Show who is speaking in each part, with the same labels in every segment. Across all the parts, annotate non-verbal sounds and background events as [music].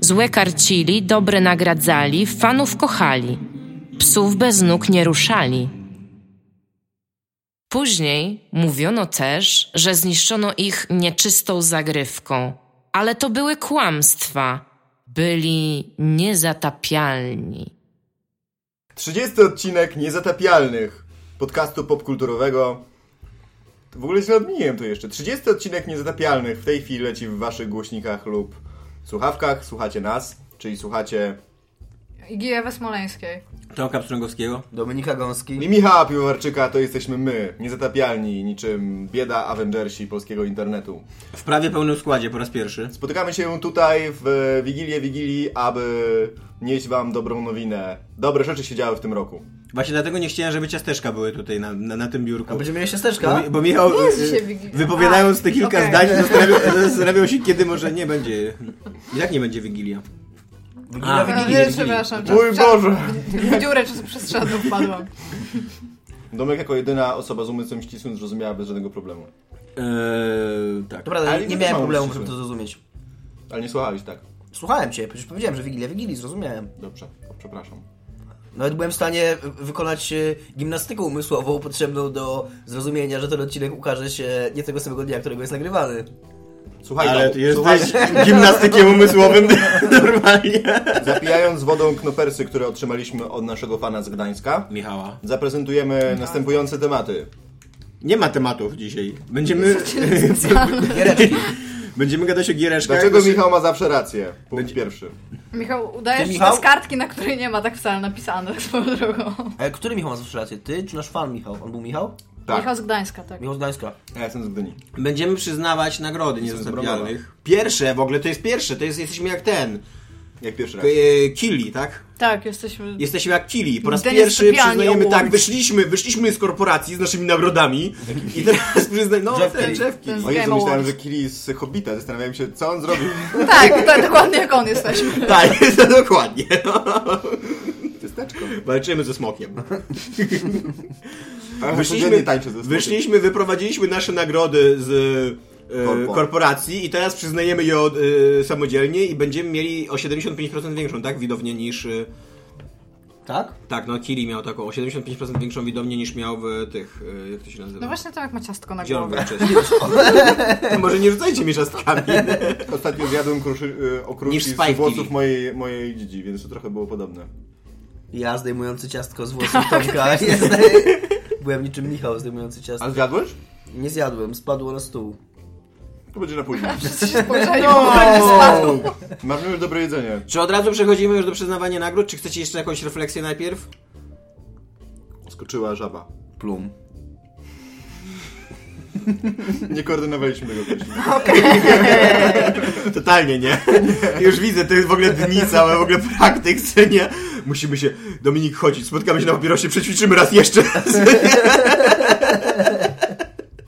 Speaker 1: Złe karcili, dobre nagradzali, fanów kochali. Psów bez nóg nie ruszali. Później mówiono też, że zniszczono ich nieczystą zagrywką, ale to były kłamstwa. Byli niezatapialni.
Speaker 2: 30 odcinek Niezatapialnych podcastu popkulturowego. W ogóle źle odmieniłem to jeszcze. 30 odcinek Niezatapialnych w tej chwili leci w waszych głośnikach lub słuchawkach. Słuchacie nas, czyli słuchacie
Speaker 3: Giewy Smoleńskiej.
Speaker 4: Tomka Pstrągowskiego.
Speaker 5: Dominika Gąski.
Speaker 2: i Michała Piłowarczyka, to jesteśmy my, Niezatapialni, niczym bieda Avengersi polskiego internetu.
Speaker 4: W prawie pełnym składzie po raz pierwszy.
Speaker 2: Spotykamy się tutaj w e, Wigilię Wigilii, aby nieść wam dobrą nowinę. Dobre rzeczy się działy w tym roku.
Speaker 4: Właśnie dlatego nie chciałem, żeby ciasteczka były tutaj na, na, na tym biurku.
Speaker 5: A No, będziemy mieli
Speaker 4: Bo,
Speaker 5: siasteczka?
Speaker 4: bo Michał,
Speaker 3: Nie jest
Speaker 4: y,
Speaker 3: dzisiaj Wigilia.
Speaker 4: wypowiadając te kilka
Speaker 3: okej.
Speaker 4: zdań,
Speaker 3: [laughs]
Speaker 4: zastanawiał, zastanawiał się, kiedy może nie będzie. Jak nie będzie Wigilia? A,
Speaker 3: No,
Speaker 4: Wigilia,
Speaker 3: nie,
Speaker 4: Wigilia.
Speaker 3: przepraszam.
Speaker 2: Tak, Mój Boże.
Speaker 3: [laughs] W dziurę czasu przestrzenną wpadłam.
Speaker 2: Domek jako jedyna osoba z umysłem ścisłym zrozumiała bez żadnego problemu.
Speaker 4: Eee, tak.
Speaker 5: Dobra,
Speaker 2: Ale
Speaker 5: ale
Speaker 2: nie
Speaker 5: nie miałem
Speaker 2: mam
Speaker 5: problemu,
Speaker 2: szczerze.
Speaker 5: żeby to zrozumieć.
Speaker 2: Ale nie słuchałeś, tak?
Speaker 5: Słuchałem cię, przecież powiedziałem, że Wigilia Wigilii, zrozumiałem.
Speaker 2: Dobrze, przepraszam.
Speaker 5: Nawet byłem w stanie wy- wykonać e, gimnastykę umysłową potrzebną do zrozumienia, że ten odcinek ukaże się nie tego samego dnia, którego jest nagrywany.
Speaker 2: Słuchaj,
Speaker 4: Ale
Speaker 2: no,
Speaker 4: ty jesteś
Speaker 2: słuchaj,
Speaker 4: [laughs] gimnastykiem umysłowym [laughs] normalnie.
Speaker 2: zapijając wodą knopersy, które otrzymaliśmy od naszego fana z Gdańska,
Speaker 4: Michała.
Speaker 2: zaprezentujemy następujące tematy.
Speaker 4: Nie ma tematów dzisiaj.
Speaker 3: [laughs]
Speaker 4: Będziemy... [laughs]
Speaker 5: Giereczki.
Speaker 4: Będziemy gadać o giereczkach.
Speaker 2: Dlaczego Michał ma zawsze rację? Punkt pierwszy.
Speaker 3: Michał, udajesz
Speaker 5: Ty,
Speaker 3: się
Speaker 5: Michał?
Speaker 3: z kartki, na której nie ma tak wcale napisane, [laughs] tak swoją drogą.
Speaker 5: Ale który Michał ma zawsze rację? Ty czy nasz fan Michał? On był Michał?
Speaker 3: Michał
Speaker 2: Tak,
Speaker 3: z Gdańska, tak.
Speaker 5: Michał z Gdańska.
Speaker 2: ja jestem z Gdyni.
Speaker 4: Będziemy przyznawać nagrody niezastępialnych. Pierwsze, w ogóle to jest pierwsze, to jest, jesteśmy jak ten.
Speaker 2: Jak pierwszy raz.
Speaker 4: K- e, Kili, tak?
Speaker 3: Tak, jesteśmy...
Speaker 4: Jesteśmy jak Kili. Po raz
Speaker 3: Ten
Speaker 4: pierwszy
Speaker 3: niesypialny
Speaker 4: przyznajemy
Speaker 3: obłąd.
Speaker 4: tak, wyszliśmy, wyszliśmy z korporacji z naszymi nagrodami i teraz przyznajemy. No,
Speaker 5: Jeff
Speaker 4: ten
Speaker 5: Keighley.
Speaker 4: Jeff Keighley.
Speaker 3: Ten-
Speaker 2: O Jezu,
Speaker 3: Game
Speaker 2: myślałem,
Speaker 3: Awards.
Speaker 2: że Kili z Hobbita. Zastanawiałem się, co on
Speaker 4: [laughs]
Speaker 2: zrobił.
Speaker 3: Tak, tak, dokładnie jak on jesteśmy.
Speaker 4: Tak, [laughs] to dokładnie.
Speaker 2: Ciasteczko.
Speaker 4: Walczymy ze smokiem.
Speaker 2: Ale
Speaker 4: Wyszliśmy,
Speaker 2: Wyszliśmy, tańczę ze wyszli...
Speaker 4: wyszliśmy wyprowadziliśmy nasze nagrody z e,
Speaker 2: Korpo.
Speaker 4: korporacji i teraz przyznajemy je od, e, samodzielnie i będziemy mieli o 75% większą, tak? Widownię niż... e,
Speaker 5: Tak?
Speaker 4: Tak, no Kiri miał taką o 75% większą widownię niż miał w tych, e, jak to się nazywa?
Speaker 3: No właśnie to jak ma ciastko na
Speaker 4: Gdzie on był
Speaker 3: głowie.
Speaker 4: wcześniej? To Może nie rzucajcie mi szastkami.
Speaker 2: Ostatnio zjadłem kruszy, y, okruszki
Speaker 4: Niż
Speaker 2: z
Speaker 4: Spike
Speaker 2: włosów
Speaker 4: Kili.
Speaker 2: mojej, mojej dzidzi, więc to trochę było podobne.
Speaker 5: Ja zdejmujący ciastko z włosów Tomka. Jest- [laughs] Byłem niczym Michał zdejmujący ciastko.
Speaker 2: A zjadłeś?
Speaker 5: Nie zjadłem, spadło na stół.
Speaker 2: To będzie na
Speaker 3: [laughs]
Speaker 2: później.
Speaker 3: Spojrzeli, Tak,
Speaker 2: No! Mamy już dobre jedzenie.
Speaker 4: Czy od razu przechodzimy już do przyznawania nagród, czy chcecie jeszcze jakąś refleksję najpierw?
Speaker 2: Skoczyła żaba.
Speaker 5: Plum.
Speaker 2: Nie koordynowaliśmy tego wcześniej.
Speaker 4: [laughs] Totalnie nie. Już widzę, to jest w ogóle dni całe, w ogóle praktyk, co nie? Musimy się, Dominik, chodzić, spotkamy się na papierosie, przećwiczymy raz jeszcze.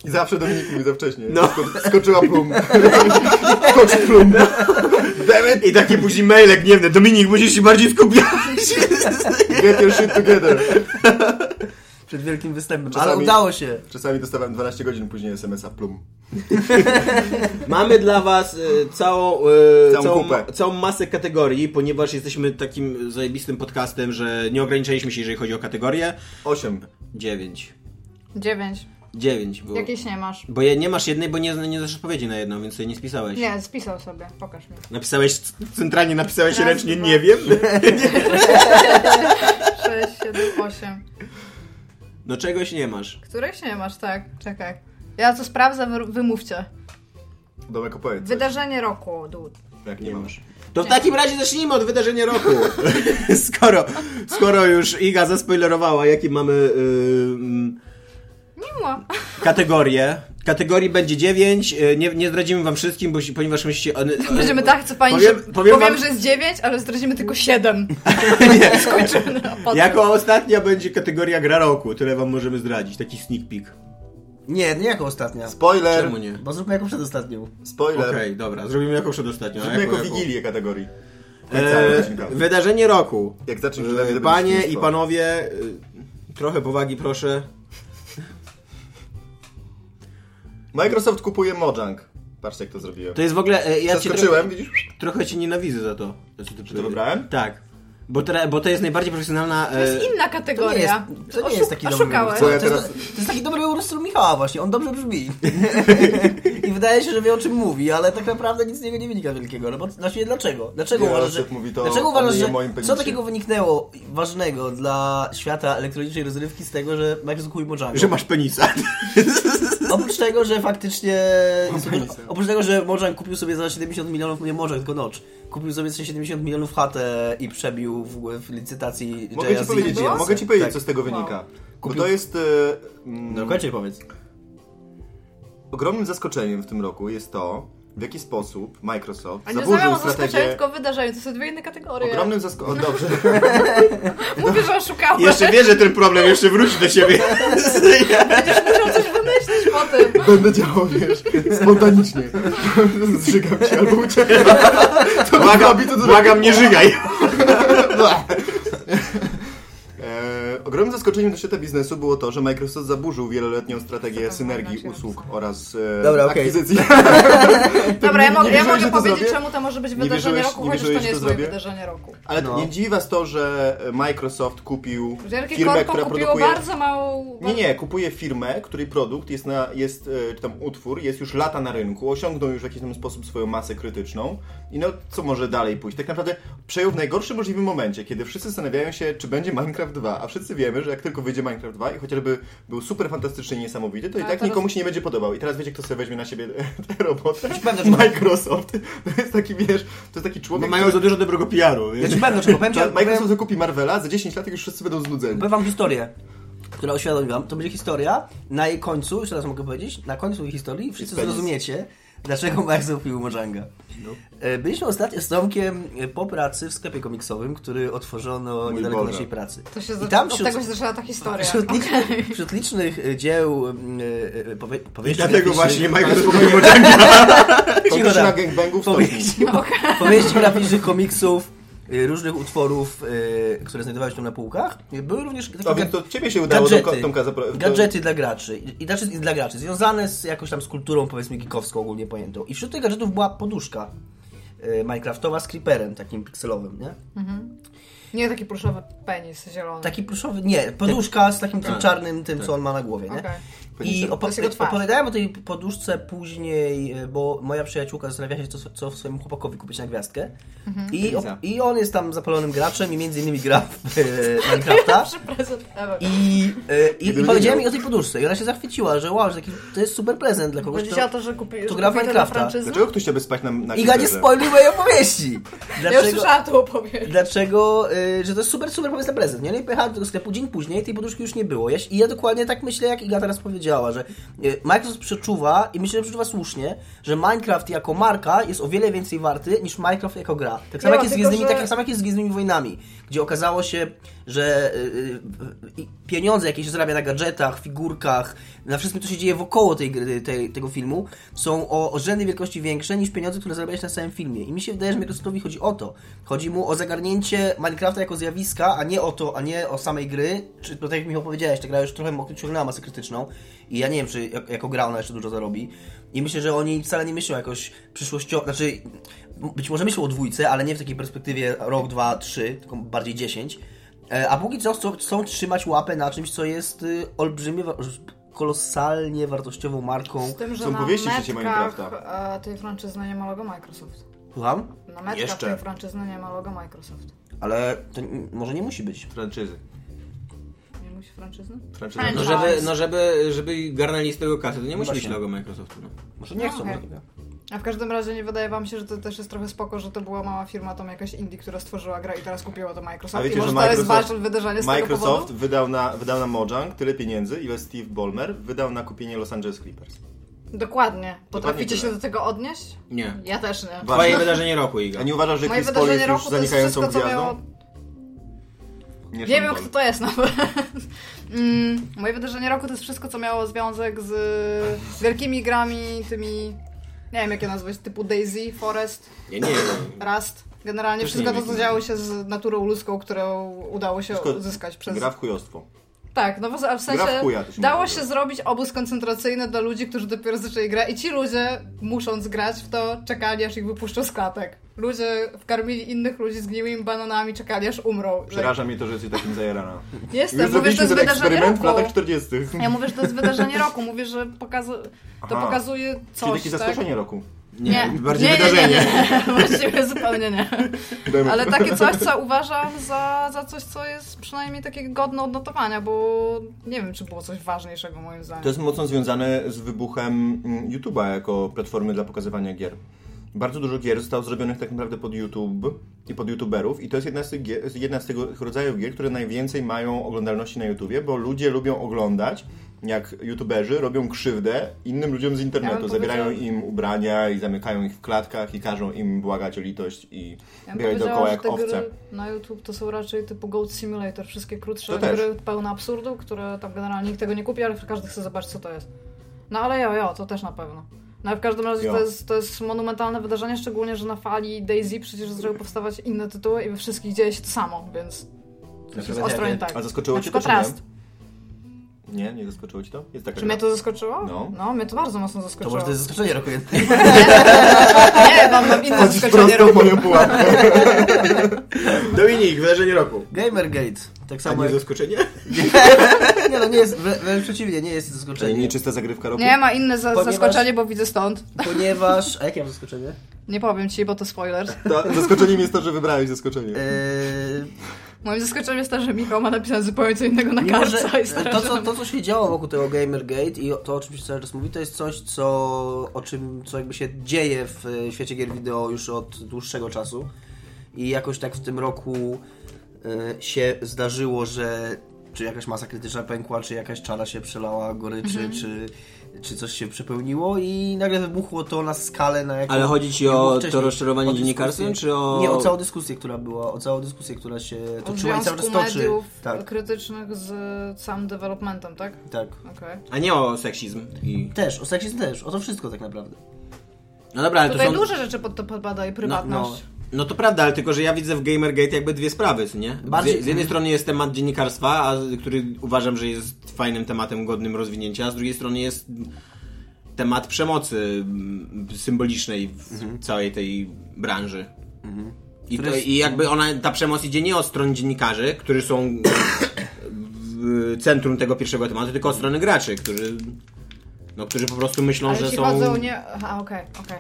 Speaker 2: I zawsze Dominik mówi za wcześnie.
Speaker 4: No.
Speaker 2: Sko- skoczyła plum. [laughs] Skocz plum. Damn
Speaker 4: I
Speaker 2: it.
Speaker 4: takie później maile gniewne, Dominik, musisz się bardziej skupiać.
Speaker 2: Get your shit together.
Speaker 5: Przed wielkim występem, ale
Speaker 2: Czasami-
Speaker 5: udało się.
Speaker 2: Czasami dostawałem 12 godzin później SMS-a plum.
Speaker 4: Mamy dla was e, całą, e,
Speaker 2: Całą
Speaker 4: całą,
Speaker 2: kupę.
Speaker 4: całą masę kategorii, ponieważ jesteśmy takim zajebistym podcastem, że nie ograniczaliśmy się, jeżeli chodzi o kategorie.
Speaker 2: 8.
Speaker 4: Dziewięć.
Speaker 3: Dziewięć.
Speaker 4: Dziewięć było.
Speaker 3: Jakiejś nie masz.
Speaker 4: Bo je, nie masz jednej, bo nie, nie znasz odpowiedzi na jedną, więc sobie nie spisałeś.
Speaker 3: Nie, spisał sobie. Pokaż mi.
Speaker 4: Napisałeś, c- centralnie napisałeś
Speaker 3: Raz,
Speaker 4: ręcznie,
Speaker 3: dwa.
Speaker 4: nie wiem. [laughs]
Speaker 3: Sześć, siedem, osiem.
Speaker 4: No czegoś nie masz.
Speaker 3: Którejś nie masz, tak. Czekaj. Ja to sprawdzę, wy, wymówcie.
Speaker 2: Domek opowiedz. coś.
Speaker 3: Wydarzenie roku, dude.
Speaker 2: Jak nie masz.
Speaker 4: To w takim razie zacznijmy od wydarzenia
Speaker 3: [laughs]
Speaker 4: roku. [laughs] skoro, skoro już Iga zaspoilerowała, jakie mamy... Yy,
Speaker 3: Nie ma.
Speaker 4: y, kategorie. Kategorii będzie 9. Nie, nie zdradzimy wam wszystkim, bo, ponieważ myślicie... one-
Speaker 3: [laughs] Będziemy tak, co pani,
Speaker 4: Powiem-
Speaker 3: że,
Speaker 4: powiem
Speaker 3: powiem,
Speaker 4: wam- [laughs]
Speaker 3: że jest 9, ale zdradzimy tylko 7.
Speaker 4: Nie.
Speaker 3: Skończymy na potem.
Speaker 4: Jako ostatnia będzie kategoria gra roku. Tyle wam możemy zdradzić. Taki sneak peek.
Speaker 5: Nie, nie jako ostatnia.
Speaker 2: Spoiler!
Speaker 4: Czemu nie?
Speaker 5: Bo zróbmy jako przedostatnią.
Speaker 2: Spoiler!
Speaker 4: Okej, dobra. Zrobimy jako przedostatnią. a
Speaker 2: Zróbmy jako
Speaker 4: jako-
Speaker 2: wigilię kategorii.
Speaker 4: E, wydarzenie roku.
Speaker 2: Jak zaczniesz ode mnie, to
Speaker 4: e, Panie
Speaker 2: będzie
Speaker 4: i
Speaker 2: śmieszko.
Speaker 4: panowie, y, trochę powagi proszę.
Speaker 2: Microsoft kupuje Mojang. Patrzcie jak to zrobiłem.
Speaker 4: To jest w ogóle... e, Ja cię
Speaker 2: Zaskoczyłem,
Speaker 4: trochę,
Speaker 2: widzisz?
Speaker 4: trochę cię nienawidzę za to. co ty powiedziałeś.
Speaker 2: wybrałem?
Speaker 4: Tak. Bo, teraz- bo to jest najbardziej profesjonalna...
Speaker 3: To jest
Speaker 4: e,
Speaker 3: inna
Speaker 5: To nie jest,
Speaker 3: kategoria.
Speaker 5: to nie
Speaker 3: Oszu-
Speaker 5: jest taki dobry
Speaker 3: Oszukałeś.
Speaker 5: wybór.
Speaker 2: Ja
Speaker 5: To, jest,
Speaker 2: teraz-
Speaker 5: to jest taki dobry wybór stylu Michała właśnie, on
Speaker 2: [laughs]
Speaker 5: dobrze brzmi. I wydaje się, że wie o czym mówi, ale tak naprawdę nic z niego nie wynika wielkiego. No bo znaczy nie dlaczego? Dlaczego
Speaker 2: Nie,
Speaker 5: uważasz,
Speaker 2: Jacek
Speaker 5: że,
Speaker 2: mówi to
Speaker 5: dlaczego
Speaker 2: o
Speaker 5: uważasz,
Speaker 2: mnie i
Speaker 5: że
Speaker 2: moim
Speaker 5: co
Speaker 2: penisie.
Speaker 5: takiego wyniknęło ważnego dla świata elektronicznej rozrywki z tego, że Microsoft kupił Mojango?
Speaker 4: Że masz [laughs] penisa.
Speaker 5: Oprócz tego, że
Speaker 2: [laughs]
Speaker 5: faktycznie... Oprócz tego, że Mojang kupił sobie za 70 milionów, no nie Mojang, tylko Notch, kupił sobie za 70 milionów chatę i przebił w, w licytacji
Speaker 2: Mogę ci
Speaker 5: JRC.
Speaker 2: powiedzieć,
Speaker 3: było?
Speaker 2: mogę ci powiedzieć
Speaker 5: Tak.
Speaker 2: co z tego wynika. Bo
Speaker 5: Kupił-
Speaker 2: to jest... E, mm,
Speaker 5: No kończę powiedz.
Speaker 2: Ogromnym zaskoczeniem w tym roku jest to, w jaki sposób Microsoft
Speaker 3: A nie
Speaker 2: zaburzył
Speaker 3: rozmawiam o zaskoczeniu,
Speaker 2: strategię...
Speaker 3: tylko wydarzeniu. To są dwie inne kategorie.
Speaker 2: Ogromnym zaskoczeniem... Dobrze.
Speaker 3: [laughs]
Speaker 2: [laughs]
Speaker 3: Mówię, że oszukałeś.
Speaker 4: Jeszcze wie, że ten problem jeszcze wróci do [laughs] siebie.
Speaker 3: Będziesz musiał coś wymyślić po tym.
Speaker 2: Będę działał, wiesz, spontanicznie. [laughs] Zrzygam cię albo uciekam. [laughs]
Speaker 4: Błagam,
Speaker 2: to zrobi.
Speaker 4: błagam nie
Speaker 2: [laughs]
Speaker 4: żygaj.
Speaker 2: E, ogromnym zaskoczeniem dla świata biznesu było to, że Microsoft zaburzył wieloletnią strategię synergii
Speaker 3: inaczej
Speaker 2: usług oraz e,
Speaker 5: Dobra, okej.
Speaker 2: akwizycji.
Speaker 3: Dobra, ja, mogę, ja
Speaker 2: wierzyłeś, że
Speaker 3: mogę
Speaker 2: to
Speaker 3: powiedzieć,
Speaker 2: zrobię?
Speaker 3: czemu to może być
Speaker 2: Nie
Speaker 3: wydarzenie
Speaker 2: wierzyłeś-
Speaker 3: roku,
Speaker 2: nie
Speaker 3: chociaż to
Speaker 2: wierzyłeś,
Speaker 3: nie
Speaker 2: że
Speaker 3: jest
Speaker 2: to
Speaker 3: moje
Speaker 2: zrobię?
Speaker 3: wydarzenie roku.
Speaker 2: Ale
Speaker 5: No.
Speaker 2: nie dziwi was to, że Microsoft kupił
Speaker 3: Wielkie
Speaker 2: firmę,
Speaker 3: korpo
Speaker 2: która
Speaker 3: kupiło
Speaker 2: produkuje...
Speaker 3: bardzo małą...
Speaker 2: Nie, nie, kupuje firmę, której produkt jest, na, jest e, czy tam utwór, jest już lata na rynku, osiągnął już w jakiś tam sposób swoją masę krytyczną i no, co może dalej pójść? Tak naprawdę przejął w najgorszym możliwym momencie, kiedy wszyscy zastanawiają się, czy będzie Minecraft 2, a wszyscy wiemy, że jak tylko wyjdzie Minecraft 2 i chociażby był super fantastyczny i niesamowity, to i
Speaker 3: A
Speaker 2: tak
Speaker 3: teraz-
Speaker 2: nikomu się nie będzie podobał. I teraz wiecie, kto sobie weźmie na siebie [laughs] tę robotę?
Speaker 5: Będę
Speaker 2: Microsoft. [laughs] To jest taki, wiesz, to jest taki
Speaker 4: Bo
Speaker 2: człowiek,
Speaker 4: No mają za dużo dobrego PR-u.
Speaker 5: Ja
Speaker 4: wiesz?
Speaker 5: ci będę czego powiem ci,
Speaker 2: który...
Speaker 5: powiem-
Speaker 2: Microsoft zakupi Marvela, za 10 lat jak już wszyscy będą znudzeni.
Speaker 5: Powiem wam historię, która uświadomiłam. To będzie historia. Na jej końcu, jeszcze raz mogę powiedzieć, na końcu tej historii wszyscy
Speaker 2: penis. No.
Speaker 5: zrozumiecie, dlaczego Max kupił Mojanga. E, Byliśmy ostatnio z Tomkiem e, po pracy w sklepie komiksowym, który otworzono niedaleko
Speaker 2: Boże.
Speaker 5: naszej pracy.
Speaker 3: To się
Speaker 5: I
Speaker 3: za...
Speaker 5: tam
Speaker 3: Od
Speaker 5: wśród-
Speaker 3: tego się zaczęła ta historia.
Speaker 5: Wśród licznych, [laughs] wśród licznych e, dzieł mm, e, e, powie, powieści
Speaker 4: Dlatego
Speaker 5: graficznych-
Speaker 4: właśnie Microsoft kupił Mojang.
Speaker 2: To
Speaker 5: Cicho
Speaker 2: już na
Speaker 5: tam.
Speaker 2: gangbangów stopni.
Speaker 5: powieści,
Speaker 3: no
Speaker 5: powieści graficznych komiksów, e, różnych utworów, e, które znajdowały się tam na półkach. Były również takie
Speaker 2: A więc to ciebie się udało do ko- Tomka zapro- do-
Speaker 5: gadżety dla graczy. I, i, znaczy, i dla graczy, związane z jakąś tam z kulturą, powiedzmy, geekowską ogólnie pojętą. I wśród tych gadżetów była poduszka e, Minecraftowa z creeperem, takim pikselowym, nie?
Speaker 3: Nie taki pluszowy penis zielony.
Speaker 5: Taki pluszowy, nie, poduszka z takim tym czarnym, tym, co on ma na głowie, nie?
Speaker 3: Okej.
Speaker 5: I
Speaker 2: Penisem.
Speaker 5: opo-
Speaker 3: To jest jego twarz.
Speaker 5: opowiadałem o tej poduszce później, e, bo moja przyjaciółka zastanawia się, co, co swojemu chłopakowi kupić na gwiazdkę.
Speaker 3: Mhm.
Speaker 5: I, o- I on jest tam zapalonym graczem i między innymi gra w e,
Speaker 3: [laughs]
Speaker 5: Minecrafta.
Speaker 3: [laughs] Prezent Ewa.
Speaker 5: I, e, i,
Speaker 2: Gdyby
Speaker 5: i
Speaker 2: nie
Speaker 5: powiedziałem
Speaker 2: miał.
Speaker 5: jej o tej poduszce i ona się zachwyciła, że wow, że taki, to jest super prezent dla kogoś,
Speaker 3: Chodzi
Speaker 5: kto...
Speaker 3: o No to, że kupi,
Speaker 5: to
Speaker 3: że
Speaker 5: gra
Speaker 3: kupi to dla
Speaker 5: Minecrafta.
Speaker 3: franczyzy?
Speaker 2: Dlaczego ktoś chciałby spać na, na
Speaker 5: Iga nie
Speaker 2: Twitterze?
Speaker 5: spoiluj mojej opowieści!
Speaker 3: Ja już
Speaker 5: Dlaczego,
Speaker 3: słyszałam tą opowieść.
Speaker 5: dlaczego y, że to jest super, super pomysł na prezent. Nie? No i pojechałem do tego sklepu, dzień później tej poduszki już nie było. Ja, się- I ja dokładnie tak myślę, jak Iga teraz powiedziała, że y, Microsoft przeczuwa, i myślę, że przeczuwa słusznie, że Minecraft jako marka jest o wiele więcej warty niż Minecraft jako gra. Tak samo,
Speaker 3: Nie,
Speaker 5: jak jest z
Speaker 3: tylko,
Speaker 5: Gwiezdnymi,
Speaker 3: że-
Speaker 5: tak samo jak jest z Gwiezdnymi Wojnami, gdzie okazało się, że y, y, y, pieniądze, jakie się zarabia na gadżetach, figurkach, na wszystkim, co się dzieje wokoło tej, gry- tej, tego filmu, są o, o rzędy wielkości większe niż pieniądze, które zarabia się na samym filmie. I mi się wydaje, że Microsoftowi chodzi o to. Chodzi mu o zagarnięcie Minecrafta jako zjawiska, a nie o to, a nie o samej gry. Czy, bo tak jak mi opowiedziałeś, ta gra już trochę ciągnęła masę krytyczną i ja nie wiem, czy jak- jako gra ona jeszcze dużo zarobi. I myślę, że oni wcale nie myślą jakoś przyszłościowo, znaczy być może myślą o dwójce, ale nie w takiej perspektywie rok, dwa, trzy, tylko bardziej dziesięć. E, A póki co chcą, chcą trzymać łapę na czymś, co jest y, olbrzymie, wa- kolosalnie wartościową marką.
Speaker 3: Z tym, że
Speaker 2: Są
Speaker 3: na
Speaker 2: powieści w sieci
Speaker 3: metkach
Speaker 2: Minecrafta.
Speaker 3: e, tej franczyzny nie ma logo Microsoft.
Speaker 5: Słucham?
Speaker 3: Na metkach
Speaker 2: Jeszcze.
Speaker 3: tej franczyzny nie ma logo Microsoft.
Speaker 5: Ale to n- może nie musi być.
Speaker 2: Franczyzy.
Speaker 3: Nie musi franczyzny?
Speaker 2: Franczyzy.
Speaker 3: Franchise.
Speaker 4: No żeby, no żeby, żeby garnęli z tego kasy, to nie musi być
Speaker 5: Właśnie.
Speaker 4: logo Microsoftu. No.
Speaker 5: Może nie
Speaker 3: No,
Speaker 5: chcą.
Speaker 3: okej.
Speaker 5: może-
Speaker 3: A w każdym razie nie wydaje wam się, że to też jest trochę spoko, że to była mała firma, tam jakaś indie, która stworzyła grę i teraz kupiła to Microsoft.
Speaker 2: A wiecie,
Speaker 3: I może
Speaker 2: że
Speaker 3: to jest
Speaker 2: Microsoft-
Speaker 3: ważne wydarzenie z tego
Speaker 2: Microsoft
Speaker 3: powodu?
Speaker 2: wydał na, wydał na Mojang tyle pieniędzy, ile Steve Ballmer wydał na kupienie Los Angeles Clippers.
Speaker 3: Dokładnie. Potraficie się
Speaker 2: tyle.
Speaker 3: do tego odnieść?
Speaker 4: Nie.
Speaker 3: Ja też nie.
Speaker 4: Twoje wydarzenie roku, Iga.
Speaker 2: A nie uważasz, że
Speaker 3: Moje
Speaker 2: Chris Paul
Speaker 3: wydarzenie
Speaker 2: jest już
Speaker 3: roku to jest
Speaker 2: zanikającą
Speaker 3: wszystko, co
Speaker 2: gwiazdą?
Speaker 3: miało...
Speaker 2: Nie,
Speaker 3: Nie
Speaker 2: Sean
Speaker 3: wiem,
Speaker 2: Paul.
Speaker 3: kto to jest nawet. [laughs] Mm, Moje wydarzenie roku to jest wszystko, co miało związek z wielkimi grami, tymi... Nie wiem, jakie nazwy, typu Daisy, Forest,
Speaker 4: Ja nie wiem.
Speaker 3: Rust. Generalnie
Speaker 4: Też
Speaker 3: wszystko
Speaker 4: nie
Speaker 3: to, co
Speaker 4: wiem.
Speaker 3: działo się z naturą ludzką, którą udało się
Speaker 2: Wszystko-
Speaker 3: uzyskać przez...
Speaker 2: Gra w chujostwo.
Speaker 3: Tak, no bo w
Speaker 2: Gra
Speaker 3: sensie
Speaker 2: w chuja, to się
Speaker 3: dało
Speaker 2: mówi.
Speaker 3: się zrobić obóz koncentracyjny dla ludzi, którzy dopiero zaczęli grać i ci ludzie, musząc grać w to, czekali aż ich wypuszczą z klatek. Ludzie wkarmili innych ludzi zgniłymi bananami, czekali aż umrą.
Speaker 2: Przeraża mnie to, że jesteś takim zajarana.
Speaker 3: Tak, Jestem,
Speaker 2: Już
Speaker 3: mówię, że to
Speaker 2: zrobiliśmy
Speaker 3: jest
Speaker 2: ten
Speaker 3: wydarzenie
Speaker 2: eksperyment w latach
Speaker 3: roku.
Speaker 2: 40.
Speaker 3: Ja mówię, że to jest wydarzenie roku, mówię, że pokaza... to
Speaker 2: Aha.
Speaker 3: pokazuje
Speaker 2: Czyli
Speaker 3: coś,
Speaker 2: takie
Speaker 3: tak?
Speaker 2: zaskoczenie roku.
Speaker 3: Nie,
Speaker 4: bardziej
Speaker 3: nie, nie,
Speaker 4: wydarzenie.
Speaker 3: Nie, nie, [laughs] nie. Właściwie zupełnie nie.
Speaker 2: Dajmy.
Speaker 3: Ale takie coś, co uważam za, za coś, co jest przynajmniej takie godne odnotowania, bo nie wiem, czy było coś ważniejszego moim zdaniem.
Speaker 2: To jest mocno związane z wybuchem mm, YouTube'a jako platformy dla pokazywania gier. Bardzo dużo gier zostało zrobionych tak naprawdę pod YouTube i pod YouTuberów i to jest jedna z, tych gier, jedna z tego rodzaju gier, które najwięcej mają oglądalności na YouTubie, bo ludzie lubią oglądać, jak YouTuberzy robią krzywdę innym ludziom z
Speaker 3: Ja
Speaker 2: internetu.
Speaker 3: bym
Speaker 2: Zabierają
Speaker 3: powiedziała-
Speaker 2: im ubrania i zamykają ich w klatkach i każą im błagać o litość i
Speaker 3: Ja
Speaker 2: ja
Speaker 3: bym
Speaker 2: biegać
Speaker 3: powiedziała,
Speaker 2: dookoła
Speaker 3: że
Speaker 2: jak
Speaker 3: te
Speaker 2: owce.
Speaker 3: gry na YouTube to są raczej typu Goat Simulator, wszystkie krótsze
Speaker 2: To też.
Speaker 3: gry pełne absurdu, które tam generalnie nikt tego nie kupi, ale każdy chce zobaczyć co to jest. No ale jo, jo, to też na pewno. No ale w każdym razie
Speaker 2: Jo.
Speaker 3: to jest, to jest monumentalne wydarzenie, szczególnie, że na fali Daisy przecież zaczęły powstawać inne tytuły i we wszystkich dzieje się to samo, więc to jest ostro nie tak.
Speaker 2: A zaskoczyło
Speaker 3: na
Speaker 2: cię to,
Speaker 3: przykład
Speaker 2: czy nie?
Speaker 3: Rust.
Speaker 2: Nie, nie zaskoczyło ci to? Jest taka
Speaker 3: Czy
Speaker 2: gra.
Speaker 3: mnie to zaskoczyło?
Speaker 2: No.
Speaker 3: no mnie to bardzo mocno
Speaker 5: To
Speaker 3: zaskoczyło.
Speaker 5: może to jest zaskoczenie roku jednak.
Speaker 3: [laughs] Nie, mam, mam inne
Speaker 2: Chodzisz
Speaker 3: zaskoczenie.
Speaker 2: prosto w moją pułapkę.
Speaker 4: Dominik, wydarzenie roku.
Speaker 5: Gamergate. Tak
Speaker 4: A
Speaker 5: samo
Speaker 4: nie
Speaker 5: jak...
Speaker 4: zaskoczenie?
Speaker 5: Nie no, nie jest, wrę- wręcz przeciwnie, nie jest zaskoczenie.
Speaker 2: Nieczysta zagrywka roku.
Speaker 3: Nie, ma inne za-
Speaker 5: Ponieważ-
Speaker 3: zaskoczenie, bo widzę stąd.
Speaker 5: Ponieważ... A jakie mam zaskoczenie?
Speaker 3: Nie powiem ci, bo to spoiler.
Speaker 2: Ta, zaskoczeniem jest to, że wybrałeś zaskoczenie.
Speaker 5: Eee,
Speaker 3: Moim zaskoczeniem jest to, że Michał ma napisane zupełnie co innego na
Speaker 5: Mimo, że
Speaker 3: kartce. i
Speaker 5: to
Speaker 3: stwierdziłem-
Speaker 5: co, to, co się działo wokół tego Gamergate i to, o czym się cały czas mówi, to jest coś, co, o czym, co jakby się dzieje w e, świecie gier wideo już od dłuższego czasu. I jakoś tak w tym roku e, się zdarzyło, że czy jakaś masa krytyczna pękła, czy jakaś czara się przelała goryczy,
Speaker 3: Mhm.
Speaker 5: czy, czy coś się przepełniło i nagle wybuchło to na skalę, na jaką
Speaker 6: Ale chodzi ci
Speaker 5: nie było
Speaker 6: o
Speaker 5: wcześniej.
Speaker 6: to rozczarowanie
Speaker 5: O dyskusję.
Speaker 6: dziennikarstwem, czy o-
Speaker 5: Nie, o całą dyskusję, która była, o całą dyskusję, która się
Speaker 3: O
Speaker 5: toczyła i cały czas
Speaker 3: związku
Speaker 5: toczy.
Speaker 3: mediów
Speaker 5: Tak,
Speaker 3: krytycznych z sam developmentem, tak?
Speaker 5: tak.
Speaker 3: Okej.
Speaker 4: A nie o seksizm. I...
Speaker 5: Też, o seksizm też, o to wszystko tak naprawdę.
Speaker 4: No dobra, ale to
Speaker 3: Tutaj
Speaker 4: są...
Speaker 3: duże rzeczy pod to podpada i prywatność.
Speaker 4: No to prawda, ale tylko, że ja widzę w Gamergate jakby dwie sprawy, co nie?
Speaker 5: Bardziej-
Speaker 4: Z, z jednej strony jest temat dziennikarstwa, a, który uważam, że jest fajnym tematem godnym rozwinięcia, a z drugiej strony jest temat przemocy mm, symbolicznej w całej tej branży. I, to, I jakby ona, ta przemoc idzie nie od strony dziennikarzy, którzy są w centrum tego pierwszego tematu, tylko od strony graczy, którzy, no, którzy po prostu myślą,
Speaker 3: Ale
Speaker 4: że
Speaker 3: jeśli
Speaker 4: są...
Speaker 3: chodzą nie... Aha, okej, okej.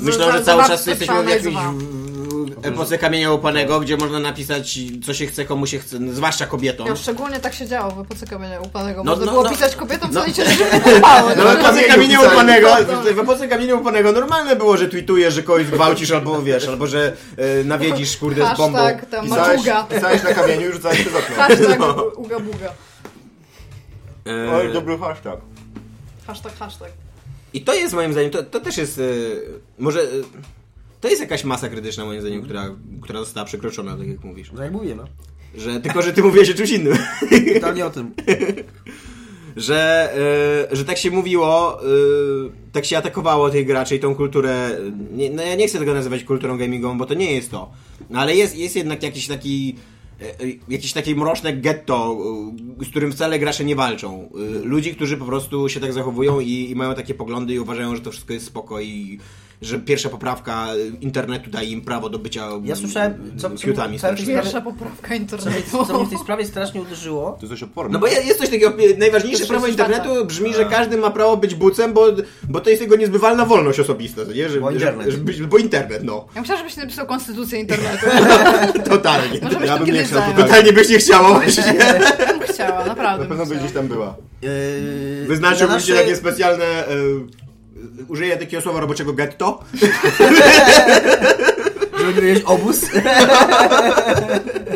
Speaker 4: Myślę,
Speaker 3: Za-
Speaker 4: że
Speaker 3: za
Speaker 4: cały
Speaker 3: bardzo
Speaker 4: czas jesteśmy w jakiejś
Speaker 3: przeanalizowałam.
Speaker 4: w- w epoce kamienia łupanego, gdzie można napisać co się chce, komu się chce, no, zwłaszcza kobietom.
Speaker 3: Ja, szczególnie tak się działo w epoce kamienia upanego.
Speaker 4: No,
Speaker 3: Można
Speaker 4: no,
Speaker 3: było
Speaker 4: no.
Speaker 3: pisać kobietom, co no. się nie podobało.
Speaker 4: [laughs] No, w epoce kamienia
Speaker 2: pisali.
Speaker 4: łupanego,
Speaker 3: No,
Speaker 4: w epoce kamienia łupanego normalne było, że tweetujesz, że kogoś gwałcisz albo wiesz, albo że e, nawiedzisz kurde z bombą.
Speaker 3: Hashtag tam
Speaker 2: Pisałeś,
Speaker 3: maczuga.
Speaker 2: pisałeś na kamieniu i rzucałeś przez okno.
Speaker 3: Hashtag uga buga.
Speaker 4: E,
Speaker 2: Oj, dobry hashtag.
Speaker 3: Hashtag, hashtag.
Speaker 4: I to jest moim zdaniem, to, to też jest e, może e, to jest jakaś masa krytyczna moim zdaniem, która, która została przekroczona, tak jak mówisz.
Speaker 5: No jak mówię, no.
Speaker 4: Że, tylko, że ty mówiłeś o czymś innym.
Speaker 5: Totalnie o tym.
Speaker 4: że, y, że tak się mówiło, y, tak się atakowało tych graczy i tą kulturę. Nie, no ja nie chcę tego nazywać kulturą gamingową, bo to nie jest to. No ale jest, jest jednak jakiś taki. y, y, Jakieś takie mroczne getto, y, z którym wcale gracze nie walczą. Y, Ludzi, którzy po prostu się tak zachowują i, i mają takie poglądy i uważają, że to wszystko jest spoko i że pierwsza poprawka y, internetu daje im prawo do bycia
Speaker 5: Ja słyszałem, co- co-
Speaker 4: fiutami
Speaker 5: co-
Speaker 4: strasznymi.
Speaker 3: Pierwsza poprawka internetu.
Speaker 5: Co mnie w tej sprawie strasznie uderzyło,
Speaker 2: To jest dość oporne.
Speaker 4: No bo je- jest coś takiego, e, najważniejsze
Speaker 3: To
Speaker 4: prawo
Speaker 3: jest wada.
Speaker 4: internetu brzmi, że każdy ma prawo być bucem, bo, bo to jest jego niezbywalna wolność osobista, to nie? Że,
Speaker 5: Bo internet.
Speaker 4: Że, że, być- bo internet, no, [laughs]
Speaker 3: Ja myślałam, żebyś napisał konstytucję [laughs] internetu.
Speaker 4: totalnie.
Speaker 3: Może byś
Speaker 2: Ja
Speaker 3: tam
Speaker 2: bym nie
Speaker 3: kiedyś
Speaker 2: chciał
Speaker 3: zajął.
Speaker 2: tutaj.
Speaker 4: Totalnie byś nie chciała właśnie.
Speaker 3: Ja bym chciała, naprawdę
Speaker 2: Na pewno
Speaker 3: bym
Speaker 2: by gdzieś
Speaker 3: chciała.
Speaker 2: tam była.
Speaker 5: yy,
Speaker 4: Wyznaczyłbym
Speaker 5: nasze-
Speaker 4: się takie specjalne, e, użyję takiego słowa roboczego getto,
Speaker 5: Żeby mieć obóz.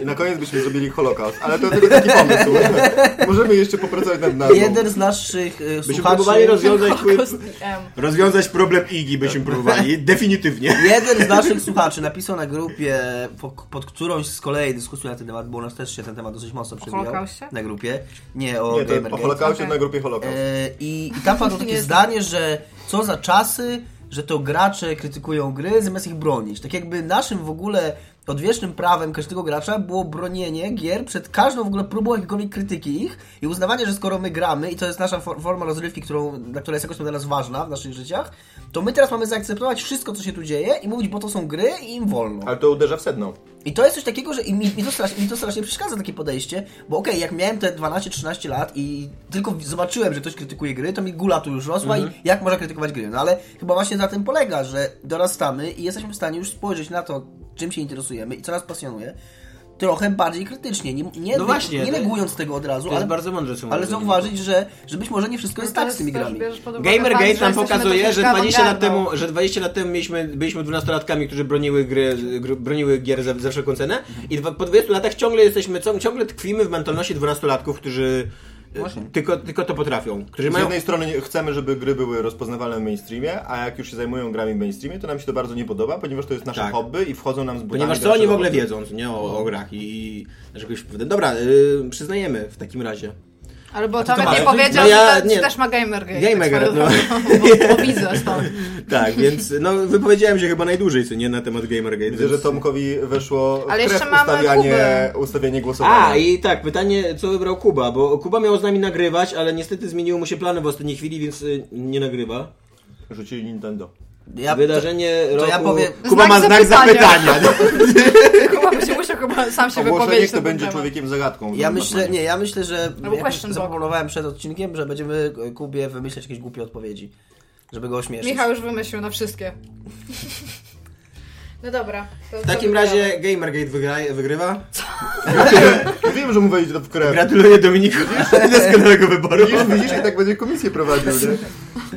Speaker 2: na koniec byśmy zrobili holokaust, ale to tylko taki pomysł. Możemy jeszcze popracować nad nazwą.
Speaker 5: Jeden z naszych y,
Speaker 4: Byśmy
Speaker 5: słuchaczy... [laughs]
Speaker 4: próbowali rozwiązać,
Speaker 3: M.
Speaker 4: rozwiązać problem Igi, byśmy próbowali, definitywnie.
Speaker 5: Jeden z naszych słuchaczy napisał na grupie, po, pod którąś z kolei dyskusji na ten temat, bo u nas też się ten temat dosyć mocno przewijał.
Speaker 3: Holokauście?
Speaker 5: Na grupie. Nie, o
Speaker 2: Nie, to o
Speaker 5: Gamergate.
Speaker 2: holokauście
Speaker 3: Okej.
Speaker 2: na grupie holokaust.
Speaker 5: E, I, I tam padło takie
Speaker 3: Nie.
Speaker 5: zdanie, że co za czasy, że to gracze krytykują gry zamiast ich bronić. Tak jakby naszym w ogóle odwiecznym prawem każdego gracza było bronienie gier przed każdą w ogóle próbą jakiejkolwiek krytyki ich i uznawanie, że skoro my gramy i to jest nasza for- forma rozrywki, którą, dla która jest jakoś tam dla nas ważna w naszych życiach, to my teraz mamy zaakceptować wszystko, co się tu dzieje i mówić, bo to są gry i im wolno.
Speaker 2: Ale to uderza w sedno.
Speaker 5: I to jest coś takiego, że i mi, mi, to, strasznie, mi to strasznie przeszkadza takie podejście, bo okej, jak miałem te 12-13 lat i tylko w- zobaczyłem, że ktoś krytykuje gry, to mi gula tu już rosła
Speaker 4: Mhm.
Speaker 5: i jak można krytykować gry? No ale chyba właśnie na tym polega, że dorastamy i jesteśmy w stanie już spojrzeć na to, czym się interesujemy i co nas pasjonuje, trochę bardziej krytycznie, nie, nie,
Speaker 4: No właśnie,
Speaker 5: nie
Speaker 4: to-
Speaker 5: negując tego od razu,
Speaker 4: to jest
Speaker 5: ale,
Speaker 4: bardzo mądre, co
Speaker 5: ale
Speaker 4: mówisz.
Speaker 5: zauważyć, że, że być może nie wszystko
Speaker 3: No
Speaker 5: jest tak z tymi grami.
Speaker 4: Gamergate nam pokazuje, że 20 lat temu,
Speaker 3: Okej,
Speaker 4: że 20 lat temu mieliśmy, byliśmy 12-latkami, którzy broniły gry, gr, broniły gier za, za wszelką cenę i dwa, po 20 latach ciągle jesteśmy, cią- ciągle tkwimy w mentalności 12-latków, którzy e, tylko, tylko to potrafią, którzy
Speaker 2: Z
Speaker 4: mają
Speaker 2: jednej strony nie- chcemy, żeby gry były rozpoznawalne w mainstreamie, a jak już się zajmują grami w mainstreamie, to nam się to bardzo nie podoba, ponieważ to jest nasze
Speaker 4: Tak.
Speaker 2: hobby i wchodzą nam z butami
Speaker 4: Ponieważ co
Speaker 2: gracze
Speaker 4: oni w
Speaker 2: do
Speaker 4: ogóle
Speaker 2: gry.
Speaker 4: wiedzą, co nie o, o grach i czegoś powodem. Dobra, y, przyznajemy w takim
Speaker 2: [laughs]
Speaker 4: razie.
Speaker 3: Albo
Speaker 4: to
Speaker 3: Tomek
Speaker 4: masz?
Speaker 3: nie powiedział,
Speaker 4: No ja-
Speaker 3: że ta-
Speaker 4: nie.
Speaker 3: czy też ma Gamergate.
Speaker 4: Gamergate, no.
Speaker 3: tak swoją drogą, Bo, bo widzę
Speaker 4: [laughs]
Speaker 3: stąd.
Speaker 4: Tak, więc no wypowiedziałem się chyba najdłużej, co nie na temat Gamergate.
Speaker 2: Widzę, że
Speaker 4: więc-
Speaker 2: Tomkowi weszło
Speaker 3: Ale
Speaker 2: w krew
Speaker 3: jeszcze mamy
Speaker 2: ustawianie, ustawienie głosowania.
Speaker 4: A, i tak, pytanie, co wybrał Kuba, bo Kuba miał z nami nagrywać, ale niestety zmieniły mu się plany w ostatniej chwili, więc y, nie nagrywa.
Speaker 2: Rzucili Nintendo.
Speaker 5: Ja,
Speaker 4: Wydarzenie
Speaker 5: to
Speaker 4: roku...
Speaker 5: ja powiem-
Speaker 4: Kuba ma
Speaker 3: Znak
Speaker 4: znak
Speaker 3: zapytania.
Speaker 4: zapytania.
Speaker 3: [laughs] Chyba by się musiał chyba sam się
Speaker 2: Ogłoszenie,
Speaker 3: wypowiedzieć.
Speaker 2: kto
Speaker 3: na ten
Speaker 2: będzie
Speaker 3: temat.
Speaker 2: człowiekiem zagadką.
Speaker 5: Ja myślę, nie, ja myślę, że
Speaker 3: Albo
Speaker 5: jak
Speaker 3: question
Speaker 5: zaproponowałem przed odcinkiem, że będziemy e, Kubie wymyślać jakieś głupie odpowiedzi, żeby go ośmieszyć.
Speaker 3: Michał już wymyślił na wszystkie. No dobra. to
Speaker 4: W takim
Speaker 3: co
Speaker 4: razie Gamergate wygra, wygrywa.
Speaker 2: Ja [laughs] wiem, że mu wejdzie to w krew.
Speaker 4: Tak. Gratuluję Dominiku doskonałego wyboru.
Speaker 2: Widzisz, widzisz, i tak będzie komisję prowadził, nie?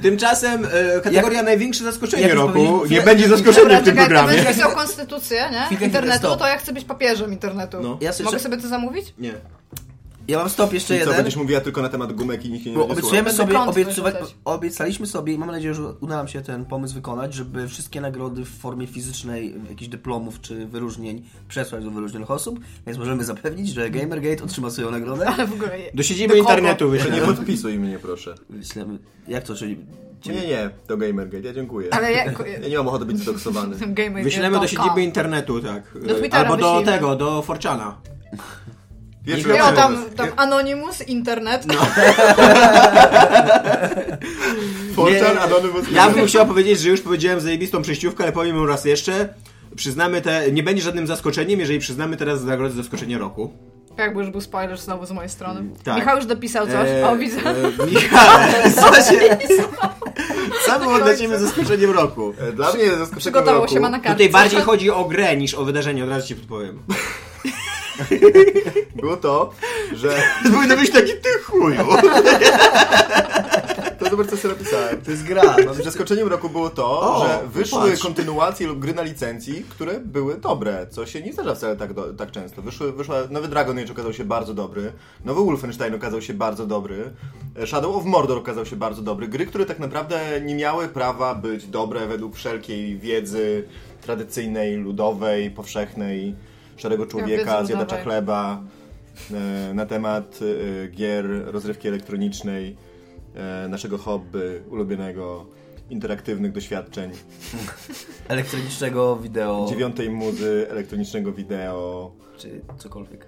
Speaker 4: Tymczasem y, kategoria największe zaskoczenie
Speaker 5: jak już
Speaker 4: roku.
Speaker 5: powiedzieli-
Speaker 4: Nie będzie zaskoczenia
Speaker 3: Dobra,
Speaker 4: w tym
Speaker 3: czekaj, jak ty
Speaker 4: programie.
Speaker 3: będziesz pisał konstytucję, nie?
Speaker 5: chwilę,
Speaker 3: Internetu, no
Speaker 5: stop.
Speaker 3: to ja chcę być papieżem internetu.
Speaker 4: No.
Speaker 5: Ja sobie-
Speaker 3: Mogę sobie to zamówić?
Speaker 4: Nie.
Speaker 5: Ja mam stop jeszcze
Speaker 2: I co,
Speaker 5: jeden.
Speaker 2: będziesz mówiła tylko na temat gumek i nikt nie będzie
Speaker 5: Bo
Speaker 2: słuchał?
Speaker 5: obiecujemy
Speaker 3: Będę
Speaker 5: sobie,
Speaker 3: prąd
Speaker 5: obiecywa,
Speaker 3: wyrzucać.
Speaker 5: obiecaliśmy sobie i mam nadzieję, że uda nam się ten pomysł wykonać, żeby wszystkie nagrody w formie fizycznej, jakichś dyplomów czy wyróżnień przesłać do wyróżnionych osób, więc możemy zapewnić, że Gamergate otrzyma swoją nagrodę.
Speaker 3: Ale w ogóle je.
Speaker 4: Do siedziby
Speaker 3: Do kogo?
Speaker 4: internetu
Speaker 2: To
Speaker 4: wyślemy.
Speaker 2: nie podpisuj mnie, proszę.
Speaker 5: Myślemy, jak to, czyli...
Speaker 2: Nie, nie, nie, to Gamergate, ja dziękuję.
Speaker 3: Ale
Speaker 4: [laughs]
Speaker 3: jak...
Speaker 2: Ja nie mam ochoty być zdoksowany.
Speaker 3: Jestem gamer.
Speaker 4: Wyślemy do siedziby internetu, tak.
Speaker 3: Do Twittera
Speaker 4: Albo do
Speaker 3: wyślijmy.
Speaker 4: tego, do Forczana.
Speaker 2: Pierwszy
Speaker 3: Ja
Speaker 2: lepszy
Speaker 3: tam,
Speaker 2: pomysł.
Speaker 3: tam Anonymous, internet.
Speaker 4: No.
Speaker 2: Fortran, Anonymous.
Speaker 4: Ja bym chciał powiedzieć, że już powiedziałem zajebistą przejściówkę, ale powiem ją raz jeszcze. Przyznamy te. Nie będzie żadnym zaskoczeniem, jeżeli przyznamy teraz nagrodę zaskoczenie roku.
Speaker 3: [laughs] Jakby już był spoiler znowu z mojej strony.
Speaker 4: tak.
Speaker 3: Michał już dopisał coś.
Speaker 4: Eee,
Speaker 3: o, widzę.
Speaker 4: eee, Michał, co się. Co było dla ciebie zaskoczeniem roku?
Speaker 2: E, Dla mnie zaskoczenie
Speaker 3: [laughs] Przygotował
Speaker 2: roku.
Speaker 3: się ma na kartce.
Speaker 4: Tutaj bardziej chodzi o grę niż o wydarzenie, od razu ci [laughs] podpowiem.
Speaker 2: Było to, że...
Speaker 4: Powinno być taki ty chuju.
Speaker 2: To zobacz, co sobie napisałem.
Speaker 5: To jest gra. no.
Speaker 2: Zaskoczeniem roku było to,
Speaker 4: O,
Speaker 2: że wyszły
Speaker 4: popatrz.
Speaker 2: kontynuacje lub gry na licencji, które były dobre, co się nie zdarza wcale tak, do, tak często. Wyszły, wyszła, nowy Dragon Age okazał się bardzo dobry, nowy Wolfenstein okazał się bardzo dobry, e, Shadow of Mordor okazał się bardzo dobry. Gry, które tak naprawdę nie miały prawa być dobre według wszelkiej wiedzy tradycyjnej, ludowej, powszechnej, szarego człowieka,
Speaker 3: ludowej.
Speaker 2: zjadacza chleba e, na temat e, gier, rozrywki elektronicznej, e, naszego hobby ulubionego, interaktywnych doświadczeń,
Speaker 5: Elektronicznego wideo,
Speaker 2: dziewiątej muzy, elektronicznego wideo,
Speaker 5: czy cokolwiek.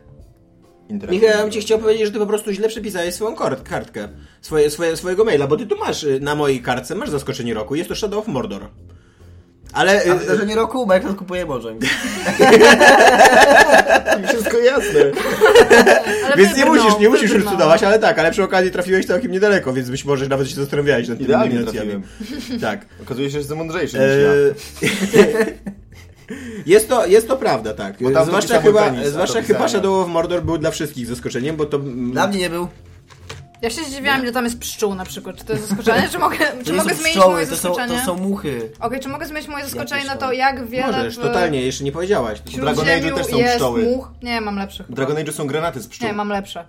Speaker 2: interaktywnego.
Speaker 4: Michał, ja bym
Speaker 2: [laughs]
Speaker 4: ci chciał powiedzieć, że ty po prostu źle przepisałeś swoją kort, kartkę, swoje, swoje, swojego maila, bo ty tu masz y, na mojej kartce, masz zaskoczenie roku, jest to Shadow of Mordor. Ale...
Speaker 2: E,
Speaker 5: A
Speaker 4: y, y,
Speaker 5: wydarzenie roku, Microsoft
Speaker 2: [laughs]
Speaker 5: kupuje Bożek.
Speaker 2: Wszystko jasne.
Speaker 3: Ale no,
Speaker 4: Więc nie
Speaker 3: wybrnął,
Speaker 4: musisz, nie musisz już
Speaker 3: wybrnął.
Speaker 4: cudować, ale tak, ale przy okazji trafiłeś całkiem niedaleko, więc być może nawet się zastanawiałeś nad tymi
Speaker 2: Idealnie
Speaker 4: nominacjami. Tak.
Speaker 2: Okazuje się, że jestem mądrzejszy niż ja.
Speaker 4: E, [laughs] Jest to, jest to prawda, tak.
Speaker 2: Bo tam
Speaker 4: Zwłaszcza
Speaker 2: dopisał mój
Speaker 4: chyba,
Speaker 2: penis, a
Speaker 4: zwłaszcza
Speaker 2: dopisałem.
Speaker 4: chyba Shadow of Mordor był dla wszystkich zaskoczeniem, bo to... mm,
Speaker 5: Dla mnie nie był.
Speaker 3: Ja się zdziwiłam, ile tam jest pszczół na przykład. Czy to jest
Speaker 4: [laughs]
Speaker 3: zaskoczenie? Czy mogę, czy
Speaker 5: nie
Speaker 3: mogę
Speaker 5: są
Speaker 3: zmienić
Speaker 5: pszczoły,
Speaker 3: moje
Speaker 5: to są,
Speaker 3: zaskoczenie?
Speaker 5: to są muchy.
Speaker 3: Okej, czy mogę zmienić moje zaskoczenie na to,
Speaker 5: pszczoły?
Speaker 3: jak wiele
Speaker 4: Możesz,
Speaker 3: w
Speaker 4: totalnie, jeszcze nie powiedziałaś.
Speaker 3: w
Speaker 2: Dragon Age'u
Speaker 3: Śródziemiu
Speaker 2: też są
Speaker 3: jest
Speaker 2: pszczoły.
Speaker 3: much? Nie, mam lepszych.
Speaker 2: W
Speaker 3: chyba.
Speaker 2: Dragon Age'u są granaty z pszczół.
Speaker 3: Nie, mam lepsze.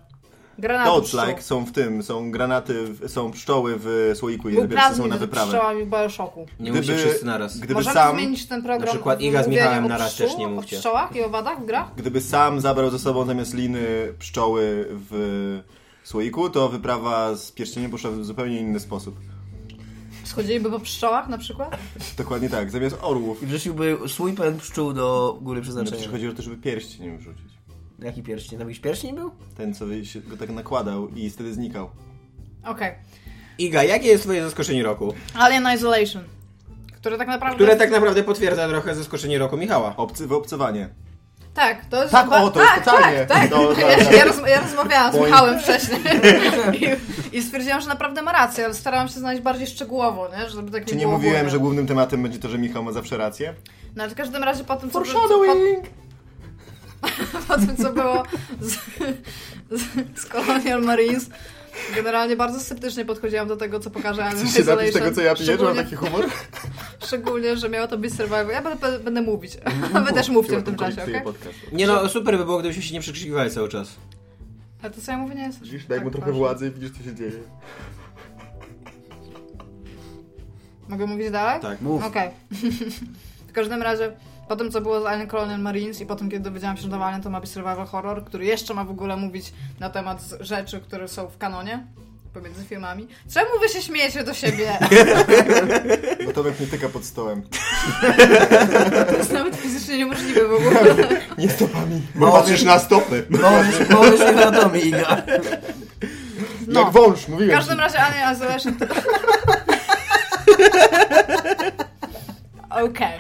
Speaker 3: Granaty pszczół.
Speaker 2: Dodge-like są w tym, są granaty, w, są pszczoły w słoiku i
Speaker 3: Był
Speaker 2: dopiero są
Speaker 3: plazmid
Speaker 2: na
Speaker 3: z
Speaker 2: wyprawę.
Speaker 3: pszczołami w Bioshoku.
Speaker 4: Nie mówcie wszyscy naraz.
Speaker 2: Gdyby
Speaker 3: Możemy
Speaker 2: sam,
Speaker 3: zmienić ten program
Speaker 4: na przykład
Speaker 3: w
Speaker 4: Iga z
Speaker 3: mówieniu
Speaker 4: Michałem
Speaker 3: o
Speaker 4: na raz
Speaker 3: pszczół,
Speaker 4: też nie mówcie.
Speaker 3: O pszczołach i owadach w grach?
Speaker 2: gdyby sam zabrał ze sobą zamiast liny pszczoły w słoiku, to wyprawa z pierścieniem poszła w zupełnie inny sposób.
Speaker 3: Schodziliby po pszczołach na przykład?
Speaker 2: Dokładnie tak, zamiast orłów.
Speaker 5: I wrzuciłby swój pęd pszczół do góry
Speaker 2: No
Speaker 5: przeznaczenia.
Speaker 2: przecież chodziło o to, żeby pierścień wrzucić.
Speaker 5: Jaki pierścień? Tam jakiś pierścień był?
Speaker 2: Ten, co wy- się go tak nakładał i wtedy znikał.
Speaker 3: Okej.
Speaker 4: Iga, jakie jest twoje zaskoczenie roku?
Speaker 3: Alien Isolation. Które tak naprawdę...
Speaker 4: Które tak naprawdę potwierdza trochę zaskoczenie roku Michała.
Speaker 2: Obcy, wyobcowanie.
Speaker 3: Tak, to jest...
Speaker 2: Tak,
Speaker 3: chyba-
Speaker 2: o, to jest
Speaker 3: tak,
Speaker 2: pytanie.
Speaker 3: Tak, tak.
Speaker 2: No, tak,
Speaker 3: ja,
Speaker 2: tak.
Speaker 3: ja, roz, ja rozmawiałam z
Speaker 2: Boing.
Speaker 3: Michałem wcześniej [laughs] I, i stwierdziłam, że naprawdę ma rację, ale starałam się znaleźć bardziej szczegółowo, nie? Żeby tak
Speaker 2: Czy nie
Speaker 3: było
Speaker 2: mówiłem,
Speaker 3: ogólnie.
Speaker 2: że głównym tematem będzie to, że Michał ma zawsze rację?
Speaker 3: No ale w każdym razie po tym, co, co, po,
Speaker 2: Foreshadowing!
Speaker 3: po [laughs] tym, co było z, z, z Colonial Marines, generalnie bardzo sceptycznie podchodziłam do tego, co pokaże Alien
Speaker 2: Chcesz się napić
Speaker 3: Isolation.
Speaker 2: tego, co ja piję, że mam
Speaker 3: Szczególnie-
Speaker 2: taki humor?
Speaker 3: Szczególnie, że miało to być survival. Ja będę, będę mówić. A wy [laughs] też mówcie w tym
Speaker 2: Chyba
Speaker 3: czasie,
Speaker 2: tylko
Speaker 3: okej?
Speaker 2: psuje podcast.
Speaker 4: Nie no, super by było, gdybyśmy się nie przekrzykiwali cały czas.
Speaker 3: Ale to co ja mówię nie jest.
Speaker 2: Widzisz, daj
Speaker 3: tak
Speaker 2: mu trochę
Speaker 3: ważne.
Speaker 2: władzy i widzisz, co się dzieje. [laughs]
Speaker 3: Mogę mówić dalej?
Speaker 4: Tak.
Speaker 5: Mów.
Speaker 3: Okej. [laughs] w każdym razie, po tym co było z Alien Colonial Marines i po tym kiedy dowiedziałam się, że do Alien to ma być survival horror, który jeszcze ma w ogóle mówić na temat z- rzeczy, które są w kanonie pomiędzy filmami. Czemu wy się śmiejecie do siebie?
Speaker 4: [laughs]
Speaker 2: Bo Tomek nie tyka pod stołem.
Speaker 3: to jest nawet fizycznie niemożliwe w
Speaker 4: [laughs]
Speaker 3: ogóle.
Speaker 2: Nie stopami. Bo patrzysz na stopy.
Speaker 5: Mało już nie wiadomo, Iga.
Speaker 3: No.
Speaker 2: Jak wąż,
Speaker 3: W
Speaker 2: mówiłem
Speaker 3: każdym razie Alien Isolation
Speaker 4: [laughs]
Speaker 3: to... Okej.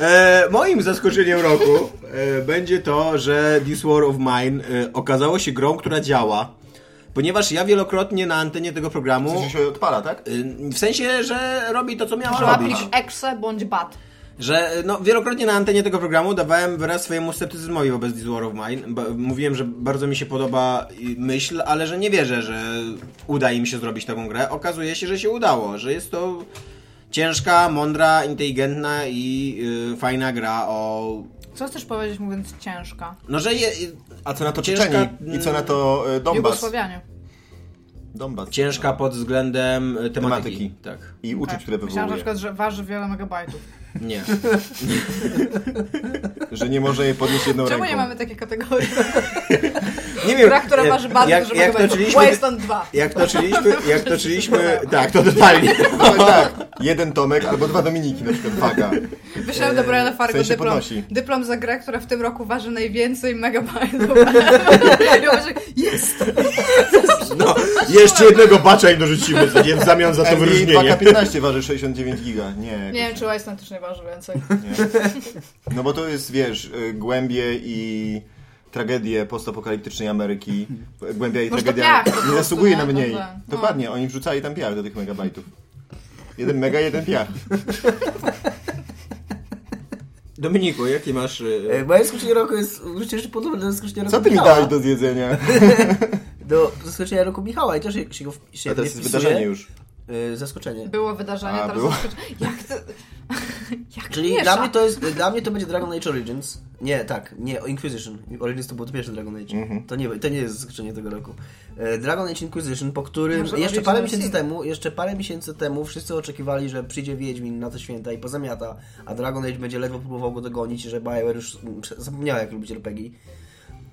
Speaker 4: E, moim zaskoczeniem roku e, będzie to, że This War of Mine e, okazało się grą, która działa. Ponieważ ja wielokrotnie na antenie tego programu.
Speaker 2: ci. Że się odpala, tak?
Speaker 4: e, W sensie, że robi to, co miała
Speaker 3: Może
Speaker 4: robić.
Speaker 3: łapisz exe bądź bat.
Speaker 4: Że e, no, wielokrotnie na antenie tego programu dawałem wyraz swojemu sceptycyzmowi wobec This War of Mine. Ba- mówiłem, że bardzo mi się podoba i- myśl, ale że nie wierzę, że uda im się zrobić taką grę. Okazuje się, że się udało, że jest to ciężka, mądra, inteligentna i y, fajna gra o
Speaker 3: Co chcesz powiedzieć mówiąc ciężka?
Speaker 4: No, że je,
Speaker 2: A co na to
Speaker 4: Ciężka-
Speaker 2: Czeczeni? I co na to e, Donbas?
Speaker 3: Jugosławianie.
Speaker 2: Donbas.
Speaker 4: ciężka pod względem e,
Speaker 2: Tematyki.
Speaker 4: tematyki. Tak.
Speaker 2: I uczuć,
Speaker 3: Tak.
Speaker 2: które
Speaker 3: Myślałam
Speaker 2: wywołuje.
Speaker 3: na przykład, że waży wiele megabajtów.
Speaker 4: Nie.
Speaker 2: Że nie może jej podnieść jedną
Speaker 3: Czemu
Speaker 2: ręką.
Speaker 3: nie mamy takiej
Speaker 2: [laughs]
Speaker 3: kategorii?
Speaker 4: [laughs] Nie wiem.
Speaker 3: Gra, która
Speaker 4: jak-
Speaker 3: waży bardzo
Speaker 4: jak,
Speaker 3: dużo
Speaker 4: jak
Speaker 3: megabajtów.
Speaker 4: toczyliśmy,
Speaker 3: Wasteland 2.
Speaker 4: Jak toczyliśmy, jak toczyliśmy, tak, to totalnie.
Speaker 2: Ale tak, jeden Tomek albo dwa Dominiki na przykład,
Speaker 5: [laughs]
Speaker 2: waga.
Speaker 3: Wyszedłem do Briana Fargo
Speaker 2: E, w sensie
Speaker 3: dyplom,
Speaker 2: podnosi.
Speaker 3: dyplom za grę, która w tym roku waży najwięcej megabajtów.
Speaker 2: [laughs]
Speaker 3: I on się, Jest!
Speaker 4: No,
Speaker 3: jeszcze
Speaker 4: jednego bacza im dorzucimy w zamian za
Speaker 2: NBA 2K15 waży 69 giga. Nie,
Speaker 3: Nie wiem, czy Wasteland też nie waży więcej.
Speaker 2: No bo to jest, wiesz, y, głębie i tragedie postapokaliptycznej Ameryki. Głębia i
Speaker 3: Może to
Speaker 2: tragedia
Speaker 3: piach po prostu,
Speaker 2: nie zasługuje
Speaker 3: nie?
Speaker 2: na mniej.
Speaker 3: Dobra, no.
Speaker 2: Dokładnie, oni wrzucali tam piach do tych megabajtów. Jeden mega, jeden piach.
Speaker 4: Dominiku, jaki masz... e,
Speaker 5: E, Moje zaskoczenie roku jest przecież podobne do zaskoczenia
Speaker 3: No
Speaker 5: roku
Speaker 2: Co ty mi
Speaker 5: Michała.
Speaker 2: dałeś do zjedzenia?
Speaker 5: Do zaskoczenia roku Michała i też się, się go wpi- się
Speaker 2: A to jest
Speaker 5: wpisuje.
Speaker 2: wydarzenie już.
Speaker 5: E, Zaskoczenie.
Speaker 3: Było wydarzenie,
Speaker 2: A,
Speaker 3: teraz
Speaker 2: było.
Speaker 3: zaskoczy- Jak to... [laughs] Jak
Speaker 5: Czyli
Speaker 3: miesza?
Speaker 5: dla mnie, to jest, dla mnie to będzie Dragon Age Origins. Nie, tak, nie, Inquisition. Origins to był pierwszy Dragon Age.
Speaker 2: Mhm.
Speaker 5: To, nie, to nie jest zaskoczenie tego roku. E, Dragon Age Inquisition, po którym
Speaker 3: Może
Speaker 5: jeszcze parę
Speaker 3: Origins
Speaker 5: miesięcy
Speaker 3: Sin.
Speaker 5: temu, jeszcze parę miesięcy temu wszyscy oczekiwali, że przyjdzie Wiedźmin na te święta i pozamiata, a Dragon Age będzie ledwo próbował go dogonić, że BioWare już mm, prze- zapomniała jak lubić RPG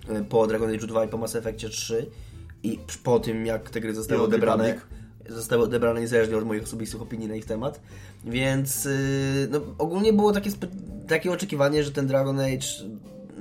Speaker 5: e, po Dragon Age 2 i po Mass Effectie 3 i p- po tym jak te gry zostały
Speaker 2: I od
Speaker 5: odebrane
Speaker 2: Republic.
Speaker 5: zostały odebrane niezależnie od moich osobistych opinii na ich temat. Więc yy, no, ogólnie było takie, spe- takie oczekiwanie, że ten Dragon Age,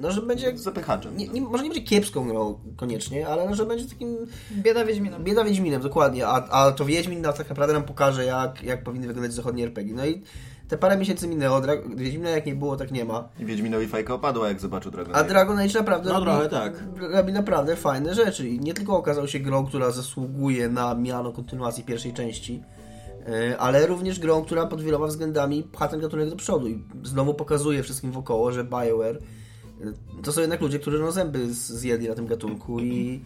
Speaker 5: no że będzie.
Speaker 2: Zapychaczem.
Speaker 5: Nie, nie, może nie będzie kiepską grą koniecznie, ale no, że będzie takim.
Speaker 3: Bieda Wiedźmina.
Speaker 5: Bieda Wiedźminem, dokładnie. A, a to Wiedźmin no, tak naprawdę nam pokaże, jak, jak powinny wyglądać zachodnie RPG. No i te parę miesięcy minęło. Dra- Wiedźmina jak nie było, tak nie ma.
Speaker 2: I Wiedźminowi fajka opadła, jak zobaczył Dragon
Speaker 5: A
Speaker 2: Age.
Speaker 5: Dragon Age naprawdę
Speaker 4: No trochę
Speaker 5: robi,
Speaker 4: tak.
Speaker 5: robi naprawdę fajne rzeczy. I nie tylko okazał się grą, która zasługuje na miano kontynuacji pierwszej części, e, ale również grą, która pod wieloma względami pcha ten gatunek do przodu i znowu pokazuje wszystkim wokoło, że BioWare to są jednak ludzie, którzy no zęby z- zjedli na tym gatunku i,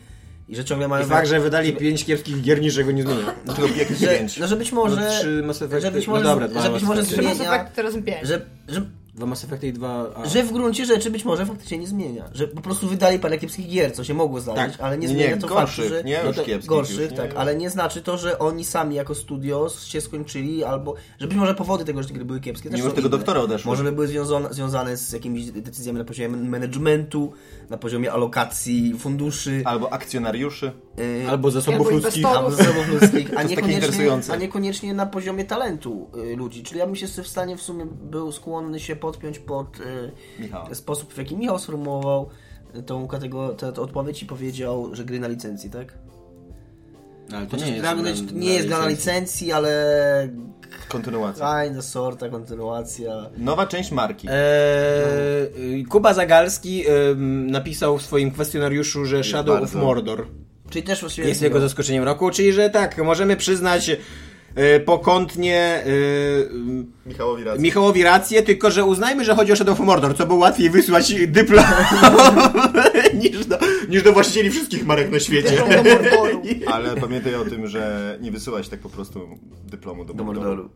Speaker 5: i że ciągle
Speaker 4: I
Speaker 5: mają...
Speaker 4: fakt, tak, że wydali pięć kiepskich gier, niczego nie zmienia.
Speaker 2: Tylko jakieś
Speaker 5: że,
Speaker 2: pięć.
Speaker 5: no, że być
Speaker 4: No,
Speaker 5: może...
Speaker 4: trzy Mass Effecty.
Speaker 5: że być
Speaker 4: No
Speaker 5: może,
Speaker 4: dobra, dwa
Speaker 5: że być
Speaker 4: Mass
Speaker 5: może
Speaker 4: Effecty.
Speaker 3: Trzy Mass
Speaker 5: zmienia...
Speaker 3: Effecty tak teraz pięć.
Speaker 5: Że, że,
Speaker 4: Dwa Mass Effecty i dwa... A.
Speaker 5: że w gruncie rzeczy być może faktycznie nie zmienia. Że po prostu wydali parę kiepskich gier, co się mogło zdarzyć,
Speaker 4: Tak.
Speaker 5: ale nie
Speaker 2: Nie,
Speaker 5: zmienia
Speaker 2: nie,
Speaker 5: to
Speaker 2: gorszych,
Speaker 5: faktu, że... no
Speaker 2: nie? Już
Speaker 5: to-
Speaker 2: kiepskich
Speaker 5: Gorszych,
Speaker 2: już, nie?
Speaker 5: tak, ale nie znaczy to, że oni sami jako studio się skończyli albo... Że być może powody tego, że te gry były kiepskie też
Speaker 2: Mimo
Speaker 5: są
Speaker 2: tego
Speaker 5: inne.
Speaker 2: doktora odeszło.
Speaker 5: Może by były związane, związane z jakimiś decyzjami na poziomie managementu, na poziomie alokacji funduszy,
Speaker 2: Albo akcjonariuszy.
Speaker 5: yy,
Speaker 4: Albo zasobów
Speaker 3: Albo
Speaker 4: ludzkich.
Speaker 3: inwestorów.
Speaker 5: albo zasobów ludzkich, a
Speaker 2: takie
Speaker 5: niekoniecznie,
Speaker 2: interesujące.
Speaker 5: a niekoniecznie na poziomie talentu y, ludzi. Czyli ja bym się w stanie w sumie był skłonny się podpiąć pod y,
Speaker 2: Michała.
Speaker 5: sposób, w jaki Michał sformułował y, tą kategorię, tę tę odpowiedź i powiedział, że gry na licencji, tak?
Speaker 4: Ale
Speaker 3: Znaczy,
Speaker 4: to
Speaker 5: Chociaż
Speaker 4: nie
Speaker 5: gra-
Speaker 4: jest...
Speaker 5: nie jest gra na licencji, ale
Speaker 2: Kontynuacja.
Speaker 5: kinda sorta, kontynuacja.
Speaker 2: Nowa część marki.
Speaker 4: Eee, Kuba Zagalski em, napisał w swoim kwestionariuszu, że Shadow of
Speaker 2: bardzo.
Speaker 4: Mordor
Speaker 5: Czyli też właściwie...
Speaker 4: jest jego zaskoczeniem roku, czyli że tak, możemy przyznać e, pokątnie e, m,
Speaker 2: Michałowi rację.
Speaker 4: Michałowi rację, tylko że uznajmy, że chodzi o Shadow of Mordor, co było łatwiej wysłać [laughs] dyplom niż, do, niż do właścicieli wszystkich marek na świecie.
Speaker 3: Do Mordoru.
Speaker 2: Ale pamiętaj o tym, że nie wysyłać tak po prostu dyplomu do,
Speaker 5: do Mordoru.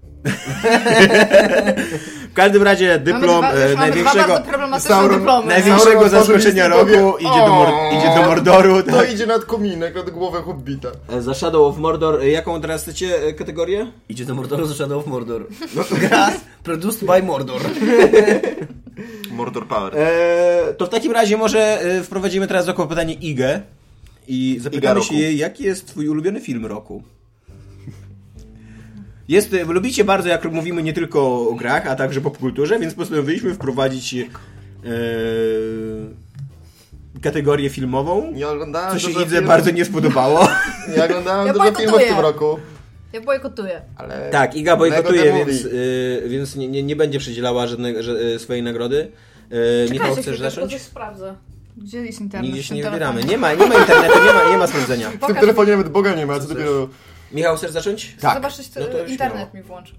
Speaker 4: W każdym razie dyplom
Speaker 3: dwa- już mamy
Speaker 4: e,
Speaker 3: dwa
Speaker 4: największego,
Speaker 3: bardzo problematyczne dyplomy.
Speaker 4: największego
Speaker 2: Sauron
Speaker 4: zaskoczenia
Speaker 2: otworzył
Speaker 4: roku
Speaker 2: list i
Speaker 4: idzie
Speaker 2: powie,
Speaker 4: do, mor,
Speaker 2: "O".
Speaker 4: idzie do Mordoru.
Speaker 2: To
Speaker 4: Tak.
Speaker 2: idzie nad kominek, nad głowę hobbita.
Speaker 4: E, Za Shadow of Mordor, e, jaką teraz chcecie e, kategorię? No
Speaker 5: Idzie do Mordoru za Shadow of Mordor. [laughs] Gra produced by Mordor.
Speaker 2: Mordor Power.
Speaker 4: E, to w takim razie może e, wprowadzimy teraz do pytanie Igę i
Speaker 2: Iga
Speaker 4: zapytamy
Speaker 2: roku.
Speaker 4: się jej, jaki jest twój ulubiony film roku? Jest, e, lubicie bardzo, jak mówimy nie tylko o grach, a także popkulturze, więc postanowiliśmy wprowadzić e, kategorię filmową,
Speaker 2: Nie oglądałem
Speaker 4: co się
Speaker 2: dużo
Speaker 4: Idze
Speaker 2: filmów.
Speaker 4: bardzo nie spodobało.
Speaker 2: Nie oglądałem
Speaker 3: Ja
Speaker 2: dużo filmów w tym
Speaker 3: bojkotuję.
Speaker 2: roku.
Speaker 3: Ja bojkotuję.
Speaker 2: Ale...
Speaker 4: Tak, Iga bojkotuje,
Speaker 2: Lego The
Speaker 4: więc,
Speaker 2: Movie.
Speaker 4: e, więc nie, nie, nie będzie przydzielała żadnej, że, e, swojej nagrody. E, Michał, chcesz zacząć?
Speaker 3: sprawdzę. Gdzie jest internet?
Speaker 4: Nigdzie
Speaker 3: w
Speaker 4: się
Speaker 3: tym
Speaker 4: nie
Speaker 3: telefonie?
Speaker 4: wybieramy. Nie ma, nie ma internetu, nie ma, nie ma sprawdzenia.
Speaker 2: W tym
Speaker 3: Pokaż-
Speaker 2: telefonie nawet Boga nie ma, co dopiero...
Speaker 4: Michał, chcesz zacząć?
Speaker 2: Tak.
Speaker 3: Zobaczyć,
Speaker 4: No to już
Speaker 3: internet mi włącz.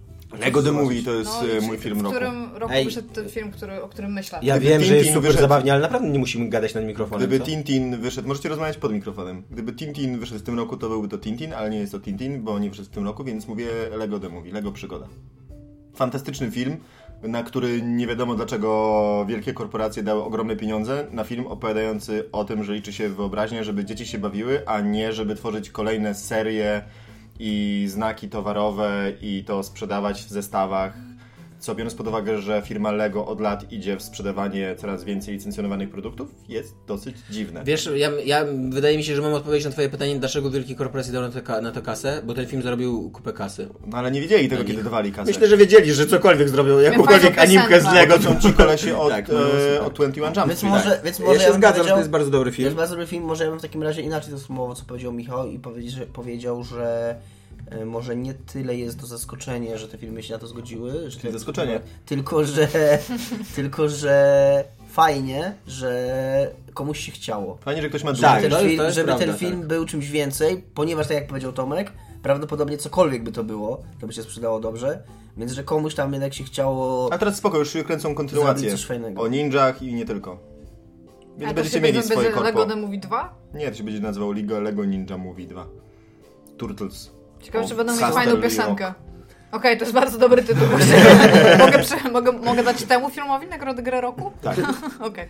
Speaker 2: Lego The Movie to jest
Speaker 3: No,
Speaker 2: e,
Speaker 3: czy-
Speaker 2: mój film
Speaker 3: W
Speaker 2: roku.
Speaker 3: którym roku
Speaker 4: Ej.
Speaker 3: wyszedł ten film, który, o którym myślę?
Speaker 4: Ja
Speaker 2: Gdyby
Speaker 4: wiem,
Speaker 2: Tintin
Speaker 4: że jest super
Speaker 2: wyszedł-
Speaker 4: zabawnie, ale naprawdę nie musimy gadać nad mikrofonem.
Speaker 2: Gdyby
Speaker 4: co?
Speaker 2: Tintin wyszedł, możecie rozmawiać pod mikrofonem. Gdyby Tintin wyszedł w tym roku, to byłby to Tintin, ale nie jest to Tintin, bo nie wyszedł w tym roku, więc mówię Lego The Movie, Lego Przygoda. Fantastyczny film, na który nie wiadomo dlaczego wielkie korporacje dały ogromne pieniądze, na film opowiadający o tym, że liczy się wyobraźnia, żeby dzieci się bawiły, a nie żeby tworzyć kolejne serie i znaki towarowe i to sprzedawać w zestawach co biorąc pod uwagę, że firma Lego od lat idzie w sprzedawanie coraz więcej licencjonowanych produktów, jest dosyć dziwne.
Speaker 4: Wiesz, ja, ja, wydaje mi się, że mam odpowiedź na twoje pytanie, dlaczego wielkie korporacje dały na, to ka- na to kasę, bo ten film zarobił kupę kasy.
Speaker 2: No ale nie wiedzieli tego, kiedy dawali kasę.
Speaker 4: Myślę, że wiedzieli, że cokolwiek zrobią, jakąkolwiek
Speaker 3: fajną
Speaker 4: animkę z
Speaker 3: piosenkę.
Speaker 4: Lego.
Speaker 2: to są ci kolesie od,
Speaker 4: Tak,
Speaker 2: tak,
Speaker 4: no,
Speaker 2: e,
Speaker 4: tak.
Speaker 2: od 21 Jump
Speaker 5: Więc
Speaker 2: Street.
Speaker 5: może, więc może
Speaker 4: ja się
Speaker 5: bym
Speaker 4: zgadzam, że
Speaker 5: powiedział-
Speaker 4: to jest bardzo dobry
Speaker 5: To jest
Speaker 4: film.
Speaker 5: bardzo dobry film, może ja bym w takim razie inaczej to sformułował, co powiedział Michał i powiedział, że, powiedział, że e, może nie tyle jest to zaskoczenie, że te filmy się na to zgodziły. Że
Speaker 2: Czyli zaskoczenie.
Speaker 4: No.
Speaker 5: Tylko, że... [laughs] tylko, że fajnie, że komuś się chciało.
Speaker 2: Fajnie, że ktoś ma
Speaker 5: Żeby
Speaker 2: tak,
Speaker 4: Tak,
Speaker 5: ten,
Speaker 4: to jest-
Speaker 5: film,
Speaker 4: to jest
Speaker 5: żeby
Speaker 4: prawda,
Speaker 5: ten film
Speaker 4: tak.
Speaker 5: był czymś więcej, ponieważ tak jak powiedział Tomek, prawdopodobnie cokolwiek by to było, to by się sprzedało dobrze, więc że komuś tam jednak się chciało...
Speaker 2: A teraz spoko, już kręcą kontynuację.
Speaker 5: Zrobić coś fajnego.
Speaker 2: O ninjach i nie tylko. Więc
Speaker 3: A to
Speaker 2: będziecie
Speaker 3: się
Speaker 2: mieli
Speaker 3: będzie-
Speaker 2: swoje
Speaker 3: będzie Lego
Speaker 2: korpo.
Speaker 3: The Movie 2?
Speaker 2: Nie, to się będzie nazywał Lego, Lego Ninja Movie 2. Turtles.
Speaker 3: Ciekawe,
Speaker 2: O,
Speaker 3: czy będą mieć
Speaker 2: Castle
Speaker 3: fajną
Speaker 2: Rock.
Speaker 3: piosenkę. Okej, to jest bardzo dobry tytuł. [laughs] mogę, prze, mogę, mogę dać temu filmowi nagrodę grę roku?
Speaker 2: Tak.
Speaker 3: [laughs] Okej.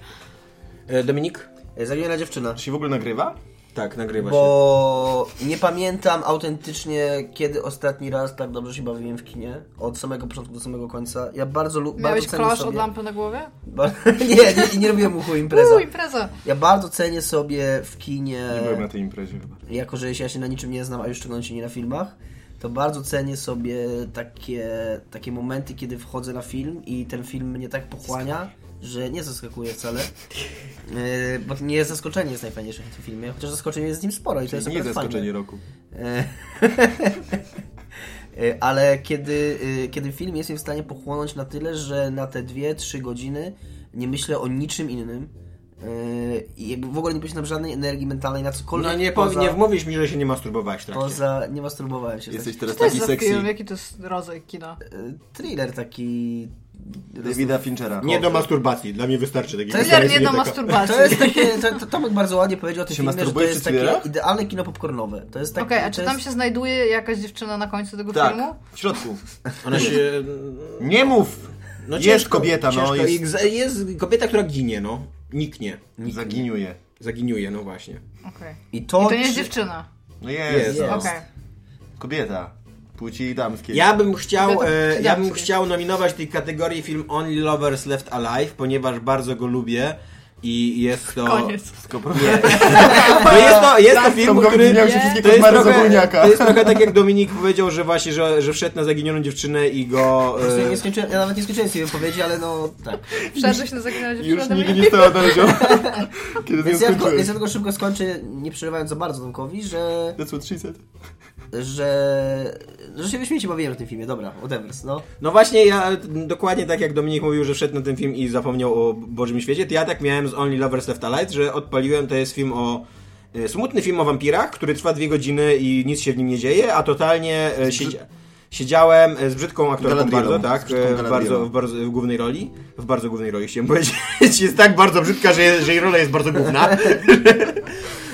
Speaker 4: E, Dominik?
Speaker 5: E, Zaginiona dziewczyna.
Speaker 2: Czy się w ogóle nagrywa?
Speaker 4: Tak, nagrywa się.
Speaker 5: Bo nie pamiętam autentycznie, kiedy ostatni raz tak dobrze się bawiłem w kinie. Od samego początku do samego końca. Ja bardzo lubię.
Speaker 3: Miałeś
Speaker 5: bardzo cenię
Speaker 3: klasz
Speaker 5: sobie-
Speaker 3: od lampy na głowie?
Speaker 5: Ba- [laughs] nie, nie, nie robiłem uchu impreza.
Speaker 3: Uuu, impreza.
Speaker 5: Ja bardzo cenię sobie w kinie,
Speaker 4: E,
Speaker 2: Nie byłem na tej imprezie chyba.
Speaker 5: jako że ja się na niczym nie znam, a już szczególnie nie na filmach, to bardzo cenię sobie takie, takie momenty, kiedy wchodzę na film i ten film mnie tak pochłania, że nie
Speaker 2: [laughs]
Speaker 5: zaskakuje wcale. Yy, bo nie zaskoczenie jest najfajniejsze w tym filmie, chociaż zaskoczenie jest z nim sporo i to jest
Speaker 2: nie
Speaker 5: akurat fajne.
Speaker 2: zaskoczenie roku.
Speaker 5: E, e, Ale kiedy, e, kiedy film jestem w stanie pochłonąć na tyle, że na te 2-3 godziny nie myślę o niczym innym e, i jakby w ogóle nie poświęcam żadnej energii mentalnej na cokolwiek.
Speaker 4: No nie, powi-
Speaker 5: poza,
Speaker 4: nie wmówisz mi, że się nie masturbowałeś w trakcie.
Speaker 5: poza, nie masturbowałem się.
Speaker 2: Jesteś teraz
Speaker 3: Co to
Speaker 2: taki
Speaker 3: jest za
Speaker 2: sexy.
Speaker 3: film? Jaki to jest rodzaj kina?
Speaker 5: E, Thriller taki
Speaker 2: Davida Finchera.
Speaker 4: Nie do masturbacji, dla mnie wystarczy taki
Speaker 3: Thriller nie do masturbacji.
Speaker 5: To jest takie, to, to Tomek bardzo ładnie powiedział o tym
Speaker 2: Się
Speaker 5: filmie, że to
Speaker 2: masturbujesz
Speaker 5: jest
Speaker 2: przy
Speaker 5: takie
Speaker 2: thrillerach?
Speaker 5: idealne kino popcornowe. To jest
Speaker 3: [laughs]
Speaker 5: tak,
Speaker 3: Okej, a
Speaker 5: to
Speaker 3: czy tam
Speaker 5: jest-
Speaker 3: się znajduje jakaś dziewczyna na końcu tego
Speaker 2: Tak,
Speaker 3: filmu?
Speaker 2: w środku.
Speaker 4: Ona się...
Speaker 2: Nie mów!
Speaker 4: No
Speaker 2: jest kobieta, no
Speaker 4: ciężko.
Speaker 2: jest...
Speaker 4: I- Jest kobieta, która ginie, no. Niknie.
Speaker 2: Zaginiuje.
Speaker 4: Zaginiuje, no właśnie.
Speaker 3: Okej.
Speaker 5: I
Speaker 3: I
Speaker 5: to,
Speaker 3: to nie jest
Speaker 5: czy-
Speaker 3: dziewczyna.
Speaker 2: No jest,
Speaker 4: Jest.
Speaker 2: No.
Speaker 3: Okej.
Speaker 2: kobieta. Płci damskiej.
Speaker 4: Ja bym chciał,
Speaker 3: Kobieta
Speaker 4: e, ja bym
Speaker 3: przydatna.
Speaker 4: chciał nominować w tej kategorii film Only Lovers Left Alive, ponieważ bardzo go lubię i jest to...
Speaker 3: Koniec.
Speaker 2: Tylko problem.
Speaker 4: No jest [laughs] to, jest to
Speaker 2: Tom
Speaker 4: film,
Speaker 2: Gordy
Speaker 4: który...
Speaker 2: miał się
Speaker 3: Nie.
Speaker 2: wszystkie
Speaker 4: To jest,
Speaker 2: koszmary
Speaker 4: trochę,
Speaker 2: zabójniaka.
Speaker 4: to jest trochę tak jak Dominik powiedział, że właśnie, że, że wszedł na zaginioną dziewczynę i go...
Speaker 5: Ja,
Speaker 4: E,
Speaker 5: nie skończyłem, ja nawet nie skończyłem tej wypowiedzi, ale no tak.
Speaker 3: Przerwy się na zaginę
Speaker 2: Już
Speaker 3: dziewczynę.
Speaker 2: nigdy nie stała na [laughs] razie. Kiedy nie
Speaker 5: Więc ja, tylko,
Speaker 2: skończyłeś.
Speaker 5: więc ja tylko szybko skończę, nie przerywając za bardzo Tomkowi, że,
Speaker 2: That's what she said.
Speaker 5: że, że się wyśmiecie bawiłem w tym filmie. Dobra, whatever, no.
Speaker 4: No właśnie, ja m, dokładnie tak jak Dominik mówił, że wszedł na ten film i zapomniał o Bożym Świecie, to ja tak miałem z Only Lovers Left Alive, że odpaliłem, to jest film o... e, Smutny film o wampirach, który trwa dwie godziny i nic się w nim nie dzieje, a totalnie e, siedzia, siedziałem e, z brzydką aktorką
Speaker 2: Galadrielą.
Speaker 4: bardzo, tak,
Speaker 2: Z brzydką
Speaker 4: e, w
Speaker 2: Galadrielą.
Speaker 4: bardzo, w bardzo w głównej roli, w bardzo głównej roli chciałem [laughs] powiedzieć, jest tak bardzo brzydka, że, że jej rola jest bardzo
Speaker 2: [laughs]
Speaker 4: główna.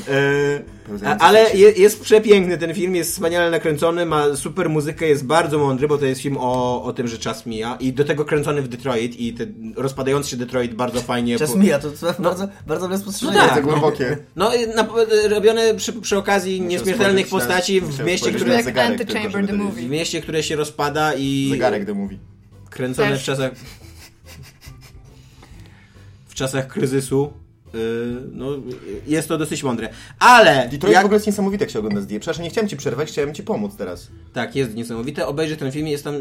Speaker 4: E, a- ale je, jest przepiękny ten film, jest wspaniale nakręcony, ma super muzykę, jest bardzo mądry, bo to jest film o, o tym, że czas mija i do tego kręcony w Detroit i ten rozpadający się Detroit bardzo fajnie...
Speaker 5: Czas
Speaker 4: po-
Speaker 5: mija, to, to bardzo, bardzo dobre spostrzeżenie.
Speaker 4: No tak.
Speaker 2: Bardzo głębokie.
Speaker 4: No, i na, robione przy, przy okazji nieśmiertelnych
Speaker 2: spojrzeć na-
Speaker 4: postaci w
Speaker 2: musiałem
Speaker 4: mieście,
Speaker 2: spojrzeć
Speaker 4: które,
Speaker 2: na
Speaker 3: Jak
Speaker 2: zegarek
Speaker 3: Antichamber
Speaker 2: tylko, żeby
Speaker 3: the
Speaker 2: to
Speaker 4: w
Speaker 3: Movie.
Speaker 4: mieście, które się rozpada i
Speaker 2: Zegarek do mówi.
Speaker 4: kręcone
Speaker 3: Też.
Speaker 4: w czasach w czasach kryzysu. Yy, no, jest to dosyć mądre. Ale
Speaker 2: Detroit
Speaker 4: jak-
Speaker 2: w ogóle jest niesamowite, jak się ogląda zdjęcie. Przepraszam, nie chciałem ci przerwać, chciałem ci pomóc teraz.
Speaker 4: Tak, jest niesamowite. Obejrzę ten film, jest tam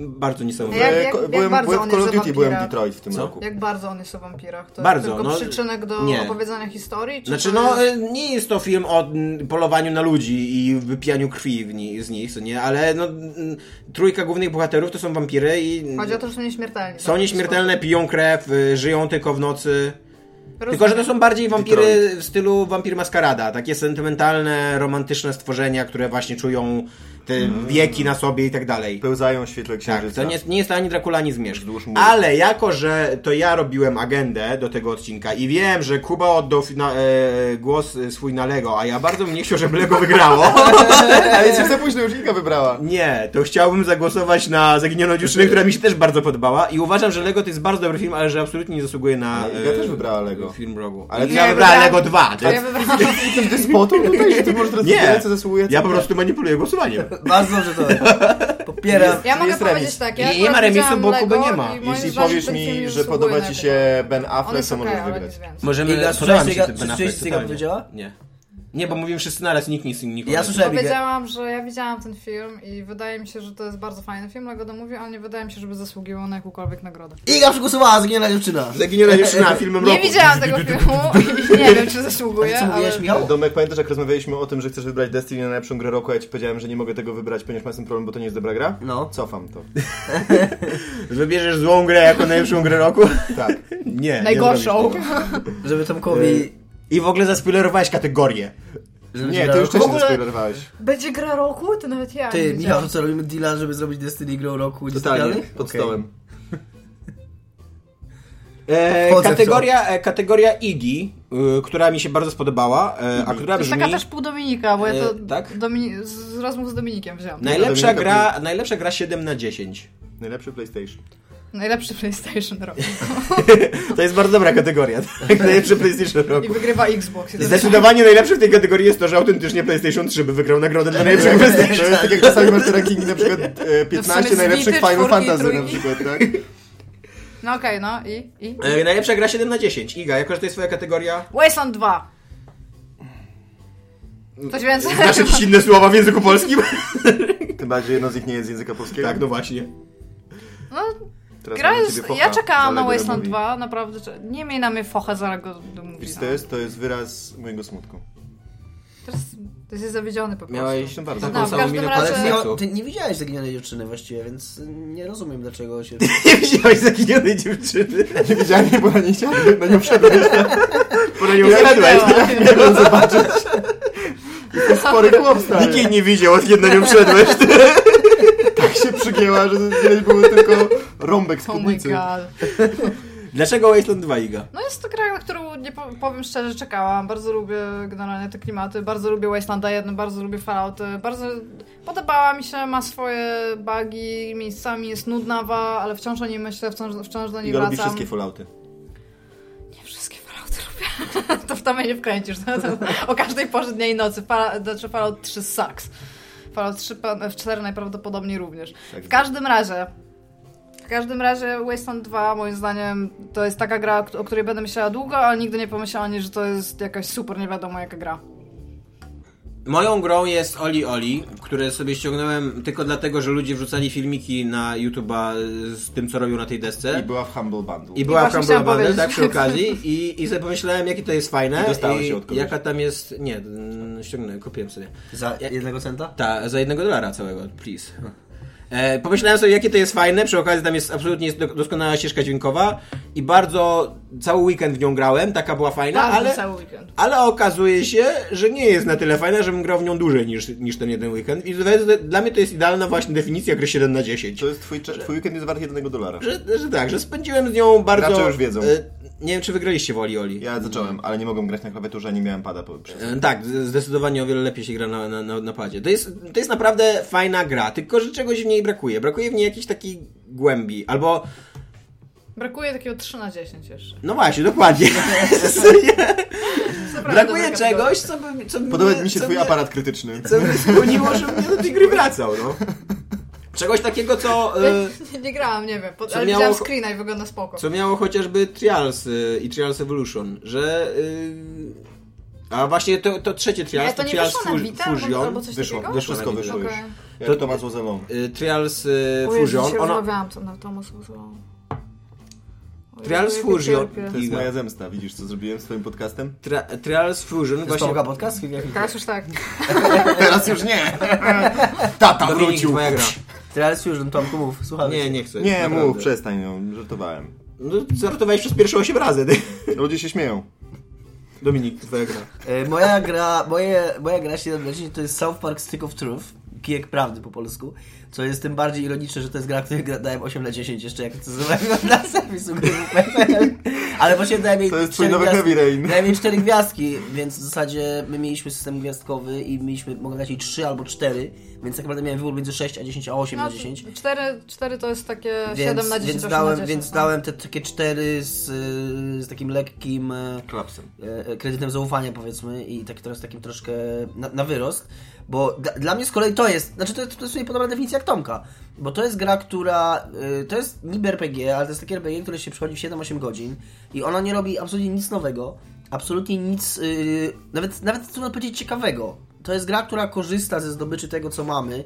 Speaker 4: bardzo niesamowite.
Speaker 3: Jak-
Speaker 2: E,
Speaker 3: jak-
Speaker 2: ko-
Speaker 3: jak
Speaker 2: byłem,
Speaker 3: bardzo
Speaker 2: byłem
Speaker 3: on
Speaker 2: w Call
Speaker 3: jest
Speaker 2: of
Speaker 3: za
Speaker 2: Duty, byłem w
Speaker 3: wampira?
Speaker 2: Detroit w tym
Speaker 4: Co?
Speaker 2: roku.
Speaker 3: Jak bardzo on jest o wampirach? To
Speaker 4: Bardzo,
Speaker 3: jest tylko
Speaker 4: no,
Speaker 3: przyczynek do
Speaker 4: nie.
Speaker 3: opowiedzenia historii? Czy
Speaker 4: Znaczy,
Speaker 3: to
Speaker 4: no,
Speaker 3: jest-
Speaker 4: y, nie jest to film o mm, polowaniu na ludzi i wypijaniu krwi w ni- z nich, co nie, ale no, mm, trójka głównych bohaterów to są wampiry i
Speaker 3: Chodzi o to, że są nieśmiertelni.
Speaker 4: y-
Speaker 3: tak?
Speaker 4: są nieśmiertelne, piją krew, y, żyją tylko w nocy. Tylko,
Speaker 3: Rozumiem.
Speaker 4: że to są bardziej wampiry
Speaker 2: Detroit.
Speaker 4: w stylu wampir maskarada. Takie sentymentalne, romantyczne stworzenia, które właśnie czują te
Speaker 3: Mm.
Speaker 4: wieki na sobie i tak dalej.
Speaker 2: Pełzają w świetle
Speaker 4: Tak,
Speaker 2: księżyca.
Speaker 4: to nie, nie jest ani Dracula, ani Zmierzch.
Speaker 2: Wzdłuż muru.
Speaker 4: Ale jako, że to ja robiłem agendę do tego odcinka i wiem, że Kuba oddał fina- e, głos e, swój na Lego, a ja bardzo bym nie chciał, żeby Lego wygrało.
Speaker 2: [laughs] Ale jest już za późno, już Inka wybrała.
Speaker 4: Nie, to chciałbym zagłosować na Zaginioną Dziewczynę, która mi się też bardzo podobała i uważam, że Lego to jest bardzo dobry film, ale że absolutnie nie zasługuje na... e,
Speaker 2: Nie, No, ja też wybrała Lego.
Speaker 4: Film rogu.
Speaker 2: Ale
Speaker 4: Ale
Speaker 2: to
Speaker 4: ja
Speaker 2: no ja
Speaker 4: wybrałem
Speaker 3: wybrałam-
Speaker 4: Lego 2. To
Speaker 3: A ja
Speaker 4: jest...
Speaker 3: wybrałam...
Speaker 2: Jestem despotą tutaj, No że ty możesz teraz
Speaker 4: Nie,
Speaker 2: wybrać, co zasługuje. co
Speaker 4: ja
Speaker 2: nie.
Speaker 4: po prostu manipuluję głosowaniem.
Speaker 2: tak.
Speaker 5: Bardzo dobrze to popieram.
Speaker 3: Ja mogę
Speaker 2: jest
Speaker 3: powiedzieć
Speaker 2: remis.
Speaker 3: tak,
Speaker 4: Nie,
Speaker 3: ja
Speaker 4: nie
Speaker 3: akurat
Speaker 4: ma remisu,
Speaker 3: widziałam
Speaker 4: bo
Speaker 3: Lego
Speaker 4: Kuby nie ma.
Speaker 3: i moim
Speaker 2: Jeśli
Speaker 3: zdaniem
Speaker 2: powiesz
Speaker 3: ten film
Speaker 2: mi, że
Speaker 3: nie zasługuje
Speaker 2: podoba
Speaker 3: na
Speaker 2: ci
Speaker 3: to.
Speaker 2: się Ben
Speaker 3: On
Speaker 2: Affleck,
Speaker 3: jest
Speaker 2: to
Speaker 3: okej,
Speaker 2: możesz
Speaker 3: ale
Speaker 2: wygrać.
Speaker 3: nic więcej.
Speaker 4: Możemy...
Speaker 5: Iga,
Speaker 4: Podoba mi
Speaker 5: słyszałeś,
Speaker 4: się ten
Speaker 5: Iga,
Speaker 4: Ben
Speaker 5: słyszałeś,
Speaker 4: Affleck,
Speaker 5: co Iga
Speaker 4: totalnie.
Speaker 5: powiedziała?
Speaker 4: Nie. Nie, bo mówimy wszyscy naraz, nikt nic nikogo
Speaker 5: Ja
Speaker 4: nie-
Speaker 5: słyszałem Igę.
Speaker 3: Powiedziałam, że ja widziałam ten film i wydaje mi się, że to jest bardzo fajny film, Lego domówi, ale nie wydaje mi się, żeby zasługiwał na jakąkolwiek nagrodę.
Speaker 5: Iga przegłosowała zaginiona dziewczyna.
Speaker 4: Zaginiona dziewczyna
Speaker 3: [laughs]
Speaker 4: filmem
Speaker 3: Nie
Speaker 4: roku.
Speaker 3: widziałam tego filmu i nie wiem, czy zasługuje,
Speaker 5: Co
Speaker 3: ale...
Speaker 5: mówiłeś, Michał?
Speaker 2: Domek, pamiętasz jak rozmawialiśmy o tym, że chcesz wybrać Destiny na najlepszą grę roku, a ja ci powiedziałem, że nie mogę tego wybrać, ponieważ mam z tym problem, bo to nie jest dobra gra?
Speaker 5: No.
Speaker 2: Cofam to.
Speaker 4: Wybierzesz złą grę jako najlepszą grę roku?
Speaker 2: [laughs] Tak.
Speaker 4: Nie.
Speaker 3: Najgorszą.
Speaker 5: Żeby Tomkowi...
Speaker 4: I w ogóle zaspoilerowałeś kategorię.
Speaker 5: Żeby
Speaker 2: Y, Nie,
Speaker 5: ci
Speaker 2: ty
Speaker 5: dał-
Speaker 2: już
Speaker 5: W
Speaker 2: wcześniej
Speaker 5: ogóle-
Speaker 2: zaspoilerowałeś.
Speaker 3: Będzie gra roku? To nawet ja
Speaker 5: Ty,
Speaker 3: nie
Speaker 5: Michał,
Speaker 3: widziałam.
Speaker 5: to co robimy deala, żeby zrobić Destiny grą roku?
Speaker 2: Totalnie,
Speaker 5: niespodzianek?
Speaker 2: pod
Speaker 5: Okej.
Speaker 2: stołem.
Speaker 4: E,
Speaker 5: Wchodzę w to.
Speaker 4: kategoria, e, kategoria Iggy, y, która mi się bardzo spodobała, e, a która
Speaker 2: Tak
Speaker 3: To jest
Speaker 4: brzmi...
Speaker 3: taka też pół Dominika, bo ja to
Speaker 4: E, tak?
Speaker 3: Domini- z- z rozmów z Dominikiem wziąłam.
Speaker 4: Najlepsza
Speaker 2: Dominika
Speaker 4: gra, najlepsza gra 7 na 10.
Speaker 2: Najlepszy PlayStation.
Speaker 3: Najlepszy PlayStation robi.
Speaker 4: To jest bardzo dobra kategoria. [laughs] tak? Najlepszy PlayStation
Speaker 3: I
Speaker 4: roku.
Speaker 3: wygrywa Xbox. I to
Speaker 4: Zdecydowanie najlepsze w tej kategorii jest to, że autentycznie PlayStation 3 by wygrał nagrodę
Speaker 2: [laughs]
Speaker 4: dla najlepszego PlayStation.
Speaker 2: To jest tak jak czasami masz te rankingi na przykład e, 15
Speaker 3: Zwity,
Speaker 2: najlepszych Final
Speaker 3: czwórki,
Speaker 2: Fantasy na
Speaker 3: trójki.
Speaker 2: przykład, tak?
Speaker 3: No okej, no i? i?
Speaker 4: E, najlepsza gra 7 na 10. Iga, jako że to jest twoja kategoria...
Speaker 3: Wasteland 2. Coś więcej?
Speaker 4: Znasz
Speaker 2: Znaczy,
Speaker 4: jakieś inne słowa w języku polskim?
Speaker 2: [laughs] Tym bardziej jedno z nich nie jest z języka polskiego.
Speaker 4: Tak, no właśnie.
Speaker 3: No,
Speaker 2: Teraz
Speaker 3: gra
Speaker 2: mam na
Speaker 3: jest...
Speaker 2: ciebie focha,
Speaker 3: Ja czekałam na
Speaker 2: ale gra
Speaker 3: Wasteland
Speaker 2: mówi.
Speaker 3: 2, naprawdę. cze- Nie miej na mnie focha za go do
Speaker 2: Wiesz
Speaker 3: mówienia.
Speaker 2: co to jest? To jest wyraz mojego smutku.
Speaker 3: Teraz to jest zawiedziony po prostu.
Speaker 4: Miałeś
Speaker 2: Proszę bardzo.
Speaker 4: taką
Speaker 3: No, w
Speaker 4: samą
Speaker 3: każdym
Speaker 4: minę
Speaker 3: razie-
Speaker 5: Ale
Speaker 4: seksu.
Speaker 5: Michał, ty nie widziałeś zaginionej dziewczyny właściwie, więc nie rozumiem
Speaker 2: [laughs]
Speaker 5: dlaczego się...
Speaker 4: [laughs] Nie widziałeś zaginionej dziewczyny.
Speaker 2: Nie widziałem, bo na nie chciałem, na nią wszedłem.
Speaker 4: Bo na nią
Speaker 2: Nie
Speaker 4: wszedłeś.
Speaker 2: Chciałem zobaczyć.
Speaker 3: [laughs]
Speaker 2: Jestem spory chłop, stary.
Speaker 4: Nikt jej nie widział, od kiedy na nią wszedłeś.
Speaker 2: [laughs] tak się przygięła, że widać było tylko rąbek
Speaker 3: Oh my
Speaker 2: spódnicy.
Speaker 3: god.
Speaker 4: Dlaczego Wasteland 2 Iga?
Speaker 3: No jest to gra, na którą nie po- powiem szczerze, czekałam. Bardzo lubię generalnie te klimaty, bardzo lubię Wastelanda 1, bardzo lubię Fallouty, bardzo podobała mi się, ma swoje bugi, miejscami jest nudnawa, ale wciąż o niej myślę, wciąż, wciąż do niej
Speaker 2: Iga lubi
Speaker 3: wracam.
Speaker 2: wszystkie Fallouty.
Speaker 3: Nie wszystkie Fallouty lubię. [laughs] to w to mnie nie wkręcisz. No, to, o każdej porze dnia i nocy. Fala, znaczy Fallout 3 sucks. Fallout 3, pa- w 4 najprawdopodobniej również.
Speaker 4: Tak.
Speaker 3: W każdym razie... W każdym razie Wasteland 2 moim zdaniem to jest taka gra, o której będę myślała długo, ale nigdy nie pomyślała o niej, że to jest jakaś super nie wiadomo jaka gra.
Speaker 4: No, Moją grą jest Oli Oli, które sobie ściągnąłem tylko dlatego, że ludzie wrzucali filmiki na YouTube'a z tym, co robią na tej desce.
Speaker 2: I była w Humble Bundle.
Speaker 4: I była
Speaker 3: właśnie
Speaker 4: Humble
Speaker 3: chciałam
Speaker 4: Bundle,
Speaker 3: powiedzieć.
Speaker 4: tak
Speaker 3: [laughs]
Speaker 4: przy okazji i, i sobie pomyślałem, jakie to jest fajne
Speaker 2: I dostałeś się od kogoś.
Speaker 4: jaka tam jest, nie, mm, ściągnąłem, kupiłem sobie.
Speaker 5: Za jednego centa?
Speaker 4: Ta, za jednego dolara całego, please. E, pomyślałem sobie, jakie to jest fajne, przy okazji tam jest absolutnie jest do- doskonała ścieżka dźwiękowa i bardzo, cały weekend w nią grałem, taka była fajna,
Speaker 3: Bardzo
Speaker 4: ale...
Speaker 3: cały weekend.
Speaker 4: Ale okazuje się, że nie jest na tyle fajna, żebym grał w nią dłużej niż, niż ten jeden weekend. I to- dla mnie to jest idealna właśnie definicja gry 7 na 10.
Speaker 2: To jest twój, cze- twój weekend jest wart jednego dolara.
Speaker 4: Że, że tak, że spędziłem z nią bardzo...
Speaker 2: Gracze już wiedzą.
Speaker 4: E, nie wiem, czy wygraliście w Oli Oli.
Speaker 2: Ja zacząłem, ale nie mogłem grać na klawiaturze, nie miałem pada. Po, przez...
Speaker 4: E, Tak, z- zdecydowanie o wiele lepiej się gra na, na, na, na padzie. To jest, to jest naprawdę fajna gra, tylko że czegoś w niej brakuje. Brakuje w niej jakiejś takiej głębi, albo...
Speaker 3: Brakuje takiego 3 na 10 jeszcze.
Speaker 4: No właśnie, dokładnie. [laughs]
Speaker 3: To naprawdę
Speaker 4: Brakuje
Speaker 3: dobra kategoria.
Speaker 4: czegoś, co by... Co by
Speaker 2: Podoba mi się
Speaker 4: co
Speaker 2: twój
Speaker 4: by-
Speaker 2: aparat krytyczny.
Speaker 4: co by skłoniło, żebym ja do tej gry wracał, no. Czegoś takiego, co, e,
Speaker 3: [laughs] Nie, nie grałam, nie wiem, pod,
Speaker 4: Co
Speaker 3: ale
Speaker 4: miało-
Speaker 3: widziałam screena i wygląda spoko.
Speaker 4: co miało chociażby Trials e, i Trials Evolution, że... e, a właśnie to, to trzecie Trials,
Speaker 3: Nie, to nie
Speaker 4: Trials
Speaker 3: wyszło na
Speaker 4: Fu-
Speaker 3: Vita albo- albo coś
Speaker 2: Wyszło,
Speaker 3: takiego?
Speaker 2: wyszło wszystko
Speaker 4: na
Speaker 2: wyszło
Speaker 3: Okej.
Speaker 2: już. Jak
Speaker 4: To-
Speaker 2: to Tomasz Łozelon.
Speaker 4: E, Trials e,
Speaker 3: O Jezu,
Speaker 4: Fusion,
Speaker 3: się
Speaker 4: ono,
Speaker 3: rozmawiałam to na tą osobę. O Jezu,
Speaker 4: Trials
Speaker 3: jak
Speaker 4: Fusion.
Speaker 2: To
Speaker 3: cierpię.
Speaker 2: jest
Speaker 4: Iga.
Speaker 2: moja zemsta, widzisz co zrobiłem swoim podcastem?
Speaker 4: Tra- Trials Fusion
Speaker 5: To jest
Speaker 4: właśnie...
Speaker 5: to podcast?
Speaker 3: Teraz już tak.
Speaker 2: Teraz już nie! Tata
Speaker 4: Dominik,
Speaker 2: wrócił!
Speaker 4: twoja gra.
Speaker 5: Teraz już, no, Tomku, mów, słucham.
Speaker 4: Nie, nie chcę.
Speaker 2: Nie,
Speaker 4: naprawdę.
Speaker 2: mów, przestań, no, żartowałem.
Speaker 4: No, żartowałeś przez pierwsze 8 razy, ty. [laughs]
Speaker 2: Ludzie się śmieją.
Speaker 4: Dominik, twoja gra.
Speaker 5: E, Moja gra, moje, moja gra 7 na 10 to jest South Park Stick of Truth, kijek prawdy po polsku, co jest tym bardziej ironiczne, że to jest gra, której gra- dałem 8 na 10 jeszcze jak recenzowałem ją dla serwisu gry.pl. Ale właśnie dałem jej
Speaker 2: To jest twój
Speaker 5: cztery
Speaker 2: nowy
Speaker 5: gwiazdki-
Speaker 2: Heavy Rain.
Speaker 5: Dałem jej 4 gwiazdki, więc w zasadzie my mieliśmy system gwiazdkowy i mieliśmy, mogę dać jej 3 albo 4, więc tak naprawdę miałem wybór między 6 a 10 a 8
Speaker 3: No,
Speaker 5: na 10.
Speaker 3: 4, 4 to jest takie 7
Speaker 5: Więc,
Speaker 3: na 10,
Speaker 5: więc
Speaker 3: 8
Speaker 5: dałem,
Speaker 3: na 10.
Speaker 5: więc
Speaker 3: no.
Speaker 5: dałem te takie 4 z, y, z takim lekkim... e,
Speaker 2: Klapsem.
Speaker 5: e, e, kredytem zaufania powiedzmy i tak teraz takim troszkę na, na wyrost, bo dla, dla mnie z kolei to jest, znaczy to, to jest sobie podobna definicja jak Tomka, bo to jest gra, która y, to jest niby RPG, ale to jest takie RPG, które się przychodzi w 7-8 godzin i ona nie robi absolutnie nic nowego, absolutnie nic, y, nawet, nawet trudno powiedzieć ciekawego. To jest gra, która korzysta ze zdobyczy tego, co mamy,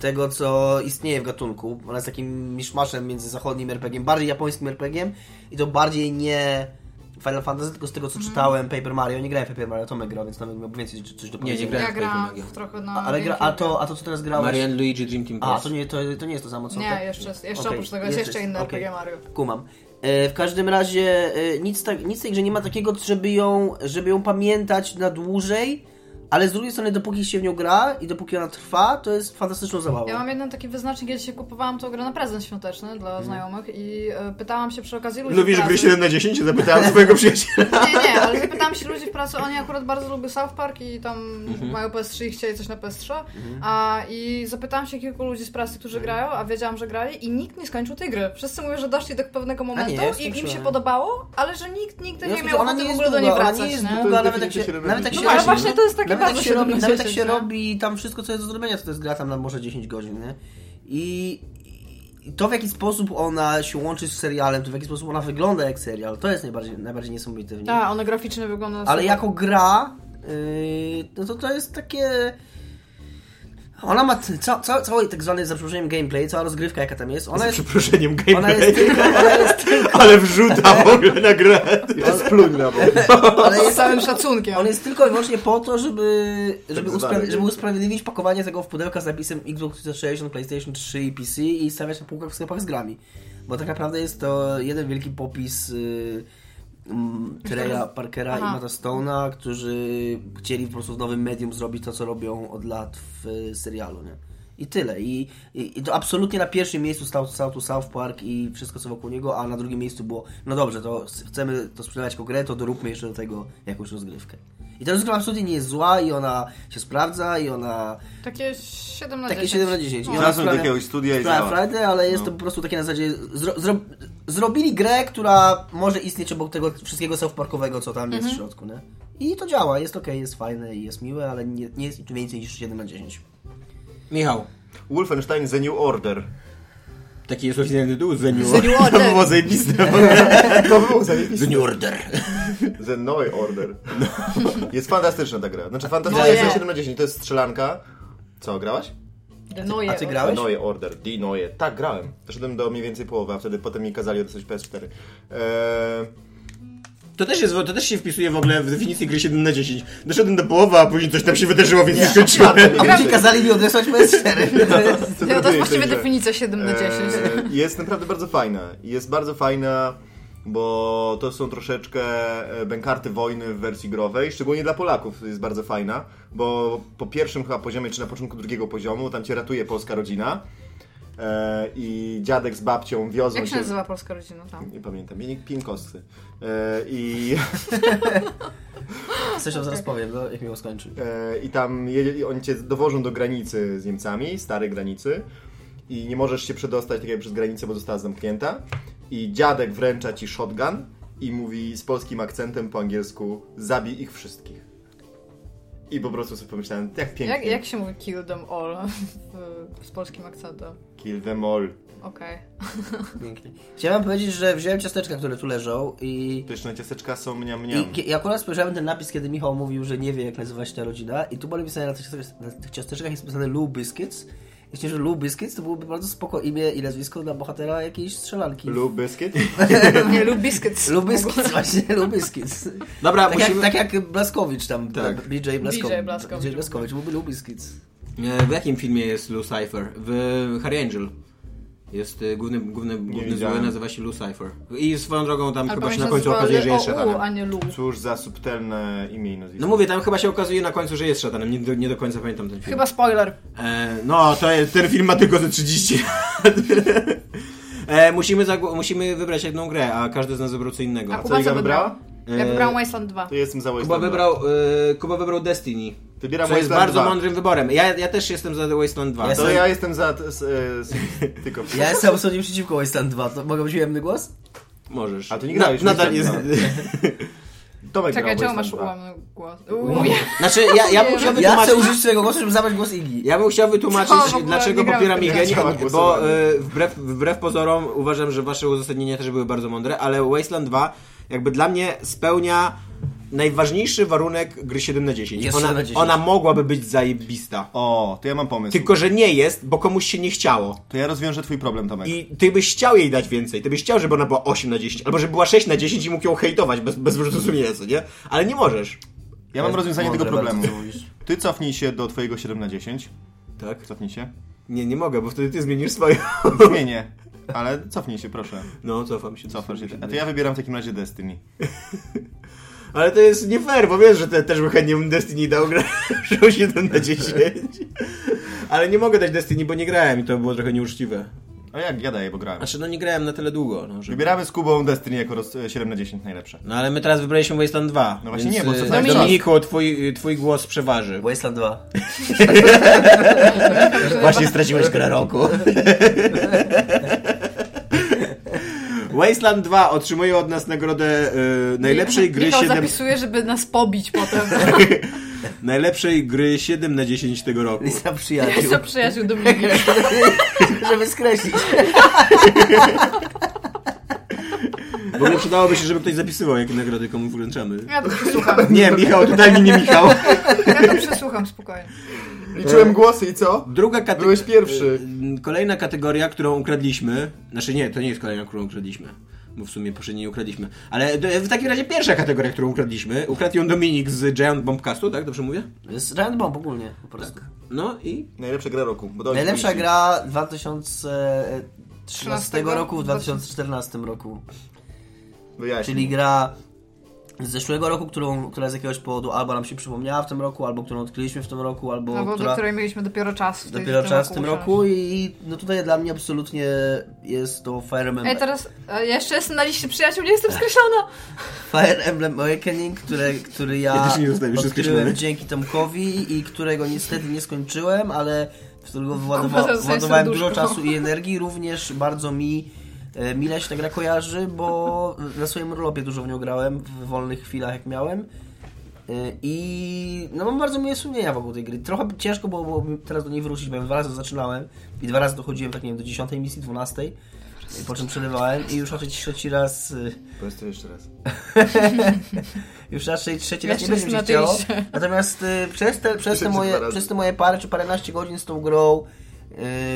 Speaker 5: tego, co istnieje w gatunku. Ona jest takim miszmaszem między zachodnim RPG, bardziej japońskim RPG i to bardziej nie Final Fantasy, tylko z tego
Speaker 3: Mhm.
Speaker 5: co czytałem, Paper Mario, nie grałem w Paper Mario, Tomek grał, więc Tomek miał więcej czy- coś
Speaker 4: nie
Speaker 5: do powiedzenia.
Speaker 3: Ja
Speaker 4: grałem. w Paper
Speaker 3: grałam
Speaker 4: Mario.
Speaker 3: w trochę na
Speaker 5: A, ale gra, a, to, a to co teraz grałeś?
Speaker 4: Marian Luigi Dream Team
Speaker 5: A,
Speaker 4: Quest.
Speaker 5: to nie, to, to nie jest to samo co
Speaker 3: Nie,
Speaker 5: te-
Speaker 3: jeszcze, jeszcze
Speaker 5: Okej,
Speaker 3: oprócz tego jest jeszcze inny
Speaker 5: okej.
Speaker 3: RPG Mario.
Speaker 5: Kumam. E, w każdym razie e, nic, tak, nic tej grze nie ma takiego, żeby ją, żeby ją pamiętać na dłużej, ale z drugiej strony dopóki się w nią gra i dopóki ona trwa, to jest fantastyczną zabawą.
Speaker 3: Ja mam jeden taki wyznacznik, ja dzisiaj kupowałam tą grę na prezent świąteczny
Speaker 5: Mhm.
Speaker 3: dla znajomych i e, pytałam się przy okazji ludzi w
Speaker 4: Lubisz
Speaker 3: pracy.
Speaker 4: gry 7 na 10? Zapytałem swojego przyjaciela.
Speaker 3: Nie, nie, ale zapytałam się ludzi w pracy, oni akurat bardzo lubią South Park i tam
Speaker 5: Mhm.
Speaker 3: mają PS3 i chcieli coś na PS3. A, I zapytałam się kilku ludzi z pracy, którzy
Speaker 5: Mhm.
Speaker 3: grają, a wiedziałam, że grali i nikt nie skończył tej gry. Wszyscy mówią, że doszli do pewnego momentu
Speaker 5: ja
Speaker 3: i im się
Speaker 5: skończyłem.
Speaker 3: podobało, ale że nikt nigdy
Speaker 5: Ja
Speaker 3: nie
Speaker 5: myślę,
Speaker 3: miał
Speaker 5: że ona
Speaker 3: ochoty w
Speaker 5: nie
Speaker 3: ogóle
Speaker 5: jest
Speaker 3: do niej
Speaker 5: długa, ona
Speaker 3: wracać, no.
Speaker 5: nie jest
Speaker 3: nie?
Speaker 5: długa,
Speaker 2: To
Speaker 5: nawet
Speaker 2: jest
Speaker 5: jak się,
Speaker 2: definicja
Speaker 5: nawet jak
Speaker 2: siedemdziesiąt.
Speaker 5: się
Speaker 3: No właśnie, to jest takie
Speaker 5: nawet jak
Speaker 3: bardzo
Speaker 5: się robi,
Speaker 3: 7 na
Speaker 5: Nawet jak
Speaker 3: 10,
Speaker 5: się
Speaker 3: nie?
Speaker 5: robi tam wszystko, co jest do zrobienia, to to jest gra tam na może 10 godzin, nie? I, I to w jaki sposób ona się łączy z serialem, to w jaki sposób ona wygląda jak serial, to jest najbardziej, najbardziej niesamowite w niej.
Speaker 3: Tak, one graficznie wyglądają
Speaker 5: Ale
Speaker 3: super.
Speaker 5: jako gra, yy, no to to jest takie... Ona ma t- ca- ca- cały tak zwany, za przeproszeniem, gameplay, cała rozgrywka jaka tam jest, ona jest...
Speaker 4: Przeproszeniem,
Speaker 5: Ona jest,
Speaker 4: gameplay.
Speaker 5: tylko, ona [laughs] jest,
Speaker 4: [laughs] Ale
Speaker 5: [laughs]
Speaker 4: wrzuta w ogóle na grę.
Speaker 2: Ja spluń na bok.
Speaker 5: ona
Speaker 3: z
Speaker 5: jest
Speaker 3: całym szacunkiem.
Speaker 5: On jest tylko i wyłącznie po to, żeby, żeby,
Speaker 2: zwany
Speaker 5: uspra- żeby
Speaker 2: gameplay.
Speaker 5: usprawiedliwić pakowanie tego w pudełka z napisem Xbox 360, PlayStation 3 i PC i stawiać na półkach w sklepach z grami. Bo tak naprawdę jest to jeden wielki popis y, mm, Treya Parkera
Speaker 3: Aha.
Speaker 5: i Mata Stone'a, którzy chcieli po prostu w nowym medium zrobić to, co robią od lat w y, serialu, nie? I tyle. I, i, i to absolutnie na pierwszym miejscu stał, stał tu South Park i wszystko co wokół niego, a na drugim miejscu było, no dobrze, to ch- chcemy to sprzedawać jako grę, to doróbmy jeszcze do tego jakąś rozgrywkę. I ta rozgrywka absolutnie nie jest zła i ona się sprawdza i ona...
Speaker 3: Takie 7 na 10.
Speaker 5: Takie 7 na 10. I
Speaker 3: No.
Speaker 5: ona
Speaker 2: Wracam do
Speaker 5: sprawia-
Speaker 2: jakiegoś studia i
Speaker 5: sprawia
Speaker 2: działa.
Speaker 5: frajdę, Tak, ale jest to po prostu takie na zasadzie... Zro, zro, zrobili grę, która może istnieć obok tego wszystkiego South Parkowego, co tam jest w środku, nie? I to działa, jest okej, jest fajne i jest miłe, ale nie, nie jest niczym więcej niż 7 na 10.
Speaker 4: Michał,
Speaker 2: Wolfenstein The New Order.
Speaker 4: [laughs] taki jest oficjalny tytuł, The New
Speaker 3: The New Order.
Speaker 4: [laughs] To było zajebiste.
Speaker 5: [laughs]
Speaker 2: To było zajebiste.
Speaker 4: The New Order.
Speaker 2: The Noe Order. Jest fantastyczna ta gra. Znaczy
Speaker 3: No
Speaker 2: fantastyczna jest
Speaker 3: jest.
Speaker 2: 7 na 10. To jest strzelanka. Co, grałaś?
Speaker 3: Noje.
Speaker 5: A ty grałeś?
Speaker 2: The Noe Order, The Noe. Tak, grałem. Szedłem do mniej więcej połowy, a wtedy potem mi kazali odesłać PS4. Eee,
Speaker 4: To też, jest, to też się wpisuje w ogóle w definicję gry 7 na 10. Doszedłem do połowy, a później coś tam się wydarzyło, więc nie skończyłem.
Speaker 5: A później kazali mi odesłać PS4.
Speaker 2: co
Speaker 3: Ja, to
Speaker 2: zrobiłeś
Speaker 3: jest właściwie
Speaker 2: tej grze?
Speaker 3: definicja 7 na 10.
Speaker 2: Eee, Jest naprawdę bardzo fajna. Jest bardzo fajna, bo to są troszeczkę e, bękarty wojny w wersji growej, szczególnie dla Polaków jest bardzo fajna, bo po pierwszym chyba poziomie, czy na początku drugiego poziomu, tam cię ratuje polska rodzina Eee, i dziadek z babcią wiozą
Speaker 3: Jak się
Speaker 2: cię...
Speaker 3: nazywa polska rodzina tam?
Speaker 2: Nie pamiętam, Pienik Pinkoscy. Eee, I...
Speaker 5: Coś tam zaraz powiem, no, jak mi skończy.
Speaker 2: E, I tam jedzie, i oni cię dowożą do granicy z Niemcami, starej granicy. I nie możesz się przedostać tak jak przez granicę, bo została zamknięta. I dziadek wręcza ci shotgun i mówi z polskim akcentem po angielsku: zabij ich wszystkich. I po prostu sobie pomyślałem, jak pięknie.
Speaker 3: Jak, jak się mówi kill them all w, z polskim akcentem?
Speaker 2: Kill them all.
Speaker 3: Okej.
Speaker 5: Pięknie. Chciałem powiedzieć, że wziąłem ciasteczka, które tu leżą i...
Speaker 2: Pyszne ciasteczka są mniam mniam.
Speaker 5: I, kie- I akurat spojrzałem ten napis, kiedy Michał mówił, że nie wie, jak nazywa się ta rodzina i tu było napisane na tych, ciaste- na tych ciasteczkach jest napisane Lou Biscuits. Myślę, że Lou Biscuits to byłoby bardzo spoko imię i nazwisko dla bohatera jakiejś strzelanki.
Speaker 2: Blue biscuit?
Speaker 3: No, Nie, lub biscuits.
Speaker 5: Lou Biscuits, [laughs] właśnie, Lou Biscuits.
Speaker 4: [laughs] Dobra,
Speaker 5: Tak,
Speaker 4: musimy...
Speaker 5: jak, tak jak Blaskowicz tam,
Speaker 4: Tak.
Speaker 5: BJ Blaskowicz.
Speaker 3: BJ Blaskowicz.
Speaker 5: BJ Blaskowicz, byłby Lou Biscuits.
Speaker 4: E, W jakim filmie jest Lou Cypher? W Harry Angel. Jest e, główny, główny, główny zły,
Speaker 2: widziałem.
Speaker 4: nazywa się Lou Cypher. I swoją drogą tam
Speaker 3: Ale
Speaker 4: chyba się na
Speaker 3: pamiętam,
Speaker 4: końcu
Speaker 3: nazywa
Speaker 4: okazuje, że jest
Speaker 3: L.O.U.,
Speaker 4: szatanem.
Speaker 3: a nie lu.
Speaker 2: Cóż za subtelne imię i nazwisko.
Speaker 4: No mówię, tam chyba się okazuje na końcu, że jest szatanem. Nie do, nie do końca pamiętam ten film.
Speaker 3: Chyba spoiler.
Speaker 4: E, no, to jest, ten film ma tylko ze 30 lat. [laughs] E, musimy, zagło- musimy wybrać jedną grę, a każdy z nas wybrał co innego.
Speaker 3: A
Speaker 2: co
Speaker 3: Kuba
Speaker 2: Iga
Speaker 3: co
Speaker 2: wybrała?
Speaker 3: wybrał? Ja
Speaker 4: Eee,
Speaker 3: wybrałam Wasteland 2.
Speaker 2: To jestem za
Speaker 4: Kuba
Speaker 2: Wasteland
Speaker 4: wybrał, e, Kuba wybrał Destiny.
Speaker 2: Wybieram
Speaker 4: co jest
Speaker 2: Wasteland
Speaker 4: bardzo
Speaker 2: 2.
Speaker 4: mądrym wyborem. Ja, ja też jestem za The Wasteland 2.
Speaker 5: Ja
Speaker 2: To ja jestem za... t- s- e, s- Tylko...
Speaker 5: Ja jestem absolutnie przeciwko Wasteland 2, to mogę być ujemny głos?
Speaker 4: Możesz. No.
Speaker 2: A ty nie grałeś w
Speaker 4: Na, nadal jest...
Speaker 2: Wasteland Tomek
Speaker 3: Czekaj,
Speaker 2: grał
Speaker 3: czemu masz
Speaker 2: Wasteland 2.
Speaker 3: ułamny głos? Uuu.
Speaker 4: [laughs] Znaczy, ja, ja bym chciał
Speaker 5: Ja chcę
Speaker 4: wytłumaczyć...
Speaker 5: użyć swojego głosu, żeby zabrać głos Igi.
Speaker 4: Ja bym chciał
Speaker 3: Co?
Speaker 4: wytłumaczyć,
Speaker 3: W ogóle
Speaker 4: dlaczego
Speaker 3: nie grałem
Speaker 4: popieram
Speaker 3: w tym
Speaker 4: Igę,
Speaker 2: ciała
Speaker 4: bo
Speaker 2: głosowania.
Speaker 4: y, wbrew, wbrew pozorom uważam, że wasze uzasadnienia też były bardzo mądre, ale Wasteland 2 jakby dla mnie spełnia najważniejszy warunek gry 7 na 10.
Speaker 5: Jest
Speaker 4: ona,
Speaker 5: 7 na 10.
Speaker 4: ona mogłaby być zajebista.
Speaker 2: O, to ja mam pomysł.
Speaker 4: Tylko, że nie jest, bo komuś się nie chciało.
Speaker 2: To ja rozwiążę twój problem, Tomek.
Speaker 4: I ty byś chciał jej dać więcej. Ty byś chciał, żeby ona była 8 na 10, albo żeby była 6 na 10 i mógł ją hejtować bez, bez wyrzutu sumienia, co nie? Ale nie możesz.
Speaker 2: Ja mam rozwiązanie tego
Speaker 5: Mądre
Speaker 2: problemu.
Speaker 5: bardzo, co mówisz.
Speaker 2: Ty cofnij się do twojego 7 na 10.
Speaker 4: Tak?
Speaker 2: Cofnij [laughs] się.
Speaker 4: Nie, nie mogę, bo wtedy ty zmienisz swoją. [laughs]
Speaker 2: Zmienię. Ale cofnij się, proszę.
Speaker 4: No, cofam się.
Speaker 2: Cofasz się. A to ja wybieram w takim razie Destiny.
Speaker 4: Ale to jest nie fair, bo wiesz, że te, też bym chętnie bym Destiny dał [laughs] grę 7 na 10. Ale nie mogę dać Destiny, bo nie grałem i to było trochę nieuczciwe.
Speaker 2: A jak ja daję, bo grałem.
Speaker 4: Znaczy, no nie grałem na tyle długo. No, że...
Speaker 2: Wybieramy z Kubą Destiny jako roz... 7 na 10 najlepsze.
Speaker 4: no ale my teraz wybraliśmy Wasteland 2.
Speaker 2: No właśnie nie,
Speaker 4: więc,
Speaker 2: bo
Speaker 4: e,
Speaker 2: co za
Speaker 3: czas.
Speaker 4: Dominiku, twój, y, twój głos przeważy.
Speaker 5: Wasteland 2.
Speaker 4: [laughs] Właśnie straciłeś grę roku. [laughs] Wasteland 2 otrzymuje od nas nagrodę e, najlepszej
Speaker 3: [laughs]
Speaker 4: gry
Speaker 3: Michał
Speaker 4: 7
Speaker 3: zapisuje, żeby nas pobić potem.
Speaker 4: najlepszej gry 7 na 10 tego roku.
Speaker 5: Lista
Speaker 3: Jest
Speaker 5: przyjaciół.
Speaker 3: to przyjaciół Dominika.
Speaker 5: [laughs] Żeby skreślić.
Speaker 4: W ogóle przydałoby się, żeby ktoś zapisywał, jakie nagrody komu wręczamy.
Speaker 3: Ja to przesłucham.
Speaker 4: Nie, Michał, tutaj mi nie Michał.
Speaker 3: Ja to przesłucham spokojnie.
Speaker 5: E.
Speaker 2: Liczyłem głosy i co?
Speaker 4: Druga kategoria.
Speaker 2: Byłeś pierwszy.
Speaker 4: Kolejna kategoria, którą ukradliśmy. Znaczy nie, to nie jest kolejna, którą ukradliśmy. Bo w sumie poprzedniej nie ukradliśmy. Ale d- w takim razie pierwsza kategoria, którą ukradliśmy. Ukradł ją Dominik z Giant Bombcastu, tak? Dobrze mówię?
Speaker 5: Jest Giant Bomb ogólnie, po prostu.
Speaker 4: No i
Speaker 2: Najlepsza gra roku. Bo dałem
Speaker 5: Najlepsza
Speaker 2: 30.
Speaker 5: gra 2013 roku w 2014 roku.
Speaker 2: Wyjaśnij.
Speaker 5: Czyli gra z zeszłego roku, którą, która z jakiegoś powodu albo nam się przypomniała w tym roku, albo którą odkryliśmy w tym roku, albo
Speaker 3: No bo do
Speaker 5: która
Speaker 3: której mieliśmy dopiero czas. w tej-
Speaker 5: dopiero czas w tym roku
Speaker 3: usiąść.
Speaker 5: i, i no tutaj dla mnie absolutnie jest to Fire Emblem,
Speaker 3: Ej, teraz e, jeszcze jestem na liście przyjaciół, nie jestem skreślona!
Speaker 5: Fire Emblem Awakening, które, który ja,
Speaker 4: Ja też nie dostałem, już
Speaker 5: odkryłem
Speaker 4: skreślony.
Speaker 5: dzięki Tomkowi i którego niestety nie skończyłem, ale w którego
Speaker 3: Kurwa,
Speaker 5: wyładowa-
Speaker 3: to jest
Speaker 5: wyładowałem dużo
Speaker 3: serduszko.
Speaker 5: czasu i energii, również bardzo mi e, mile się ta gra kojarzy, bo na swoim urlopie dużo w nią grałem, w wolnych chwilach jak miałem. E, I no mam bardzo miłe wspomnienia wokół tej gry. Trochę ciężko było, było mi teraz do niej wrócić, bo ja dwa razy zaczynałem i dwa razy dochodziłem tak nie wiem do 10 misji, 12, po czym przerywałem i już raczej trzeci raz e,
Speaker 2: Powiedz to jeszcze raz.
Speaker 5: już raczej trzeci
Speaker 3: Ja
Speaker 5: raz nie
Speaker 3: się
Speaker 5: będzie mi się
Speaker 3: na tej [laughs]
Speaker 5: chciało.
Speaker 3: liście.
Speaker 5: Natomiast y, przez te, przez, te
Speaker 2: Tysiąc
Speaker 5: moje,
Speaker 2: dwa razy.
Speaker 5: przez te moje parę czy paręnaście godzin z tą grą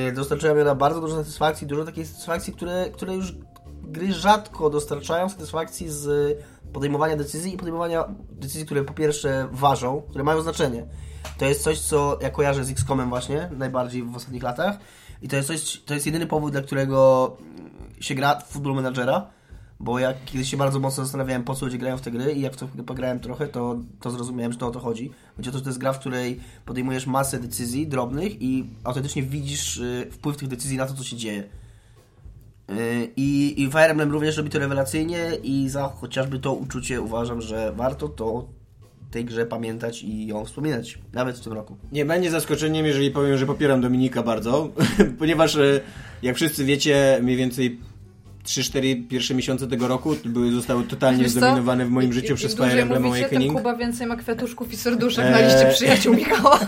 Speaker 5: y, dostarczyła mi ona bardzo dużo satysfakcji, dużo takiej satysfakcji, które, które już gry rzadko dostarczają satysfakcji z podejmowania decyzji i podejmowania decyzji, które po pierwsze ważą, które mają znaczenie. To jest coś, co ja kojarzę z X-Comem właśnie najbardziej w ostatnich latach i to jest coś, to jest jedyny powód, dla którego się gra w Football Managera, bo ja kiedyś się bardzo mocno zastanawiałem, po co ludzie grają w te gry i jak w to pograłem trochę, to, to zrozumiałem, że to o to chodzi. Chodzi o to, że to jest gra, w której podejmujesz masę decyzji drobnych i autentycznie widzisz y, wpływ tych decyzji na to, co się dzieje. Y, I, I Fire Emblem również robi to rewelacyjnie i za chociażby to uczucie uważam, że warto to tej grze pamiętać i ją wspominać, nawet w tym roku.
Speaker 4: Nie będzie zaskoczeniem, jeżeli powiem, że popieram Dominika bardzo, [laughs] ponieważ e, jak wszyscy wiecie, mniej więcej 3-4 pierwsze miesiące tego roku były, zostały totalnie
Speaker 3: Wiesz co?
Speaker 4: zdominowane w moim
Speaker 3: Im-
Speaker 4: życiu
Speaker 3: im
Speaker 4: przez
Speaker 3: dłużej
Speaker 4: Fire Emblem
Speaker 3: mówicie,
Speaker 4: Awakening.
Speaker 3: Ten Kuba więcej ma kwiatuszków i serduszek
Speaker 5: Eee.
Speaker 3: na liście przyjaciół Michała.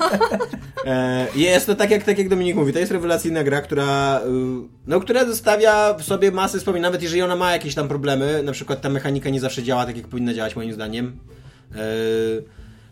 Speaker 4: E, Jest to tak jak, tak jak Dominik mówi, to jest rewelacyjna gra, która, y, no, która zostawia w sobie masę wspomnień, nawet jeżeli ona ma jakieś tam problemy, na przykład ta mechanika nie zawsze działa tak jak powinna działać moim zdaniem. E,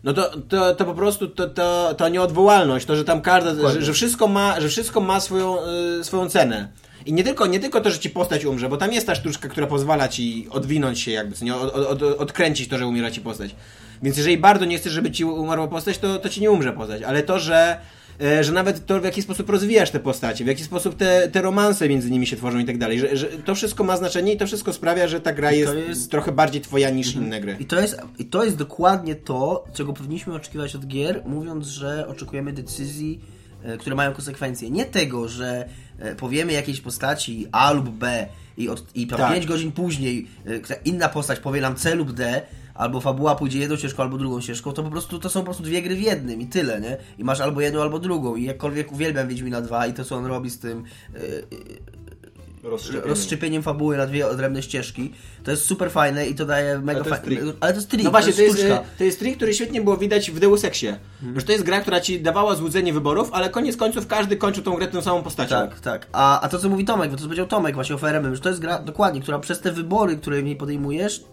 Speaker 4: No to, to, to po prostu to, to, to nieodwołalność, to, że tam każda, że, że, wszystko ma, że wszystko ma swoją, y, swoją cenę. I nie tylko, nie tylko to, że ci postać umrze, bo tam jest ta sztuczka, która pozwala ci odwinąć się jakby, co nie, od, od, od, odkręcić to, że umiera ci postać. Więc jeżeli bardzo nie chcesz, żeby ci umarła postać, to, to ci nie umrze postać. Ale to, że, e, że nawet to, w jaki sposób rozwijasz te postacie, w jaki sposób te, te romanse między nimi się tworzą i tak dalej, że, że to wszystko ma znaczenie i to wszystko sprawia, że ta gra jest,
Speaker 5: jest- Mhm.
Speaker 4: trochę bardziej twoja niż inne gry.
Speaker 5: I to, jest, I to jest dokładnie to, czego powinniśmy oczekiwać od gier, mówiąc, że oczekujemy decyzji, e, które mają konsekwencje. Nie tego, że e, powiemy jakiejś postaci A lub B i, od, i
Speaker 4: Tak.
Speaker 5: 5 godzin później e, kta- inna postać powie nam C lub D, albo fabuła pójdzie jedną ścieżką albo drugą ścieżką, to po prostu to są po prostu dwie gry w jednym i tyle, nie? I masz albo jedną, albo drugą. I jakkolwiek uwielbiam Wiedźmina 2 i to, co on robi z tym
Speaker 2: Rozszczepienie.
Speaker 5: rozszczepieniem fabuły na dwie odrębne ścieżki, to jest super fajne i to daje mega
Speaker 2: to jest
Speaker 5: fajne.
Speaker 2: trik.
Speaker 5: Ale to jest trik,
Speaker 4: No właśnie, to jest,
Speaker 5: sztuczka. Mhm.
Speaker 4: e, to jest trik, który świetnie było widać w Deus Exie. Że to jest gra, która ci dawała złudzenie wyborów, ale koniec końców każdy kończył tą grę tą samą postacią.
Speaker 5: Tak, tak. A, a to, co mówi Tomek, bo to, co powiedział Tomek właśnie o FRM, że to jest gra, dokładnie, która przez te wybory, które w niej podejmujesz,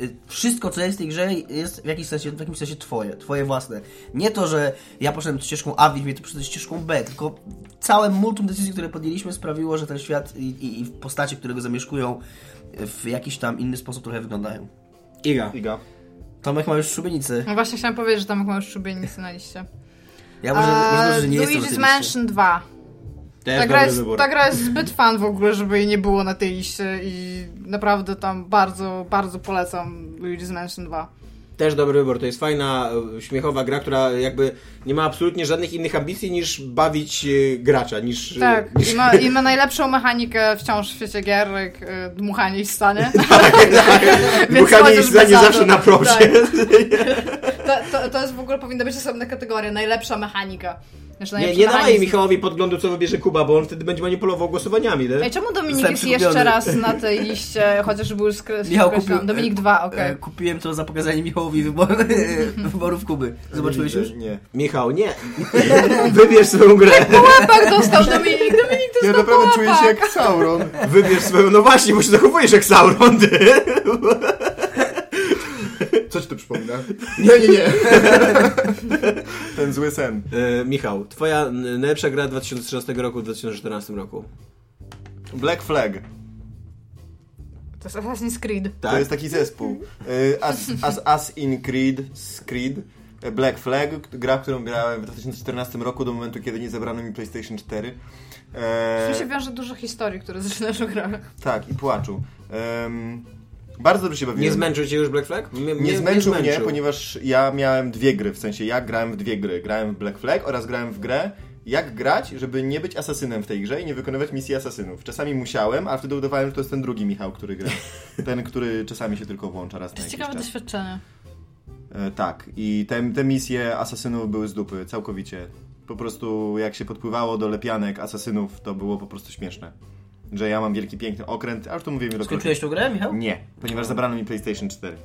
Speaker 5: y, wszystko, co jest w tej grze, jest w, jakiś sensie, w jakimś sensie twoje, twoje własne. Nie to, że ja poszedłem tą ścieżką A, więc mnie to przyszedł ścieżką B, tylko całe multum decyzji, które podjęliśmy, sprawiło, że ten świat i, i, i postacie, które go zamieszkują, y, w jakiś tam inny sposób trochę wyglądają.
Speaker 4: Iga.
Speaker 2: Iga.
Speaker 5: Tomek ma już szubienicę.
Speaker 3: [laughs] No właśnie chciałam powiedzieć, że tam mam już szubienicy na liście.
Speaker 5: Ja może, może dobrze, że nie jestem
Speaker 3: Luigi's
Speaker 5: w tej liście.
Speaker 3: Mansion 2.
Speaker 4: Też
Speaker 3: Ta gra,
Speaker 4: dobry
Speaker 3: jest, tak
Speaker 4: wybór.
Speaker 3: ta gra jest zbyt fan w ogóle, żeby jej nie było na tej liście i naprawdę tam bardzo, bardzo polecam Luigi's Mansion 2.
Speaker 4: Też dobry wybór. To jest fajna, e, śmiechowa gra, która jakby nie ma absolutnie żadnych innych ambicji niż bawić e, gracza, niż... e,
Speaker 3: Tak,
Speaker 4: niż...
Speaker 3: i ma, i ma najlepszą mechanikę wciąż w świecie gier, jak y, dmuchanie
Speaker 2: [laughs]
Speaker 3: i stanie.
Speaker 2: Tak,
Speaker 3: [laughs] Więc
Speaker 4: Buchanie
Speaker 3: chociaż
Speaker 4: jest za nie
Speaker 3: bez
Speaker 4: zawsze
Speaker 3: auto.
Speaker 4: na propsie.
Speaker 3: Tak.
Speaker 2: [laughs]
Speaker 3: To, to, to jest w ogóle powinna być osobna kategoria, najlepsza mechanika. Znaczy,
Speaker 4: [laughs] Nie,
Speaker 3: najlepszy
Speaker 4: nie dawaj
Speaker 3: mechanizm.
Speaker 4: Michałowi podglądu, co wybierze Kuba, bo on wtedy będzie manipulował głosowaniami, nie?
Speaker 3: Ej, czemu Dominik
Speaker 5: Zostałem
Speaker 3: jest
Speaker 5: skupiony.
Speaker 3: jeszcze raz na tej liście, chociaż był już skres-
Speaker 5: Michał
Speaker 3: skreślony?
Speaker 5: kupił-
Speaker 3: Dominik 2, okej. [laughs]
Speaker 5: E, Kupiłem to za pokazanie Michałowi wyboru, [laughs] wyborów Kuby. Zobaczyłeś już?
Speaker 2: Nie.
Speaker 4: Michał, nie. [laughs] Wybierz swoją grę.
Speaker 3: Łapak dostał Dominik, Dominik
Speaker 2: Ja
Speaker 3: dostał
Speaker 2: naprawdę
Speaker 3: łapak.
Speaker 2: czuję się jak Sauron.
Speaker 4: Wybierz swoją... No właśnie, bo się zachowujesz jak Sauron, ty.
Speaker 2: Co ci to przypomina? Nie, nie, nie. Ten zły sen.
Speaker 4: E, Michał, twoja n- najlepsza gra 2013 roku w 2014 roku.
Speaker 2: Black Flag.
Speaker 3: To jest Assassin's Creed.
Speaker 4: Tak?
Speaker 2: To jest taki zespół. Y, As, as, as in Creed, z Creed, e, Black Flag, k- gra, którą grałem w 2014 roku do momentu, kiedy nie zabrano mi PlayStation 4.
Speaker 3: Tu
Speaker 2: E,
Speaker 3: się wiąże dużo historii, które zaczynasz o grach.
Speaker 2: tak, i płaczu. Em, Bardzo dobrze się
Speaker 4: Nie
Speaker 2: bawiłem.
Speaker 4: zmęczył cię już Black Flag? Nie,
Speaker 2: nie zmęczył mnie, ponieważ ja miałem dwie gry, w sensie ja grałem w dwie gry. Grałem w Black Flag oraz grałem w grę jak grać, żeby nie być asasynem w tej grze i nie wykonywać misji asasynów. Czasami musiałem, a wtedy udawałem, że to jest ten drugi Michał, który [laughs] gra. Ten, który czasami się tylko włącza raz
Speaker 3: To
Speaker 2: na
Speaker 3: jest
Speaker 2: jakiś
Speaker 3: ciekawe
Speaker 2: czas.
Speaker 3: doświadczenie.
Speaker 2: E, tak, i te, te misje asasynów były z dupy, całkowicie. Po prostu jak się podpływało do lepianek asasynów, to było po prostu śmieszne. Że ja mam wielki, piękny okręt, ale to mówiłem wielokrotnie.
Speaker 5: Skończyłeś tą grę, Michał?
Speaker 2: Nie, ponieważ zabrano mi PlayStation 4.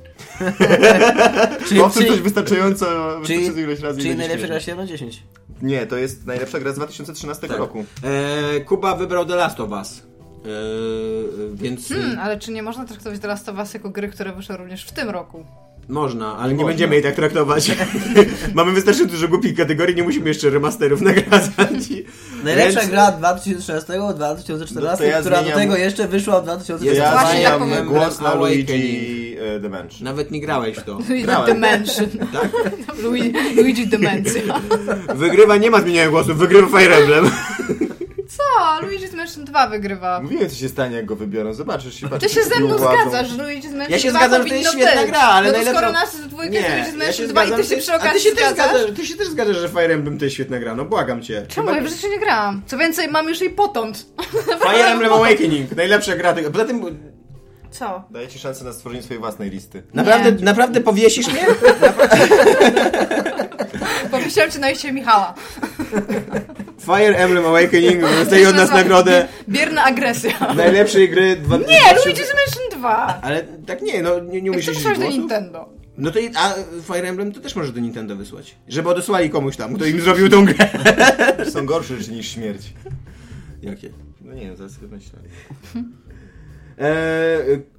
Speaker 5: Czyli,
Speaker 2: Mam w tym no, coś
Speaker 5: czyli,
Speaker 2: wystarczająco, wystarczająco ileś razy
Speaker 5: czyli,
Speaker 2: i będzie
Speaker 5: czyli najlepsza
Speaker 2: śmieszne.
Speaker 5: gra 7 na 10.
Speaker 2: Nie, to jest najlepsza gra z 2013
Speaker 4: Tak.
Speaker 2: roku.
Speaker 4: E, Kuba wybrał The Last of Us. E, więc
Speaker 3: Hmm, ale czy nie można traktować teraz to was jako gry, które wyszły również w tym roku? [laughs]
Speaker 4: można, ale nie
Speaker 2: Można.
Speaker 4: będziemy jej tak [laughs] traktować. Mamy wystarczająco dużo głupich kategorii, nie musimy jeszcze remasterów [laughs] nagradzać.
Speaker 5: Najlepsza
Speaker 4: Więc-
Speaker 5: gra 2016-2014,
Speaker 2: No to ja
Speaker 5: która do
Speaker 2: zmieniam-
Speaker 5: tego jeszcze wyszła w
Speaker 4: Ja
Speaker 5: 2014.
Speaker 2: Ja
Speaker 3: Właśnie tak
Speaker 2: zmieniam
Speaker 3: powiem.
Speaker 2: głos na
Speaker 4: Awakening.
Speaker 2: Luigi e, The Bench.
Speaker 4: Nawet nie grałeś w
Speaker 3: [laughs]
Speaker 4: to.
Speaker 3: Luigi
Speaker 2: Grałem.
Speaker 4: [laughs]
Speaker 3: Dimension.
Speaker 4: Tak.
Speaker 3: [laughs] Luigi, Luigi Dimension.
Speaker 4: Wygrywa nie ma zmieniania głosu, wygrywa Fire [laughs] Emblem.
Speaker 3: Co? Luigi Dimension 2 wygrywa.
Speaker 2: Mówiłem, co się stanie, jak go wybiorą. Zobaczysz się.
Speaker 3: Ty
Speaker 2: patrz,
Speaker 3: się ze
Speaker 2: jaką
Speaker 3: mną
Speaker 2: władzą.
Speaker 3: zgadzasz, że Luigi Dimension
Speaker 4: Ja się
Speaker 3: 2
Speaker 4: zgadzam, że to
Speaker 3: powinno
Speaker 4: jest świetna
Speaker 3: być.
Speaker 4: gra, ale
Speaker 3: no to
Speaker 4: najlepsza-
Speaker 3: skoro nas z dwójką
Speaker 4: Nie,
Speaker 3: Luigi
Speaker 4: ja
Speaker 3: Dimension
Speaker 4: się
Speaker 3: 2 i
Speaker 4: zgadzam,
Speaker 3: ty się
Speaker 4: ty-
Speaker 3: przy
Speaker 4: a ty
Speaker 3: okazji
Speaker 4: się też
Speaker 3: zgadzasz?
Speaker 4: zgadzasz, ty się też zgadzasz, że Fire Emblem to jest świetna gra, no błagam cię.
Speaker 3: Czemu? Ja w życiu nie grałam. Co więcej, mam już jej potąd. [laughs]
Speaker 4: Fire Emblem Awakening, najlepsza gra tego. Poza tym,
Speaker 3: Co?
Speaker 2: Daję ci szansę na stworzenie swojej własnej listy.
Speaker 4: naprawdę,
Speaker 3: Nie.
Speaker 4: naprawdę powiesisz mnie?
Speaker 3: Powiesiłam cię na liście Michała.
Speaker 4: [laughs] Fire Emblem Awakening dostaje od nas
Speaker 3: Nazywa-
Speaker 4: nagrodę
Speaker 3: Bierna agresja.
Speaker 4: [laughs] najlepszej gry... Dwa...
Speaker 3: Nie, Luigi Dimension 2.
Speaker 4: Ale tak nie, no nie,
Speaker 3: Jak
Speaker 4: nie
Speaker 3: to
Speaker 4: musisz
Speaker 3: przeszłaś do
Speaker 4: głosu.
Speaker 3: Nintendo?
Speaker 4: No to i- a Fire Emblem to też możesz do Nintendo wysłać. Żeby odesłali komuś tam, kto im zrobił tą grę.
Speaker 2: Są gorsze rzeczy niż śmierć.
Speaker 4: Jakie?
Speaker 2: No nie wiem, zaraz sobie myślę.
Speaker 4: E,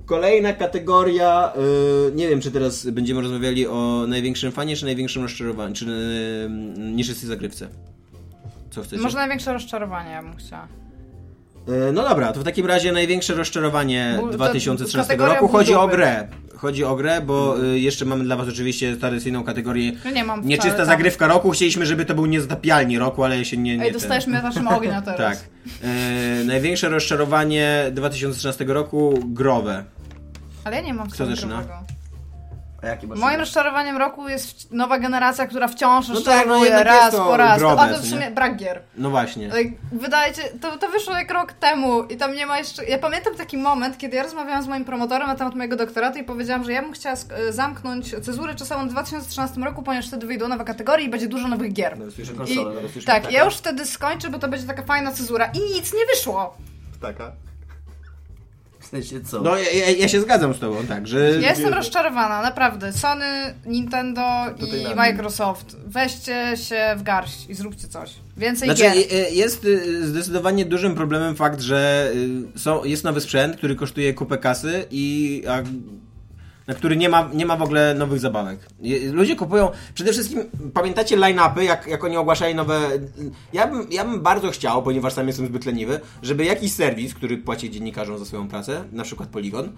Speaker 4: kolejna kategoria, e, nie wiem czy teraz będziemy rozmawiali o największym fanie, czy największym rozczarowaniu, czy e, niższej zagrywce. Co chcecie?
Speaker 3: Może największe rozczarowanie, ja bym chciała.
Speaker 4: E, no dobra, to w takim razie największe rozczarowanie
Speaker 3: Ból- to
Speaker 4: 2013
Speaker 3: kategoria
Speaker 4: roku.
Speaker 3: ból
Speaker 4: Chodzi o
Speaker 3: dupy.
Speaker 4: grę. Chodzi o grę, bo e, jeszcze mamy dla was oczywiście tradycyjną kategorię
Speaker 3: No nie mam wcale,
Speaker 4: nieczysta
Speaker 3: tak.
Speaker 4: zagrywka roku. Chcieliśmy, żeby to był niezatapialnie roku, ale się nie... nie
Speaker 3: Ej,
Speaker 4: ten-
Speaker 3: dostajesz mnie naszym
Speaker 4: [laughs]
Speaker 3: ognia teraz.
Speaker 4: Tak. E, największe rozczarowanie 2013 roku growe.
Speaker 3: Ale ja nie mam
Speaker 4: Kto zaczyna?
Speaker 3: scenografowego.
Speaker 5: A jakie masz?
Speaker 3: Moim rozczarowaniem roku jest wci- nowa generacja, która wciąż
Speaker 4: No tak, no
Speaker 3: rozczarowuje
Speaker 4: jednak
Speaker 3: raz
Speaker 4: jest to
Speaker 3: po raz.
Speaker 4: drobne,
Speaker 3: A to w
Speaker 4: co
Speaker 3: sumie
Speaker 4: nie?
Speaker 3: brak gier.
Speaker 4: No właśnie.
Speaker 3: Tak, Wydaje się, to, to wyszło jak rok temu i tam nie ma jeszcze... Ja pamiętam taki moment, kiedy ja rozmawiałam z moim promotorem na temat mojego doktoratu i powiedziałam, że ja bym chciała sk- e, zamknąć cezurę czasową w 2013 roku, ponieważ wtedy wyjdą nowe kategorie i będzie dużo nowych
Speaker 4: No,
Speaker 3: gier. I, tak, ja już wtedy skończę, bo to będzie taka fajna cezura i nic nie wyszło.
Speaker 2: Ptaka.
Speaker 5: W sensie co?
Speaker 4: No ja, ja- ja się zgadzam z tobą, tak, że...
Speaker 3: Ja jestem rozczarowana, naprawdę. Sony, Nintendo
Speaker 2: Tutaj
Speaker 3: i
Speaker 2: na-
Speaker 3: Microsoft. Weźcie się w garść i zróbcie coś. Więcej
Speaker 4: Znaczy,
Speaker 3: gier.
Speaker 4: je- je- jest y, zdecydowanie dużym problemem fakt, że y, są, jest nowy sprzęt, który kosztuje kupę kasy i a, na który nie ma, nie ma w ogóle nowych zabawek. Je- Ludzie kupują, przede wszystkim pamiętacie line-upy, jak, jak oni ogłaszali nowe... y, Ja bym, ja bym bardzo chciał, ponieważ sam jestem zbyt leniwy, żeby jakiś serwis, który płaci dziennikarzom za swoją pracę, na przykład Polygon,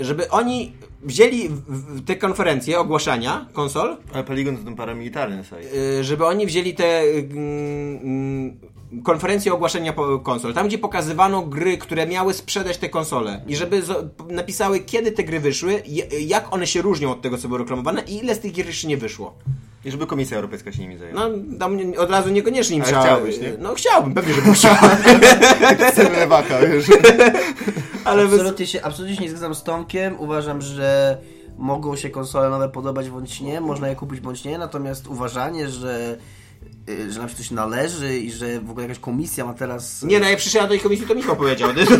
Speaker 4: żeby oni wzięli w, w te konferencje ogłaszania konsol
Speaker 2: Ale Polygon to ten paramilitarny site.
Speaker 4: y, żeby oni wzięli te y, mm, konferencje ogłaszenia po- konsol, tam gdzie pokazywano gry, które miały sprzedać te konsole i żeby zo- napisały, kiedy te gry wyszły, je- jak one się różnią od tego, co było reklamowane i ile z tych gier jeszcze nie wyszło.
Speaker 2: I żeby Komisja Europejska się nimi zajęła.
Speaker 4: No, tam nie- od razu niekoniecznie im
Speaker 2: Ale
Speaker 4: trzeba...
Speaker 2: chciałbyś, nie?
Speaker 4: No chciałbym, pewnie,
Speaker 2: [laughs]
Speaker 4: żebym chciał,
Speaker 2: Chcemy lewaka, wiesz.
Speaker 4: ale... bez-
Speaker 5: Absolutnie się, absolutnie się nie zgadzam z Tomkiem. Uważam, że mogą się konsole nowe podobać bądź nie, można je kupić bądź nie, natomiast uważanie, że, y, że nam się coś należy i że w ogóle jakaś komisja ma teraz...
Speaker 4: Nie, no jak przyszedłem do tej komisji, to
Speaker 2: [laughs]
Speaker 4: Michał powiedział.
Speaker 2: No,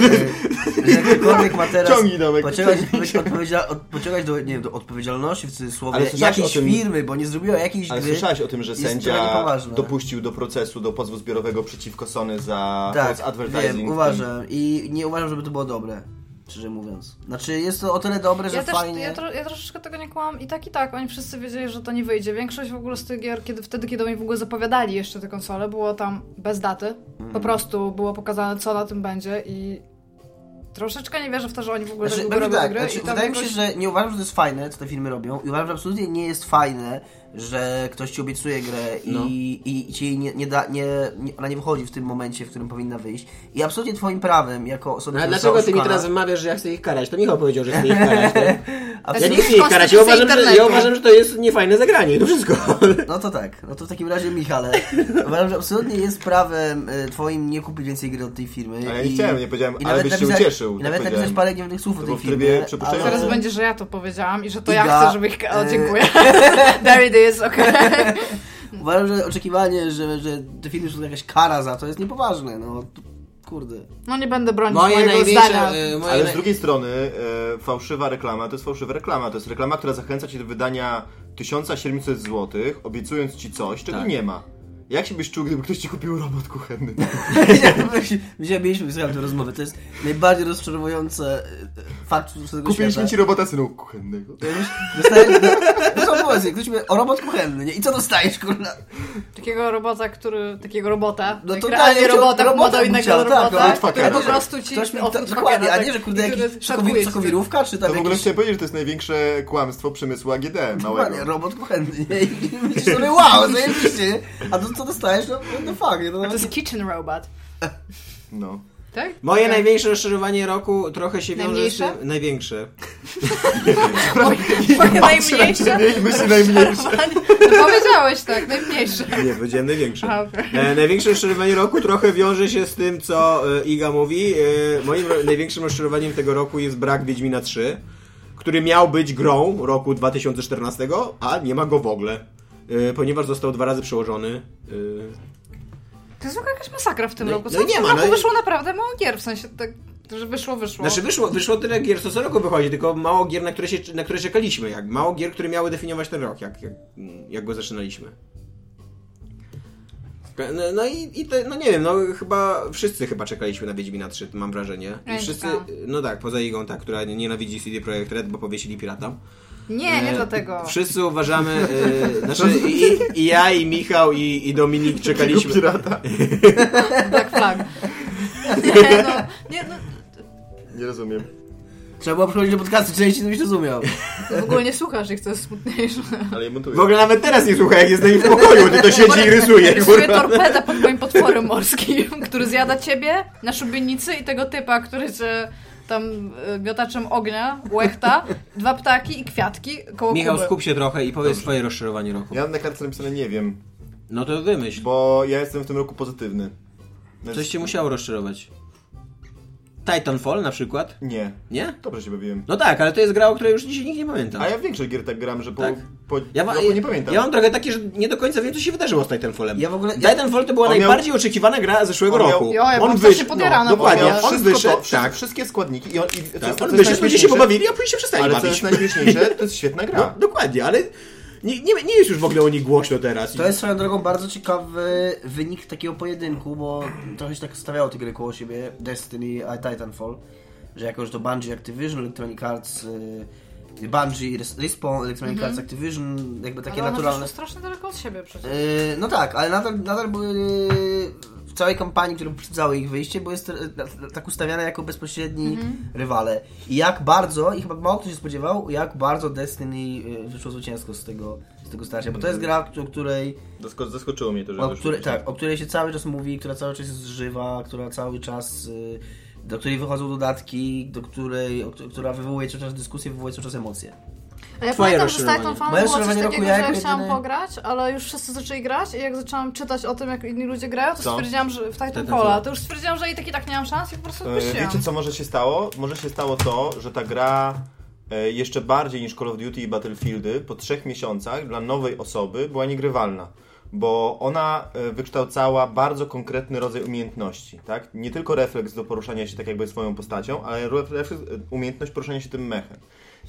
Speaker 5: że Jakikolwiek ma teraz
Speaker 2: Ciągnij, Domek,
Speaker 5: pociągać,
Speaker 2: ciągnij.
Speaker 5: odpowiedzia- od- pociągać do, nie, wiem, do odpowiedzialności w
Speaker 2: Ale
Speaker 5: cudzysłowie
Speaker 2: słyszałeś
Speaker 5: jakiejś
Speaker 2: o tym-
Speaker 5: firmy, bo nie zrobiła jakiejś
Speaker 2: Ale
Speaker 5: gry.
Speaker 2: słyszałeś o tym, że
Speaker 5: jest trochę
Speaker 2: sędzia
Speaker 5: niepoważne.
Speaker 2: dopuścił do procesu, do pozwu zbiorowego przeciwko Sony za false
Speaker 5: Tak,
Speaker 2: advertising.
Speaker 5: wiem, uważam. I nie uważam, żeby to było dobre, szczerze mówiąc. Znaczy, jest to o tyle dobre, że
Speaker 3: Ja też,
Speaker 5: fajnie...
Speaker 3: ja, tro, ja troszeczkę tego nie kłam i tak i tak, oni wszyscy wiedzieli, że to nie wyjdzie. Większość w ogóle z tych gier, kiedy wtedy, kiedy oni w ogóle zapowiadali jeszcze te
Speaker 2: Mm.
Speaker 3: konsole, było tam bez daty. Po prostu było pokazane, co na tym będzie i troszeczkę nie wierzę w to, że oni w ogóle
Speaker 5: Znaczy,
Speaker 3: znaczy,
Speaker 5: powiem
Speaker 3: robią
Speaker 5: tak,
Speaker 3: gry
Speaker 5: znaczy,
Speaker 3: i to
Speaker 5: wydaje mi się,
Speaker 3: jakoś-
Speaker 5: że nie uważam, że to jest fajne, co te filmy robią i uważam, że absolutnie nie jest fajne, że ktoś ci obiecuje grę i,
Speaker 4: No.
Speaker 5: i, i ci jej nie, nie da, nie, nie, ona nie wychodzi w tym momencie, w którym powinna wyjść. I absolutnie twoim prawem, jako osoba,
Speaker 4: No, a
Speaker 5: która
Speaker 4: dlaczego ty mi
Speaker 5: została
Speaker 4: teraz
Speaker 5: oszukana-
Speaker 4: wymawiasz, że ja chcę ich karać? To Michał powiedział, że chce ich karać. tak? Ja nie
Speaker 3: jest
Speaker 4: chcę ich karać. Ja
Speaker 3: konstytucja
Speaker 4: uważam, że, ja
Speaker 3: internetu.
Speaker 4: uważam, że to jest niefajne zagranie. i To wszystko.
Speaker 5: No to tak, no to w takim razie Michale, [laughs] uważam, że absolutnie jest prawem e, twoim nie kupić więcej gry od tej firmy.
Speaker 2: Ale ja nie chciałem, nie powiedziałem, ale
Speaker 5: nawet
Speaker 2: byś się
Speaker 5: napisać-
Speaker 2: ucieszył,
Speaker 5: I
Speaker 2: tak
Speaker 5: nawet napisać
Speaker 2: powiedziałem.
Speaker 5: parę gniewnych słów o
Speaker 2: To
Speaker 5: tej
Speaker 2: było w
Speaker 5: firmie.
Speaker 2: trybie przypuszczenia.
Speaker 3: Teraz będzie, że ja to powiedziałam i że to
Speaker 5: Iga,
Speaker 3: ja chcę, żeby ich... O,
Speaker 5: e, [laughs]
Speaker 3: dziękuję. There it is, okej.
Speaker 5: Uważam, że oczekiwanie, że, że te filmy są jakaś kara za to jest niepoważne, no to- kurde.
Speaker 3: No nie będę bronić mojego zdania.
Speaker 5: y,
Speaker 2: Ale z drugiej strony e, fałszywa reklama to jest fałszywa reklama. To jest reklama, która zachęca cię do wydania 1700 zł, obiecując ci coś, czego nie ma. Jak się byś czuł, gdyby ktoś ci kupił robot kuchenny?
Speaker 5: Dzisiaj mieliśmy wysłuchałem tę rozmowę, to jest najbardziej rozczarowujące e, fakt tego
Speaker 2: Kupiliśmy
Speaker 5: świata.
Speaker 2: ci robota synu kuchennego.
Speaker 5: Dostajesz, no, no, powiedz, ktoś mówi o robot kuchenny, nie? I co dostajesz, kurna?
Speaker 3: Takiego robota, który... Takiego robota.
Speaker 5: No
Speaker 3: No
Speaker 5: to
Speaker 3: to realnie
Speaker 5: tak,
Speaker 3: robota,
Speaker 5: robota
Speaker 3: robota
Speaker 5: bym
Speaker 3: innego
Speaker 5: chciał, tak,
Speaker 3: robota,
Speaker 2: outfuckera.
Speaker 3: który po
Speaker 2: Ktoś mi-
Speaker 3: prostu ci...
Speaker 5: Ktoś mi,
Speaker 3: outfuckera,
Speaker 5: to, dokładnie, a nie, że
Speaker 3: tak,
Speaker 5: kurde
Speaker 3: i który
Speaker 5: jakiś
Speaker 3: szatkuje
Speaker 5: sokowi-
Speaker 3: ci ten-
Speaker 5: sokowirówka, czy tam
Speaker 2: To w ogóle
Speaker 5: jakiś...
Speaker 2: chciałem powiedzieć, że to jest największe kłamstwo przemysłu AGD małego.
Speaker 5: Dokładnie, robot kuchenny, nie? I myślisz sobie, wow, zajebiście, nie? A to co dostajesz? No, no fuck, nie? No,
Speaker 3: To jest kitchen robot,
Speaker 2: No.
Speaker 3: tak?
Speaker 4: Moje
Speaker 3: Tak.
Speaker 4: największe rozczarowanie roku trochę się wiąże z
Speaker 3: Najmniejsze?
Speaker 4: tym... Największe?
Speaker 2: Patrzę na
Speaker 3: Twoje najmniejsze?
Speaker 2: [laughs] ciebie i myśli najmniejsze.
Speaker 3: No powiedziałeś tak, najmniejsze.
Speaker 4: Nie, powiedziałem największe.
Speaker 3: A, okej.
Speaker 4: E, największe rozczarowanie roku trochę wiąże się z tym, co e, Iga mówi. E, moim ro- największym rozczarowaniem tego roku jest brak Wiedźmina 3, który miał być grą roku 2014, a nie ma go w ogóle. E, ponieważ został dwa razy przełożony. E,
Speaker 3: To jest w ogóle jakaś masakra w tym
Speaker 4: No i-
Speaker 3: roku.
Speaker 4: no
Speaker 3: Co
Speaker 4: i nie
Speaker 3: w tym
Speaker 4: ma,
Speaker 3: roku
Speaker 4: no i-
Speaker 3: wyszło naprawdę mało gier, w sensie tak, że wyszło, wyszło.
Speaker 4: znaczy wyszło, wyszło tyle gier, co co roku wychodzi, tylko mało gier, na które, się, na które czekaliśmy. Jak, mało gier, które miały definiować ten rok, jak, jak, jak go zaczynaliśmy. No, no i, i te, no nie wiem, no chyba wszyscy chyba czekaliśmy na Wiedźmina 3, mam wrażenie.
Speaker 3: Ja
Speaker 4: I
Speaker 3: nie
Speaker 4: wszyscy,
Speaker 3: czekałam.
Speaker 4: no tak, poza Igą, tak, która nienawidzi CD Projekt Red, bo powiesili pirata.
Speaker 3: nie, nie
Speaker 4: E,
Speaker 3: dlatego.
Speaker 4: Wszyscy uważamy, e, znaczy i, i ja, i Michał, i, i Dominik czekaliśmy.
Speaker 2: pirata.
Speaker 3: Black Flag. Nie, no, nie, no,
Speaker 2: Nie rozumiem.
Speaker 5: [laughs] Trzeba było przychodzić do podcastu, części to byś rozumiał.
Speaker 3: ty w ogóle nie słuchasz ich, to jest smutniejsze.
Speaker 2: Ale je montuję.
Speaker 4: W ogóle nawet teraz nie słucha, jak jest z nimi w pokoju, ty to siedzi i rysuje.
Speaker 3: Rysuje
Speaker 4: kurwa.
Speaker 3: torpeda pod moim potworem morskim, [laughs] który zjada ciebie na szubienicy i tego typa, który cię tam e, miotaczem ognia, łechta, dwa ptaki i kwiatki koło
Speaker 4: Michał,
Speaker 3: Kuby.
Speaker 4: skup się trochę i powiedz swoje rozczarowanie roku.
Speaker 2: Ja mam na kartce napisane nie wiem,
Speaker 4: No to wymyśl,
Speaker 2: bo ja jestem w tym roku pozytywny. Więc
Speaker 4: coś cię musiało rozczarować. Titanfall na przykład?
Speaker 2: Nie.
Speaker 4: Nie?
Speaker 2: Dobrze się bawiłem.
Speaker 4: No tak, ale to jest gra, o której już dzisiaj nikt nie pamięta.
Speaker 2: A ja większość gier tak gram, że po,
Speaker 4: Tak.
Speaker 2: po
Speaker 4: Ja, ma,
Speaker 2: roku nie pamiętam.
Speaker 4: ja mam trochę takie, że nie do końca wiem, co się wydarzyło z Titanfallem.
Speaker 5: Ja w ogóle- ja-
Speaker 4: Titanfall to była
Speaker 2: On miał-
Speaker 4: najbardziej oczekiwana gra zeszłego
Speaker 2: On miał-
Speaker 4: roku.
Speaker 3: Jo, ja byłam
Speaker 4: wyszedł-
Speaker 3: strasznie podjarana,
Speaker 4: no,
Speaker 3: bo
Speaker 2: On
Speaker 4: dokładnie,
Speaker 2: miał
Speaker 3: ja-
Speaker 4: on
Speaker 2: wszystko
Speaker 4: wyszedł,
Speaker 2: to, wszy-
Speaker 4: tak.
Speaker 2: wszystkie składniki i on... I, co jest-
Speaker 4: tak.
Speaker 2: co
Speaker 4: On
Speaker 2: jest
Speaker 4: wyszedł, ludzie się
Speaker 2: najśmieszniejsze-
Speaker 4: pobawili, a później się przestali
Speaker 2: Ale co jest
Speaker 4: bawić.
Speaker 2: najśmieszniejsze, to jest świetna gra.
Speaker 4: No, dokładnie, ale nie, nie, nie jest już w ogóle o nich głośno teraz.
Speaker 5: To jest swoją drogą bardzo ciekawy wynik takiego pojedynku, bo trochę się tak stawiało te gry koło siebie, Destiny, a Titanfall, że jakoś to Bungie, Activision, Electronic Arts, y, Bungie, Res- Respawn, Electronic Arts, Activision, jakby
Speaker 3: Mhm.
Speaker 5: takie
Speaker 3: Ale one
Speaker 5: naturalne...
Speaker 3: wyszły strasznie daleko od siebie przecież.
Speaker 5: Y, no tak, ale nadal, nadal były y, w całej kampanii, które poprzedzały ich wyjście, bo jest e, na- tak ustawiane jako bezpośredni
Speaker 3: Mhm.
Speaker 5: rywale. I jak bardzo, i chyba mało kto się spodziewał, jak bardzo Destiny y, wyszło zwycięsko z tego, z tego starcia, bo to jest
Speaker 3: Mhm.
Speaker 5: gra, o której
Speaker 4: No,
Speaker 2: Zasko- Zaskoczyło mnie to,
Speaker 5: o
Speaker 2: doszło
Speaker 5: której,
Speaker 2: do-
Speaker 5: tak, o której się cały czas mówi, która cały czas jest żywa, która cały czas, y, do której wychodzą dodatki, do której, o, któ- która wywołuje cały czas dyskusję, wywołuje cały czas emocje.
Speaker 3: A ja
Speaker 4: Twoje
Speaker 3: pamiętam, że
Speaker 4: rozczarowanie.
Speaker 3: Titanfall
Speaker 5: Moje
Speaker 3: było coś
Speaker 5: rozczarowanie
Speaker 3: takiego,
Speaker 5: roku,
Speaker 3: że
Speaker 5: ja
Speaker 3: ja
Speaker 5: jako
Speaker 3: chciałam
Speaker 5: jedyny-
Speaker 3: pograć, ale już wszyscy zaczęli grać i jak zaczęłam czytać o tym, jak inni ludzie grają, to
Speaker 2: Co?
Speaker 3: stwierdziłam, że w Titanfalla,
Speaker 4: Titanfalla.
Speaker 3: to już stwierdziłam, że i tak i tak nie mam szans i po prostu
Speaker 2: E,
Speaker 3: odpuściłam.
Speaker 2: Wiecie, co może się stało? Może się stało to, że ta gra e, jeszcze bardziej niż Call of Duty i Battlefieldy po trzech miesiącach dla nowej osoby była niegrywalna. Bo ona e, wykształcała bardzo konkretny rodzaj umiejętności, tak? Nie tylko refleks do poruszania się tak jakby swoją postacią, ale ref- refleks, e, umiejętność poruszania się tym mechem.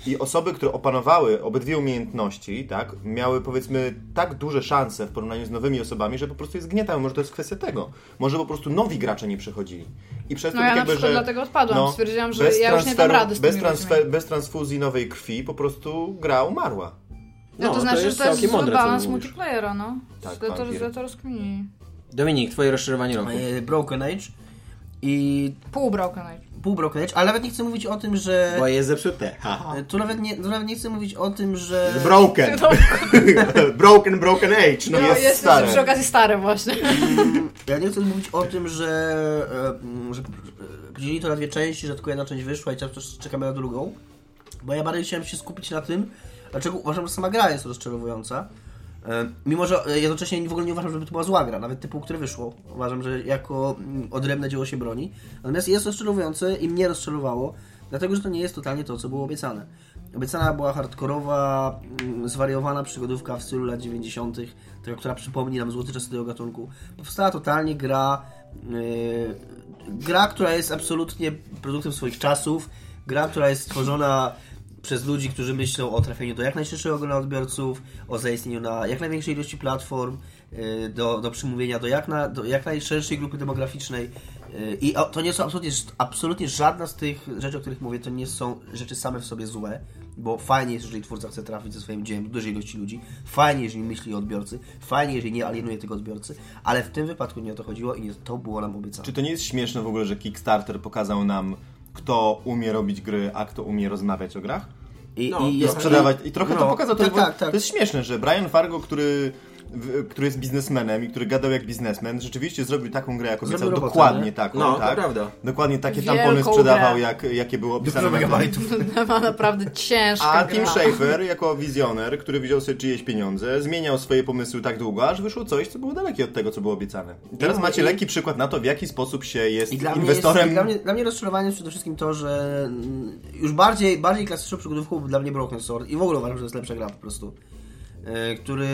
Speaker 2: I osoby, które opanowały obydwie umiejętności, tak, miały powiedzmy tak duże szanse w porównaniu z nowymi osobami, że po prostu je zgniatały. Może to jest kwestia tego. Może po prostu nowi gracze nie przechodzili. I przez
Speaker 3: No
Speaker 2: to
Speaker 3: ja
Speaker 2: tak
Speaker 3: na
Speaker 2: jakby,
Speaker 3: przykład
Speaker 2: że, no,
Speaker 3: dlatego odpadłam. Stwierdziłam, że
Speaker 2: bez
Speaker 3: ja już nie dam
Speaker 2: transferu-
Speaker 3: rady z
Speaker 2: bez,
Speaker 3: tymi ludźmi.
Speaker 2: bez transfuzji nowej krwi po prostu gra umarła.
Speaker 3: No, to znaczy, że to jest zły balans multiplayera, no.
Speaker 2: Tak,
Speaker 3: Tak, to, to,
Speaker 2: wampir.
Speaker 3: że to rozkminili.
Speaker 4: Tak. Dominik, twoje rozczarowanie roku.
Speaker 5: Y, Broken Age E, i
Speaker 3: Pół Broken Age.
Speaker 5: pół Broken Age, ale nawet nie chcę mówić o tym, że...
Speaker 4: Bo jest zepsute. Haha.
Speaker 5: Tu nawet nie, tu nawet nie chcę mówić o tym, że...
Speaker 4: Broken. [laughs] broken, broken age. No
Speaker 3: No,
Speaker 4: jest,
Speaker 3: jest
Speaker 4: stary.
Speaker 3: przy okazji stare właśnie. [laughs]
Speaker 5: Ja nie chcę mówić o tym, że, e, m, że e, podzielili to na dwie części, że tylko jedna część wyszła i teraz też czekamy na drugą. Bo ja bardziej chciałem się skupić na tym, dlaczego uważam, że sama gra jest rozczarowująca. E, Mimo, że e, jednocześnie w ogóle nie uważam, żeby to była zła gra, nawet typu, które wyszło. Uważam, że jako mm, odrębne dzieło się broni. Natomiast jest rozczarowujące i mnie rozczarowało, dlatego, że to nie jest totalnie to, co było obiecane. Obiecana była hardkorowa, mm, zwariowana przygodówka w stylu lat 90., taka, która przypomni nam złoty czas tego gatunku. Powstała totalnie gra, yy, gra, która jest absolutnie produktem swoich czasów, gra, która jest stworzona przez ludzi, którzy myślą o trafieniu do jak najszerszego grona odbiorców, o zaistnieniu na jak największej ilości platform, y, do, do przymówienia do jak, na, do jak najszerszej grupy demograficznej. y, I o- to nie są absolutnie, absolutnie żadna z tych rzeczy, o których mówię, to nie są rzeczy same w sobie złe, bo fajnie jest, jeżeli twórca chce trafić ze swoim dziełem do dużej ilości ludzi, fajnie, jeżeli myśli o odbiorcy, fajnie, jeżeli nie alienuje tego odbiorcy, ale w tym wypadku nie o to chodziło i nie to było nam obiecane.
Speaker 2: Czy to nie jest śmieszne w ogóle, że Kickstarter pokazał nam, kto umie robić gry, a kto umie rozmawiać o grach?
Speaker 5: I,
Speaker 4: No,
Speaker 2: I sprzedawać. I trochę to
Speaker 5: no,
Speaker 2: pokazał. To,
Speaker 5: tak,
Speaker 2: jest-
Speaker 5: tak, tak.
Speaker 2: to jest śmieszne, że Brian Fargo, który, w, który jest biznesmenem i który gadał jak biznesmen, rzeczywiście zrobił taką grę, jak obiecał.
Speaker 5: Zrobił robotę,
Speaker 2: Dokładnie
Speaker 5: nie?
Speaker 2: taką,
Speaker 4: No, to
Speaker 2: tak.
Speaker 4: prawda.
Speaker 2: Dokładnie takie
Speaker 3: Wielką
Speaker 2: tampony sprzedawał,
Speaker 3: grę.
Speaker 2: jak, jakie było opisane. na grę.
Speaker 5: megabajtów.
Speaker 3: Ma naprawdę ciężka
Speaker 2: A
Speaker 3: gra.
Speaker 2: Tim Schafer, jako wizjoner, który wziął sobie czyjeś pieniądze, zmieniał swoje pomysły tak długo, aż wyszło coś, co było dalekie od tego, co było obiecane. I teraz
Speaker 5: No,
Speaker 2: macie
Speaker 5: i-
Speaker 2: lekki przykład na to, w jaki sposób się jest
Speaker 5: I dla
Speaker 2: inwestorem.
Speaker 5: Mnie jest, i dla, mnie, dla mnie rozczarowaniem jest przede wszystkim to, że mm, już bardziej, bardziej klasyczną przygodówką był dla mnie Broken Sword i w ogóle uważam, że to jest lepsza gra po prostu. E, Który.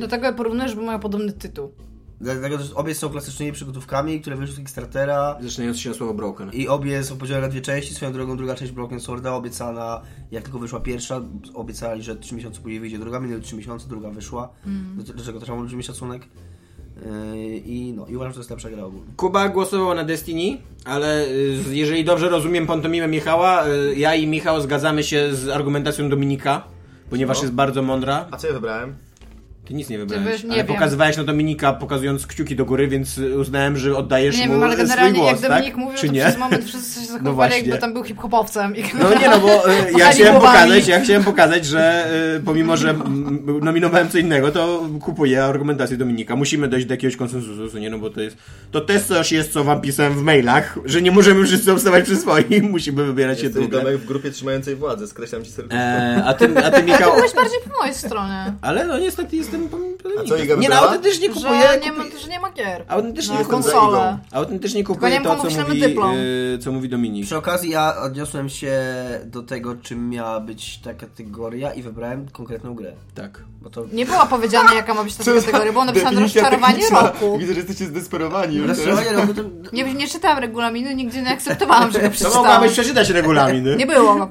Speaker 3: Do tego porównujesz, bo mają podobny tytuł.
Speaker 5: Dlatego, że obie są klasycznymi przygodówkami, które wyszły z Kickstartera
Speaker 4: Zaczynając się na słowo broken.
Speaker 5: i obie są podzielone na dwie części. Swoją drogą druga część Broken Sworda obiecana, jak tylko wyszła pierwsza, obiecali, że trzy miesiące później wyjdzie druga, minęły trzy miesiące, druga wyszła. Do, do czego też mam olbrzymi szacunek. E, I no, i uważam, że to jest lepsza gra ogólnie.
Speaker 4: Kuba głosował na Destiny, ale y, jeżeli dobrze rozumiem pantomimę Michała, y, ja i Michał zgadzamy się z argumentacją Dominika, ponieważ jest bardzo mądra.
Speaker 2: A co ja wybrałem?
Speaker 4: Ty nic nie wybrałeś,
Speaker 3: Ty wiesz, nie
Speaker 4: ale
Speaker 3: wiem.
Speaker 4: pokazywałeś na Dominika, pokazując kciuki do góry, więc uznałem, że oddajesz
Speaker 3: Nie
Speaker 4: mu
Speaker 3: wiem, ale
Speaker 4: swój
Speaker 3: generalnie
Speaker 4: głos,
Speaker 3: jak Dominik
Speaker 4: tak?
Speaker 3: mówił,
Speaker 4: Czy
Speaker 3: to
Speaker 4: nie? No
Speaker 3: przez moment wszyscy się zachowywali,
Speaker 4: właśnie.
Speaker 3: jakby tam był hip-hopowcem. I
Speaker 4: No nie no, bo y,
Speaker 3: [laughs]
Speaker 4: ja
Speaker 3: Machali
Speaker 4: chciałem
Speaker 3: głowami.
Speaker 4: pokazać, ja chciałem pokazać, że y, pomimo, że mm, nominowałem co innego, to kupuję argumentację Dominika. Musimy dojść do jakiegoś konsensusu, co nie no bo to jest. To też coś jest, co wam pisałem w mailach, że nie możemy wszyscy obstawać przy swoim, [laughs] musimy wybierać się
Speaker 2: Jesteś
Speaker 4: drugie.
Speaker 2: Domek w grupie trzymającej władzę, skreślam ci
Speaker 4: [laughs]
Speaker 2: serdecznie.
Speaker 4: E, a ty, a ty
Speaker 3: [laughs]
Speaker 4: Michał.
Speaker 3: Byłeś bardziej po mojej stronie.
Speaker 4: Ale no niestety jestem po- po-
Speaker 2: A co, Iga
Speaker 4: Nie no,
Speaker 2: wybrała?
Speaker 4: autentycznie kupuję.
Speaker 3: Że nie,
Speaker 4: kupuję-
Speaker 3: ma, że nie ma gier.
Speaker 4: Autentycznie
Speaker 3: na
Speaker 4: kupuję.
Speaker 3: No, konsolę.
Speaker 4: Autentycznie
Speaker 3: Tylko nie
Speaker 4: kupuję
Speaker 3: wiem,
Speaker 4: to,
Speaker 3: komu
Speaker 4: co
Speaker 3: wyślemy
Speaker 4: mówi,
Speaker 3: dyplom.
Speaker 4: y, co mówi Dominik.
Speaker 5: Przy okazji ja odniosłem się do tego, czym miała być ta kategoria i wybrałem konkretną grę.
Speaker 4: Tak.
Speaker 5: Bo to
Speaker 3: Nie było powiedziane, jaka ma być ta kategoria, było napisane
Speaker 2: Definicja
Speaker 3: rozczarowanie
Speaker 2: techniczna.
Speaker 3: roku.
Speaker 2: Widzę, że jesteście zdesperowani. już teraz.
Speaker 5: rozczarowanie roku no to...
Speaker 3: Nie, nie czytałam regulaminu, nigdzie nie akceptowałam, że go
Speaker 4: [laughs] To
Speaker 3: przeczytałam.
Speaker 4: mogłabyś przeczytać regulamin.
Speaker 3: Nie było go.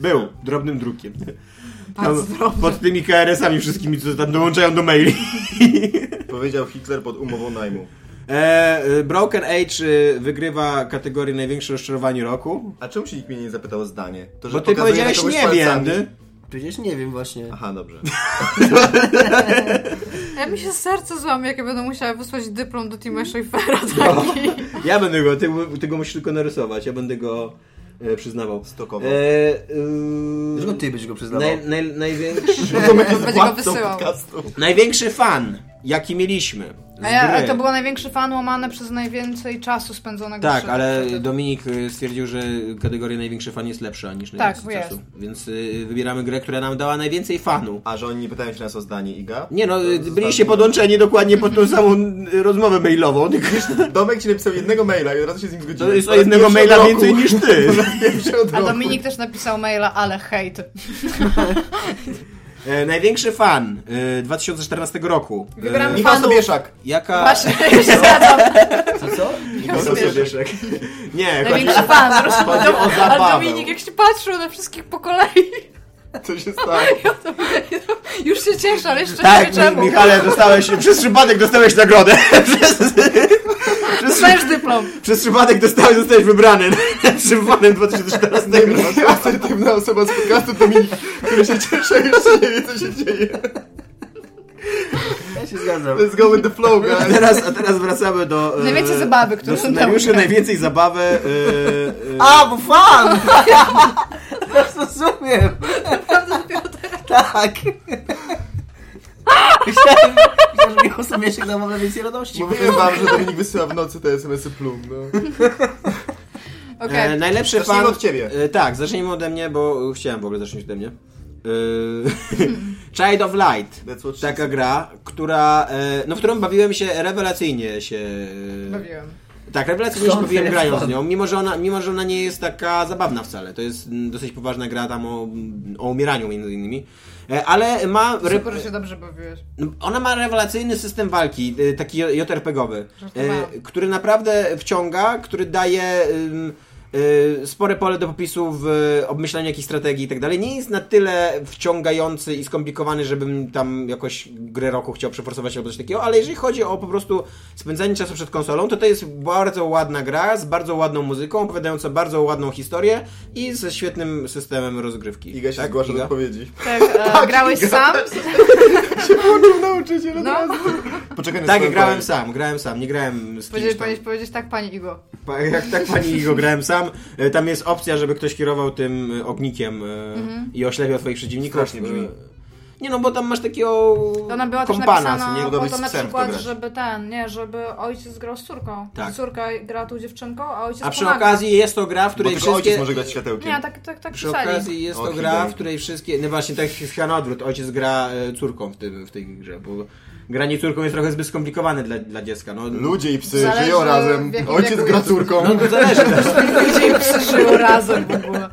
Speaker 4: Był, drobnym drukiem.
Speaker 3: Bardzo
Speaker 4: Tam
Speaker 3: drobnym.
Speaker 4: pod tymi KRS-ami wszystkimi, co tam dołączają do maili.
Speaker 2: [laughs] Powiedział Hitler pod umową najmu.
Speaker 4: E, e, Broken Age e, wygrywa kategorię największe rozczarowanie roku.
Speaker 2: A czemu się nikt mnie nie zapytał o zdanie? To, że
Speaker 4: Bo ty
Speaker 2: pokazuje
Speaker 4: powiedziałeś
Speaker 2: kogoś
Speaker 4: nie wiem.
Speaker 2: palcami.
Speaker 4: ty.
Speaker 5: Przecież nie wiem właśnie.
Speaker 2: Aha, dobrze.
Speaker 3: Ja mi się serce złamie, jak ja będę musiała wysłać dyplom do Tima Schafera taki.
Speaker 4: Ja będę go, ty, ty go musisz tylko narysować, ja będę go e, przyznawał.
Speaker 2: Stokował.
Speaker 4: E,
Speaker 5: Dlaczego
Speaker 4: y,
Speaker 5: ty byś go przyznawał?
Speaker 4: naj, naj, [laughs] największy,
Speaker 3: Będzie go wysyłał.
Speaker 4: największy fan, jaki mieliśmy. z
Speaker 3: A, ja,
Speaker 4: gry.
Speaker 3: a to było największy fan łamane przez najwięcej czasu spędzonego
Speaker 4: Tak,
Speaker 3: przed-
Speaker 4: ale
Speaker 3: przed-
Speaker 4: Dominik y, stwierdził, że kategoria największy fan jest lepsza niż największy
Speaker 3: bo Tak, jest.
Speaker 4: czasu. Więc y, wybieramy grę, która nam dała najwięcej fanu.
Speaker 2: A że oni nie pytają się nas o zdanie, Iga?
Speaker 4: Nie no, y,
Speaker 2: To
Speaker 4: byliście podłączeni dokładnie pod tą samą y, rozmowę mailową, tylko że
Speaker 2: Domek ci napisał jednego maila i od razu się z nim zgodziłem.
Speaker 4: to jest o
Speaker 2: Po raz
Speaker 4: jednego
Speaker 2: pierwszy od
Speaker 4: maila
Speaker 2: roku.
Speaker 4: więcej niż
Speaker 2: [laughs]
Speaker 4: ty.
Speaker 2: Po raz pierwszy od
Speaker 3: A
Speaker 2: roku.
Speaker 3: Dominik też napisał maila, ale hejt.
Speaker 4: Tak. E, największy fan y, 2014 roku. Y,
Speaker 3: Wybieramy
Speaker 2: Michał
Speaker 3: fanów.
Speaker 2: Sobieszak.
Speaker 4: Jaka...
Speaker 3: Właśnie, ja się zgadzam.
Speaker 4: [laughs]
Speaker 5: Co co?
Speaker 2: Sobieszak.
Speaker 4: Nie, chodzi,
Speaker 3: Największy fan.
Speaker 2: Chodzi o
Speaker 3: Ale
Speaker 2: zabawę.
Speaker 3: Dominik, jak się patrzył na wszystkich po kolei, [laughs]
Speaker 2: Co się stało?
Speaker 3: to no, już się cieszę, ale jeszcze nie
Speaker 4: [laughs] tak,
Speaker 3: wiem czemu.
Speaker 4: Michale, dostałeś, przez przypadek dostałeś nagrodę. [laughs] przez, przez,
Speaker 3: Dostajesz dyplom.
Speaker 4: przez przypadek dostałeś, zostałeś wybrany [laughs] najlepszym fanem 2014 roku.
Speaker 2: Najmniej No, asertywna osoba z podcastu Dominik, który się cieszy, już nie wie, co się dzieje.
Speaker 4: Ja się zgadzam.
Speaker 2: Let's go with the flow, [laughs]
Speaker 4: A
Speaker 2: guys.
Speaker 4: teraz, a teraz wracamy do... e,
Speaker 3: Najwięcej zabawy, którą
Speaker 4: Do scenariuszy,
Speaker 3: dał-
Speaker 4: najwięcej zabawy... e, e,
Speaker 5: A, bo fan! Teraz rozumiem. Tak. Myślałem, myślałem, że Michał Somieszek nam ma więcej radości.
Speaker 2: Mówiłem wam, że Dominik wysyła w nocy te SMS-y plum, no.
Speaker 3: Okej.
Speaker 4: E, najlepszy
Speaker 2: Zacznijmy
Speaker 4: fan...
Speaker 2: od ciebie.
Speaker 4: E, tak, zacznijmy ode mnie, bo e, [laughs] chciałem w ogóle zacząć ode mnie. E, Child of Light.
Speaker 2: That's what she
Speaker 4: Taka gra, która, e, no, w którą bawiłem się rewelacyjnie się... e,
Speaker 3: Bawiłem.
Speaker 4: Tak, rewelacyjnie się
Speaker 5: Skąd
Speaker 4: bawiłem
Speaker 5: tyle
Speaker 4: grając z
Speaker 5: fan?
Speaker 4: nią, mimo że, ona, mimo że ona nie jest taka zabawna wcale. To jest mm, dosyć poważna gra tam o, o umieraniu między innymi. E, Ale ma... re-
Speaker 3: Super, że się dobrze bawiłeś.
Speaker 4: No, ona ma rewelacyjny system walki, y, taki J- JRPG-owy,
Speaker 3: Żartowałam.
Speaker 4: y, który naprawdę wciąga, który daje ym, y, spore pole do popisu w y, obmyślaniu jakichś strategii i tak dalej. Nie jest na tyle wciągający i skomplikowany, żebym tam jakoś grę roku chciał przeforsować albo coś takiego, ale jeżeli chodzi o po prostu spędzanie czasu przed konsolą, to to jest bardzo ładna gra z bardzo ładną muzyką, opowiadająca bardzo ładną historię i ze świetnym systemem rozgrywki. Tak,
Speaker 2: Iga się zgłasza do
Speaker 4: Iga?
Speaker 2: [laughs] odpowiedzi.
Speaker 3: Tak, e, grałeś sam?
Speaker 2: Nauczyciel od
Speaker 3: No,
Speaker 2: Poczekaj na
Speaker 4: Tak,
Speaker 2: swoją
Speaker 4: grałem
Speaker 2: kolej.
Speaker 4: sam, grałem sam, nie grałem z kimś
Speaker 3: powinieneś
Speaker 4: tam.
Speaker 3: powiedzieć, powiedzieć tak, pani Igo.
Speaker 4: Pa- Jak tak
Speaker 3: [laughs]
Speaker 4: pani go grałem sam, e, tam jest opcja, żeby ktoś kierował tym e, ognikiem e,
Speaker 3: Mhm.
Speaker 4: i oślepiał twoich przeciwników.
Speaker 2: Strasznie brzmi.
Speaker 4: E, Nie no, bo tam masz takiego
Speaker 3: To nam była też
Speaker 4: kompana, co
Speaker 3: napisana
Speaker 4: nie?
Speaker 2: Podoba
Speaker 3: po
Speaker 2: być
Speaker 3: to na
Speaker 2: z psem w to
Speaker 3: przykład,
Speaker 2: grać.
Speaker 3: żeby ten, nie, żeby ojciec grał z córką.
Speaker 4: Tak.
Speaker 3: Córka gra tu dziewczynką, a ojciec
Speaker 4: A przy
Speaker 3: pomaga.
Speaker 4: okazji jest to gra, w
Speaker 2: Bo
Speaker 4: której
Speaker 2: tylko ojciec
Speaker 4: wszystkie...
Speaker 2: może grać światełkiem.
Speaker 3: Nie, tak, tak, tak
Speaker 4: Przy
Speaker 3: pisali.
Speaker 4: okazji jest to
Speaker 2: Och,
Speaker 4: gra,
Speaker 2: idei.
Speaker 4: w której wszystkie... No właśnie, tak jest chyba na odwrót. Ojciec gra e, córką w, tym, w tej grze, bo granie córką jest trochę zbyt skomplikowane dla, dla dziecka. No,
Speaker 2: Ludzie i psy
Speaker 3: Zależy,
Speaker 2: żyją
Speaker 3: w
Speaker 2: razem.
Speaker 3: jakim
Speaker 2: Ojciec
Speaker 3: wieku
Speaker 2: gra
Speaker 3: jest.
Speaker 2: córką.
Speaker 4: no to zależy.
Speaker 3: Ludzie im przeżyło razem w ogóle.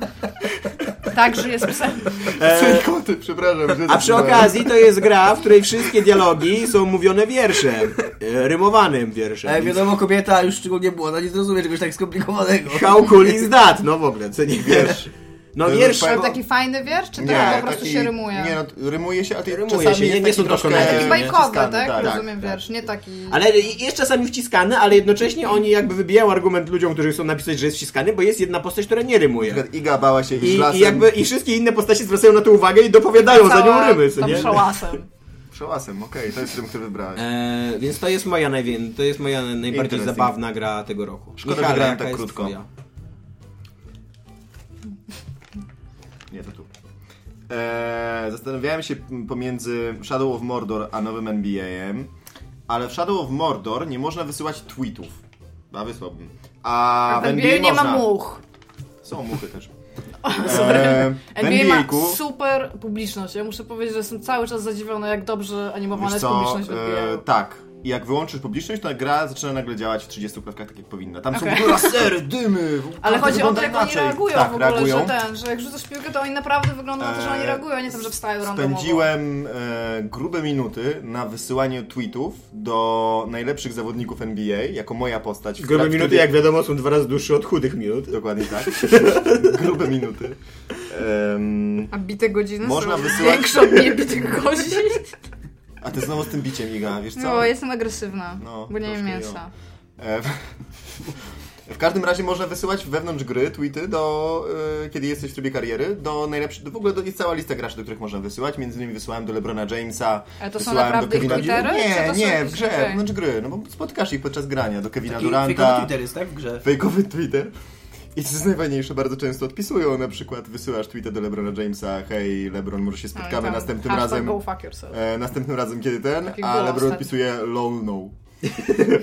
Speaker 3: Tak, że jest psem.
Speaker 2: [laughs] Psy i koty, przepraszam. że
Speaker 4: A przy
Speaker 2: zatrzymałem.
Speaker 4: okazji to jest gra, w której wszystkie dialogi są mówione wierszem. e, Rymowanym wierszem.
Speaker 5: A jak E, wiadomo, kobieta już szczególnie była, ona nie zrozumie czegoś tak skomplikowanego.
Speaker 4: How cool is that? No w ogóle, co nie wiesz. No
Speaker 2: To
Speaker 4: wiersz...
Speaker 2: jest
Speaker 3: Ale taki fajny wiersz, czy
Speaker 2: Nie, no,
Speaker 3: tak po prostu
Speaker 2: taki-
Speaker 3: się rymuje?
Speaker 2: Nie, no, rymuje się, a ty
Speaker 4: Rymuje
Speaker 2: czasami
Speaker 4: się, nie-
Speaker 2: jest
Speaker 4: nie są
Speaker 2: taki troszkę...
Speaker 4: dokonane.
Speaker 3: taki
Speaker 4: nie,
Speaker 3: bajkowy, tak?
Speaker 2: wciskany, tak.
Speaker 3: Rozumiem wiersz, nie taki...
Speaker 4: Ale i- jest czasami wciskany, ale jednocześnie oni jakby wybijają argument ludziom, którzy chcą napisać, że jest wciskany, bo jest jedna postać, która nie
Speaker 2: Na
Speaker 4: rymuje.
Speaker 2: przykład Iga bała się
Speaker 4: I,
Speaker 2: lasem.
Speaker 4: i jakby i wszystkie inne postacie zwracają na to uwagę i dopowiadają za nią rymy, co
Speaker 3: tam
Speaker 4: nie?
Speaker 3: przełasem.
Speaker 2: Przełasem, okej, to jest rym, który wybrałem.
Speaker 4: E, więc to jest moja, najwię- to jest moja najbardziej
Speaker 2: Interesting.
Speaker 4: zabawna gra tego roku.
Speaker 2: Szkoda, że
Speaker 4: Michale,
Speaker 2: grałem
Speaker 4: jaka
Speaker 2: tak
Speaker 4: jest
Speaker 2: krótko.
Speaker 4: twoja?
Speaker 2: Nie, to tu. Eee, zastanawiałem się m, pomiędzy Shadow of Mordor a nowym NBA-em, ale w Shadow of Mordor nie można wysyłać tweetów. A wysłałbym. A,
Speaker 3: A
Speaker 2: w NBA,
Speaker 3: nie ma
Speaker 2: można.
Speaker 3: much.
Speaker 2: Są muchy
Speaker 3: [laughs]
Speaker 2: też. Eee, w
Speaker 3: NBA ma
Speaker 2: NBA-ku,
Speaker 3: super publiczność. Ja muszę powiedzieć, że jestem cały czas zadziwiona, jak dobrze animowana
Speaker 2: wiesz
Speaker 3: jest
Speaker 2: co,
Speaker 3: publiczność w
Speaker 2: eee,
Speaker 3: NBA.
Speaker 2: tak. I jak wyłączysz publiczność, to gra zaczyna nagle działać w 30 klatkach tak jak powinna. Tam
Speaker 3: Okej.
Speaker 2: są lasery, dymy. w-
Speaker 3: Ale
Speaker 2: to
Speaker 3: chodzi o
Speaker 2: wygląda
Speaker 3: to, jak oni
Speaker 2: inaczej.
Speaker 3: reagują
Speaker 2: tak,
Speaker 3: w ogóle,
Speaker 2: reagują.
Speaker 3: że ten, że jak rzucasz piłkę, to oni naprawdę wyglądają na to, że oni
Speaker 2: Eee,
Speaker 3: reagują, a nie tam, że wstają randomowo.
Speaker 2: Spędziłem e, grube minuty na wysyłaniu tweetów do najlepszych zawodników NBA, jako moja postać. w
Speaker 4: Grube
Speaker 2: trakcie-
Speaker 4: minuty, jak wiadomo, są dwa razy dłuższe od chudych minut.
Speaker 2: [laughs] Dokładnie
Speaker 4: [laughs]
Speaker 2: tak. grube minuty. Em,
Speaker 3: A bite godziny
Speaker 2: Można
Speaker 3: są
Speaker 2: wysyłać-
Speaker 3: większe od niebitych godzin.
Speaker 2: a ty znowu z tym biciem, Iga, wiesz co?
Speaker 3: [laughs] No, jestem agresywna,
Speaker 2: No,
Speaker 3: bo nie jem
Speaker 2: troszkę
Speaker 3: mięsa.
Speaker 2: E, w, w każdym razie można wysyłać wewnątrz gry tweety do, e, kiedy jesteś w trybie kariery, do najlepszych, do, w ogóle do, jest cała lista graczy, do których można wysyłać, między innymi wysyłałem do Lebrona Jamesa,
Speaker 3: Ale to są
Speaker 2: wysyłałem do
Speaker 3: naprawdę
Speaker 2: Kevina
Speaker 3: ich twittery?
Speaker 2: Dur-
Speaker 3: Czy
Speaker 2: Nie,
Speaker 3: to są
Speaker 2: nie,
Speaker 3: jakieś-
Speaker 2: w grze,
Speaker 3: okej.
Speaker 2: wewnątrz gry, no bo spotkasz ich podczas grania, do Kevina
Speaker 5: Taki fake
Speaker 2: Duranta,
Speaker 5: Twitter jest, tak, w grze?
Speaker 2: fejkowy Twitter. I co jest najfajniejsze, bardzo często odpisują, na przykład wysyłasz tweeta do Lebrona Jamesa, hej Lebron, może się
Speaker 3: No i
Speaker 2: spotkamy
Speaker 3: tam
Speaker 2: następnym
Speaker 3: hashtag
Speaker 2: razem.
Speaker 3: go fuck yourself.
Speaker 2: E, następnym razem kiedy ten,
Speaker 3: Taki
Speaker 2: a
Speaker 3: było
Speaker 2: Lebron
Speaker 3: ostatnio.
Speaker 2: odpisuje lol no.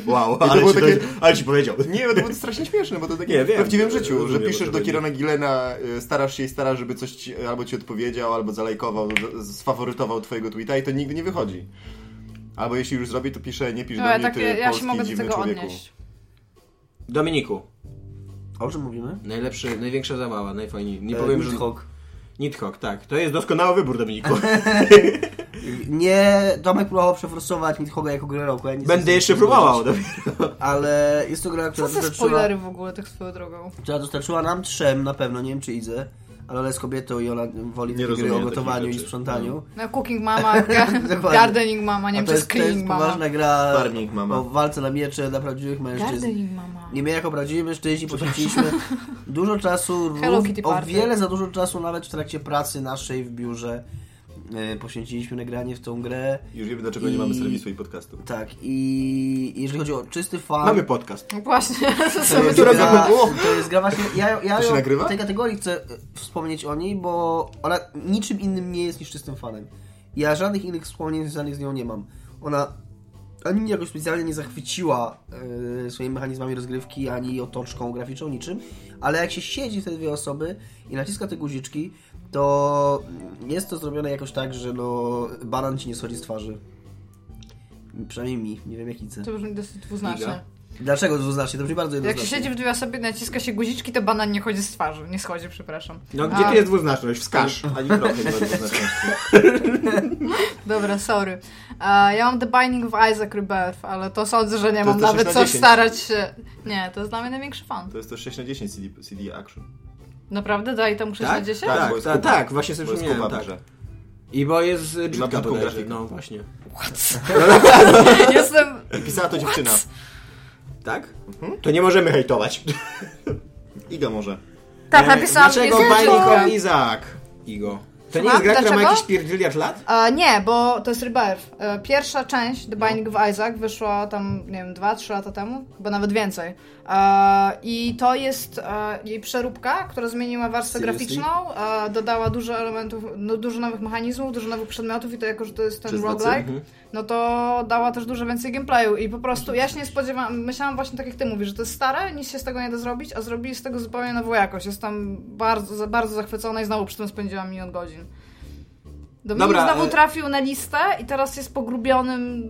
Speaker 4: Wow,
Speaker 2: to
Speaker 4: ale
Speaker 2: było
Speaker 4: ci,
Speaker 2: takie-
Speaker 4: do- ale ci powiedział.
Speaker 2: Nie, bo to było strasznie śmieszne, bo to takie
Speaker 4: Nie,
Speaker 2: w
Speaker 4: wiem.
Speaker 2: prawdziwym życiu,
Speaker 4: Rozumiem,
Speaker 2: że
Speaker 4: o
Speaker 2: piszesz do
Speaker 4: co chodzi.
Speaker 2: Kirona Gillena, y, starasz się i starasz, żeby coś ci, albo ci odpowiedział, albo zalajkował, z- sfaworytował twojego tweeta i to nigdy nie wychodzi. Albo jeśli już zrobi, to pisze, nie pisz
Speaker 3: No,
Speaker 2: do
Speaker 3: ale
Speaker 2: mnie, ty
Speaker 3: takie, ja
Speaker 2: polski
Speaker 3: się mogę do
Speaker 2: dziwny
Speaker 3: tego
Speaker 2: człowieku.
Speaker 3: odnieść.
Speaker 4: Dominiku,
Speaker 5: O czym mówimy?
Speaker 4: najlepszy, największa zabawa, najfajniej. Nie
Speaker 5: E,
Speaker 4: powiem, że...
Speaker 5: Nidhogg.
Speaker 4: Nidhogg, tak. To jest doskonały wybór, [laughs] Dominiku.
Speaker 5: Nie, Tomek próbował przeforsować Nidhoga jako grę roku. Ja nie
Speaker 4: Będę
Speaker 5: jestem
Speaker 4: jeszcze
Speaker 5: w stanie
Speaker 4: próbował.
Speaker 5: zobaczyć. Ale jest to gra,
Speaker 3: Co
Speaker 5: która
Speaker 3: za
Speaker 5: dostarczyła,
Speaker 3: spoilery w ogóle tych
Speaker 2: [laughs]
Speaker 3: swoją drogą?
Speaker 5: która dostarczyła nam trzem na pewno, nie wiem czy idę, ale ona jest kobietą i ona woli
Speaker 2: Nie
Speaker 5: takie gry
Speaker 2: rozumiem
Speaker 5: o
Speaker 2: takich
Speaker 5: gotowaniu i
Speaker 2: rzeczy.
Speaker 5: sprzątaniu.
Speaker 3: No, cooking
Speaker 2: [laughs]
Speaker 3: mama,
Speaker 5: Dokładnie.
Speaker 3: gardening mama, nie
Speaker 5: A
Speaker 3: wiem,
Speaker 5: to
Speaker 3: czy
Speaker 5: jest, to jest
Speaker 3: screening mama.
Speaker 5: poważna gra
Speaker 2: Farming mama.
Speaker 5: o walce na miecze dla prawdziwych mężczyzn.
Speaker 3: Gardening mama.
Speaker 5: Nie my jako prawdziwi mężczyźni poświęciliśmy
Speaker 3: [laughs]
Speaker 5: dużo czasu,
Speaker 3: Hello
Speaker 5: rów-
Speaker 3: Kitty
Speaker 5: o
Speaker 3: Party.
Speaker 5: wiele za dużo czasu nawet w trakcie pracy naszej w biurze e, poświęciliśmy nagranie w tą grę.
Speaker 2: Już wiemy, dlaczego nie mamy serwisu i podcastu.
Speaker 5: Tak, i jeżeli chodzi o czysty fan...
Speaker 4: Mamy podcast.
Speaker 3: No Właśnie, [laughs] to
Speaker 5: To
Speaker 3: sobie
Speaker 5: jest,
Speaker 2: Która
Speaker 5: gra,
Speaker 2: by było?
Speaker 5: to jest gra właśnie, ja, ja
Speaker 2: To się
Speaker 5: ją-
Speaker 2: nagrywa?
Speaker 5: w tej kategorii chcę e, wspomnieć o niej, bo ona niczym innym nie jest niż czystym fanem. Ja żadnych innych wspomnień związanych z nią nie mam. Ona ani mnie jakoś specjalnie nie zachwyciła e, swoimi mechanizmami rozgrywki, ani otoczką graficzną, niczym, ale jak się siedzi te dwie osoby i naciska te guziczki, to jest to zrobione jakoś tak, że no banan ci nie schodzi z twarzy. Przynajmniej mi, nie wiem jak idę.
Speaker 3: To brzmi dosyć dwuznacznie.
Speaker 2: Iga?
Speaker 5: Dlaczego to znaczy? To brzmi bardzo
Speaker 3: Jak
Speaker 5: jednoznacznie.
Speaker 3: się siedzi w dwie osoby i naciska się guziczki, to banan nie chodzi z twarzy. Nie schodzi, przepraszam.
Speaker 4: No gdzie
Speaker 3: A.
Speaker 4: tu jest dwuznaczność? Wskaż.
Speaker 2: Ani trochę nie ma znaczności.
Speaker 3: Dobra, sorry. A, ja mam The Binding of Isaac Rebirth, ale to sądzę, że
Speaker 2: To
Speaker 3: nie mam
Speaker 2: jest to
Speaker 3: nawet
Speaker 2: 6 na
Speaker 3: co
Speaker 2: 10.
Speaker 3: starać się. Nie, to jest dla mnie największy fan.
Speaker 2: To jest to 6 na 10 CD, CD Action.
Speaker 3: Naprawdę? Daj temu 6 na
Speaker 4: Tak?
Speaker 3: 10?
Speaker 2: Tak,
Speaker 4: Tak,
Speaker 2: bo jest
Speaker 4: tak,
Speaker 2: kupa.
Speaker 4: tak, właśnie sobie
Speaker 2: Bo jest
Speaker 4: przypomniałem.
Speaker 2: kupa
Speaker 4: Tak.
Speaker 2: w grze.
Speaker 4: I bo jest y, brzydka
Speaker 2: brzydką
Speaker 4: bodajże.
Speaker 2: grafikę.
Speaker 4: No właśnie.
Speaker 3: [laughs] Jestem.
Speaker 2: I pisała to dziewczyna.
Speaker 4: Tak? To nie możemy hejtować.
Speaker 2: Iga może.
Speaker 3: Tak,
Speaker 4: E,
Speaker 3: napisałam
Speaker 4: Dlaczego
Speaker 3: jest-
Speaker 4: Binding
Speaker 3: Dlaczego?
Speaker 4: of Isaac? Igo. To nie
Speaker 3: Słucham?
Speaker 4: jest gra, która ma
Speaker 3: Dlaczego?
Speaker 4: jakiś pierdyliarz lat?
Speaker 3: A, nie, bo to jest Rebirth. E, Pierwsza część The Binding of Isaac wyszła tam, nie wiem, 2-3 lata temu, chyba nawet więcej. E, I to jest e, jej przeróbka, która zmieniła warstwę
Speaker 4: Seriously?
Speaker 3: graficzną, e, dodała dużo elementów, no, dużo nowych mechanizmów, dużo nowych przedmiotów i to jako, że to jest ten
Speaker 2: Przez nocy?
Speaker 3: roguelike, no to dała też dużo więcej gameplayu i po prostu ja się nie spodziewałam, myślałam właśnie tak jak ty mówisz, że to jest stare, nic się z tego nie da zrobić, a zrobili z tego zupełnie nową jakość. Jestem bardzo, za- bardzo zachwycona i znowu przy tym spędziłam milion godzin. Dominik
Speaker 4: Dobra,
Speaker 3: znowu
Speaker 4: e-
Speaker 3: trafił na listę i teraz jest pogrubionym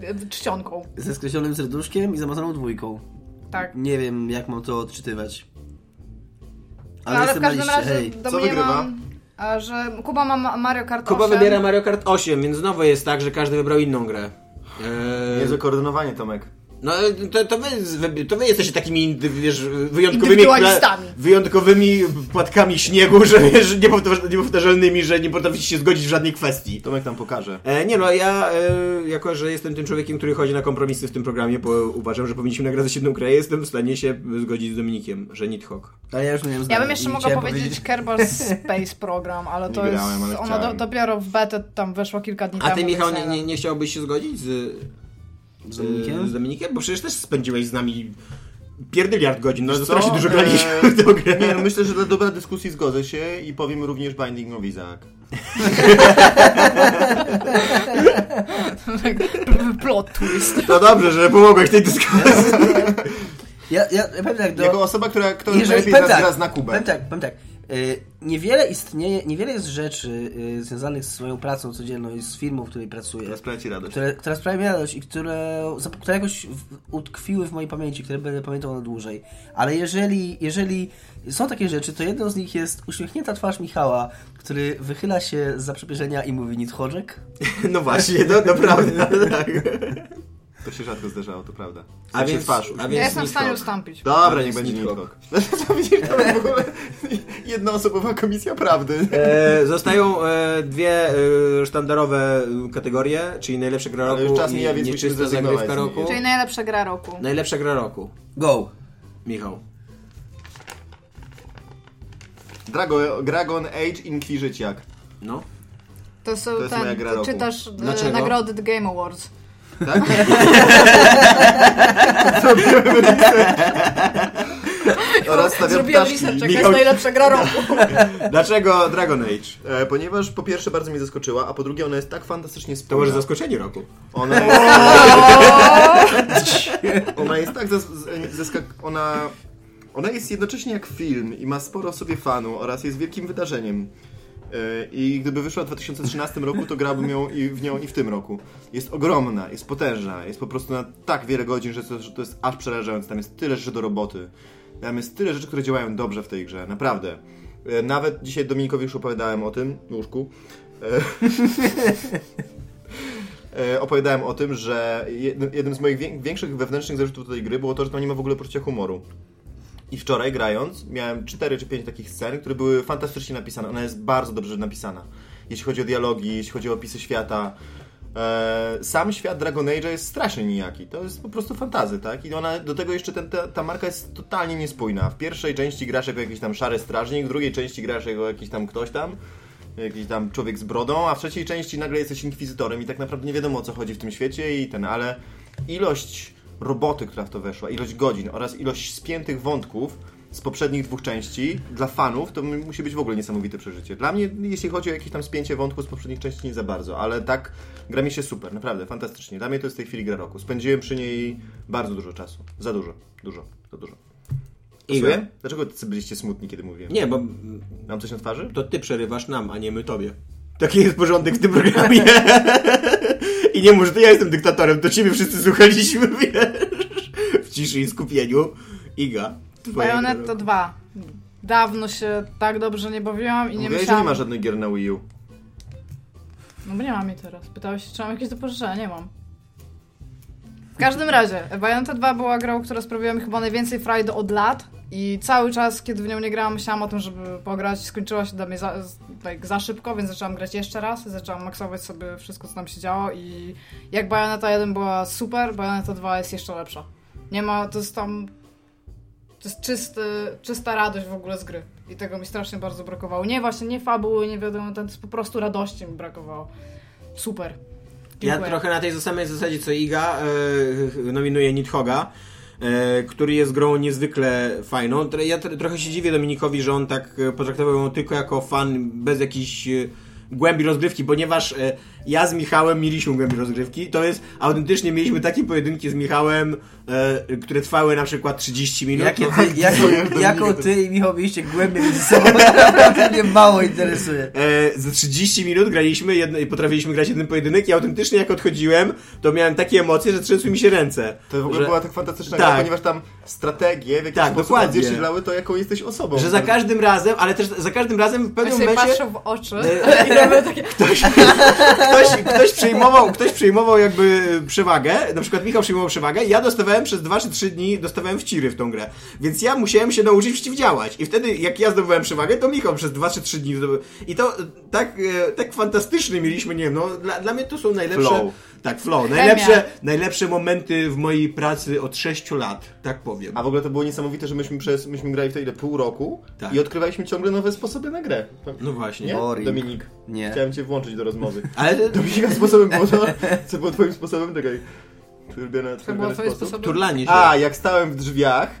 Speaker 3: e, czcionką.
Speaker 5: Ze skreślonym serduszkiem i zamazaną dwójką.
Speaker 3: Tak.
Speaker 5: Nie wiem, jak mam to odczytywać.
Speaker 3: No, Ale, ale w
Speaker 5: jestem na
Speaker 3: każdym
Speaker 5: liście,
Speaker 3: razie
Speaker 5: hej.
Speaker 3: domniemam, a, że Kuba ma Ma- Mario Kart 8.
Speaker 4: Kuba wybiera Mario Kart 8, więc znowu jest tak, że każdy wybrał inną grę. Eee,
Speaker 2: Niezłe koordynowanie, Tomek.
Speaker 4: no to, to, wy, z- wy- to wy jesteście takimi indy- wiesz, wyjątkowymi,
Speaker 3: Indywidualistami.
Speaker 4: wyjątkowymi płatkami śniegu, [laughs] że wiesz, niepowtarz- niepowtarzalnymi, że nie potraficie się zgodzić w żadnej kwestii.
Speaker 2: Tomek nam pokaże.
Speaker 4: E, nie no, ja e, jako, że jestem tym człowiekiem, który chodzi na kompromisy w tym programie, bo uważam, że powinniśmy nagradzać jedną grę, jestem w stanie się zgodzić z Dominikiem, że Nidhogg.
Speaker 5: Ale ja już nie wiem
Speaker 3: Ja
Speaker 5: zdania.
Speaker 3: bym jeszcze
Speaker 5: Nie
Speaker 3: mogła
Speaker 5: chciałem
Speaker 3: powiedzieć,
Speaker 4: [laughs]
Speaker 3: Kerbal Space Program, ale to
Speaker 2: Nie
Speaker 3: jest.
Speaker 2: grałem, ale
Speaker 3: ono do,
Speaker 2: chciałem.
Speaker 3: dopiero w betę tam weszło kilka dni
Speaker 4: A
Speaker 3: temu.
Speaker 4: ty Michał,
Speaker 3: więc
Speaker 4: nie, nie, nie chciałbyś się zgodzić z,
Speaker 5: Z
Speaker 4: z
Speaker 5: Dominikiem?
Speaker 4: Dominikiem? Bo przecież też spędziłeś z nami pierdyliard godzin, no
Speaker 2: Co?
Speaker 4: strasznie dużo graliśmy
Speaker 5: E,
Speaker 2: Eee,
Speaker 4: w tę grę.
Speaker 2: Nie, no myślę, że dla dobra dyskusji zgodzę się i powiem również Binding of Isaac.
Speaker 3: wiem. Plot twist.
Speaker 4: To dobrze, że pomogłeś tej dyskusji.
Speaker 5: Ja, ja, ja powiem tak, do...
Speaker 2: Jako osoba, która kto
Speaker 5: Jeżeli-
Speaker 2: najlepiej
Speaker 5: powiem
Speaker 2: zazgra zna Kubę.
Speaker 5: Powiem tak, powiem tak. Y, niewiele istnieje, niewiele jest rzeczy y, związanych z swoją pracą codzienną i z firmą, w której pracuję.
Speaker 2: Teraz sprawia ci radość.
Speaker 5: Które, która sprawia mi radość i które, za- które jakoś w- utkwiły w mojej pamięci, które będę pamiętał na dłużej. Ale jeżeli, jeżeli są takie rzeczy, to jedną z nich jest uśmiechnięta twarz Michała, który wychyla się z zaprzepierzenia i mówi nitchorzek.
Speaker 4: [laughs] No właśnie, no naprawdę, no, tak.
Speaker 2: To się rzadko zdarzało, to prawda.
Speaker 4: A
Speaker 2: Tak się
Speaker 4: więc-
Speaker 2: twarz,
Speaker 4: a
Speaker 3: Ja
Speaker 4: więc-
Speaker 3: jestem w stanie
Speaker 2: Nidhogg.
Speaker 3: ustąpić.
Speaker 2: Dobra, niech
Speaker 4: Jest
Speaker 2: będzie
Speaker 4: Nidhogg.
Speaker 2: [laughs] Nidhogg. To widzisz, Tomek, w ogóle jednoosobowa komisja prawdy.
Speaker 4: E, zostają e, dwie e, sztandarowe e, kategorie, czyli najlepsza gra
Speaker 2: Ale
Speaker 4: roku
Speaker 2: już czas
Speaker 4: i
Speaker 2: mija, więc musimy
Speaker 4: nieczysta
Speaker 2: zrezygnować
Speaker 4: zagrywka
Speaker 2: z niej.
Speaker 4: roku.
Speaker 3: Czyli najlepsza gra roku.
Speaker 4: Najlepsza gra roku.
Speaker 5: Go!
Speaker 4: Michał.
Speaker 2: Drago, Dragon Age Inkwizyciak.
Speaker 4: No.
Speaker 3: To są
Speaker 2: To jest moja
Speaker 3: ten.
Speaker 2: gra
Speaker 3: Ty
Speaker 2: roku. [laughs]
Speaker 3: czytasz e,
Speaker 4: Dlaczego?
Speaker 3: nagrody The Game Awards.
Speaker 2: Tak? Oraz stawiam
Speaker 3: Zrobiłem
Speaker 2: ptaszki.
Speaker 3: research, jaka jest
Speaker 4: Michał-
Speaker 3: najlepsza gra roku.
Speaker 4: Dlaczego Dragon Age?
Speaker 2: E, Ponieważ po pierwsze bardzo mnie zaskoczyła, a po drugie ona jest tak fantastycznie
Speaker 4: To może
Speaker 2: spójna.
Speaker 4: zaskoczenie roku.
Speaker 2: Ona jest... [laughs] ona jest tak zas- z- zaskak... Ona... Ona jest jednocześnie jak film i ma sporo w sobie fanu oraz jest wielkim wydarzeniem. E, I gdyby wyszła w 2013 roku, to grałbym ją i w nią i w tym roku. Jest ogromna, jest potężna, jest po prostu na tak wiele godzin, że to, że to jest aż przerażające. Tam jest tyle rzeczy do roboty. Tam jest tyle rzeczy, które działają dobrze w tej grze, naprawdę. E, Nawet dzisiaj Dominikowi już opowiadałem o tym, łóżku. E, e, opowiadałem o tym, że jednym, jednym z moich wię- większych wewnętrznych zarzutów do tej gry było to, że tam nie ma w ogóle poczucia humoru. I wczoraj grając, miałem 4 czy 5 takich scen, które były fantastycznie napisane. Ona jest bardzo dobrze napisana. Jeśli chodzi o dialogi, jeśli chodzi o opisy świata. E, sam świat Dragon Age'a jest strasznie nijaki. To jest po prostu fantazy, tak? I ona, do tego jeszcze ten, ta, ta marka jest totalnie niespójna. W pierwszej części grasz jako jakiś tam szary strażnik, w drugiej części grasz jako jakiś tam ktoś tam. jakiś tam człowiek z brodą, a w trzeciej części nagle jesteś inkwizytorem i tak naprawdę nie wiadomo o co chodzi w tym świecie i ten, ale ilość roboty, która w to weszła, ilość godzin oraz ilość spiętych wątków z poprzednich dwóch części dla fanów to m- musi być w ogóle niesamowite przeżycie. Dla mnie, jeśli chodzi o jakieś tam spięcie wątków z poprzednich części, nie za bardzo, ale tak gra mi się super, naprawdę, fantastycznie. Dla mnie to jest w tej chwili gra roku. Spędziłem przy niej bardzo dużo czasu. Za dużo, dużo, za dużo. Słuchaj, Dlaczego tacy byliście smutni, kiedy mówiłem?
Speaker 4: Nie, bo
Speaker 2: Mam coś na twarzy?
Speaker 4: to ty przerywasz nam, a nie my tobie. Taki jest porządek w tym programie. [laughs] I nie może, to ja jestem dyktatorem, to ciebie wszyscy słuchaliśmy, [laughs] wiesz, w ciszy i skupieniu. Iga, twoja
Speaker 3: Bayonetta 2. Dawno się tak dobrze nie bawiłam i
Speaker 2: Mówiłeś,
Speaker 3: nie
Speaker 2: że nie
Speaker 3: myślałam...
Speaker 2: ma żadnych gier na Wii U.
Speaker 3: No bo nie mam jej teraz. Pytałeś się, czy mam jakieś do pożyczenia. Nie mam. W każdym razie, Bayonetta 2 była grą, która sprawiła mi chyba najwięcej frajdy od lat i cały czas, kiedy w nią nie grałam, myślałam o tym, żeby pograć. Skończyła się dla mnie za, z- tak za szybko, więc zaczęłam grać jeszcze raz. Zaczęłam maksować sobie wszystko, co tam się działo i jak Bayonetta 1 była super, Bayonetta 2 jest jeszcze lepsza. Nie ma, to jest tam... To jest czysty, czysta radość w ogóle z gry. I tego mi strasznie bardzo brakowało. Nie właśnie, nie fabuły, nie wiadomo, to jest po prostu radości mi brakowało. Super.
Speaker 4: Ja
Speaker 3: Dziękuję.
Speaker 4: trochę na tej samej zasadzie co Iga e, nominuję Nidhoga, e, który jest grą niezwykle fajną. Tro- Ja tr- trochę się dziwię Dominikowi, że on tak e, potraktował ją tylko jako fan bez jakiejś e, głębi rozgrywki, ponieważ e, ja z Michałem mieliśmy głębi rozgrywki. To jest, autentycznie mieliśmy takie pojedynki z Michałem, e, które trwały na przykład 30 minut.
Speaker 5: Jakie
Speaker 4: No,
Speaker 5: ty, jako, jako ty i Michał mieliście głębie między sobą, to naprawdę mnie mało interesuje.
Speaker 4: E, ze 30 minut graliśmy jedno, i potrafiliśmy grać jeden pojedynek i autentycznie jak odchodziłem, to miałem takie emocje, że trzęsły mi się ręce.
Speaker 2: To w ogóle
Speaker 4: że,
Speaker 2: była tak fantastyczna
Speaker 4: Tak.
Speaker 2: gra, ponieważ tam strategie w jakiś
Speaker 4: Tak,
Speaker 2: sposób
Speaker 4: dokładnie.
Speaker 2: odzwierciedlały to, jaką jesteś osobą.
Speaker 4: Że za każdym razem, ale też za każdym razem w
Speaker 3: Ja
Speaker 4: pewnym
Speaker 3: sobie
Speaker 4: momencie
Speaker 3: patrzę w
Speaker 4: [laughs]
Speaker 3: oczy
Speaker 4: E,
Speaker 3: i robię takie...
Speaker 4: ktoś, ktoś, ktoś, przejmował, ktoś przejmował jakby przewagę, na przykład Michał przejmował przewagę i ja dostawałem przez 2 czy 3 dni, dostawałem wciry w tą grę. Więc ja musiałem się nauczyć przeciwdziałać. I wtedy jak ja zdobywałem przewagę, to Michał przez 2 czy 3 dni zdobył. I to e, tak, e, tak fantastyczny mieliśmy, nie wiem, no dla, dla mnie to są najlepsze...
Speaker 2: Flow.
Speaker 4: Tak, flow. Najlepsze, najlepsze momenty w mojej pracy od 6 lat, tak powiem.
Speaker 2: A w ogóle to było niesamowite, że myśmy, przez, myśmy grali w to ile pół roku
Speaker 4: Tak.
Speaker 2: i odkrywaliśmy ciągle nowe sposoby na grę.
Speaker 4: No właśnie.
Speaker 2: Nie?
Speaker 5: Boring.
Speaker 2: Dominik,
Speaker 5: Nie.
Speaker 2: chciałem cię włączyć do rozmowy. [laughs]
Speaker 4: Ale
Speaker 2: Dominika sposobem było to, co było twoim sposobem? Czekaj. Twój ulubiony,
Speaker 3: To
Speaker 2: twój
Speaker 3: było
Speaker 2: ulubiony
Speaker 3: twoje
Speaker 2: sposób?
Speaker 3: sposoby.
Speaker 4: turlanie się.
Speaker 2: A, jak stałem w drzwiach...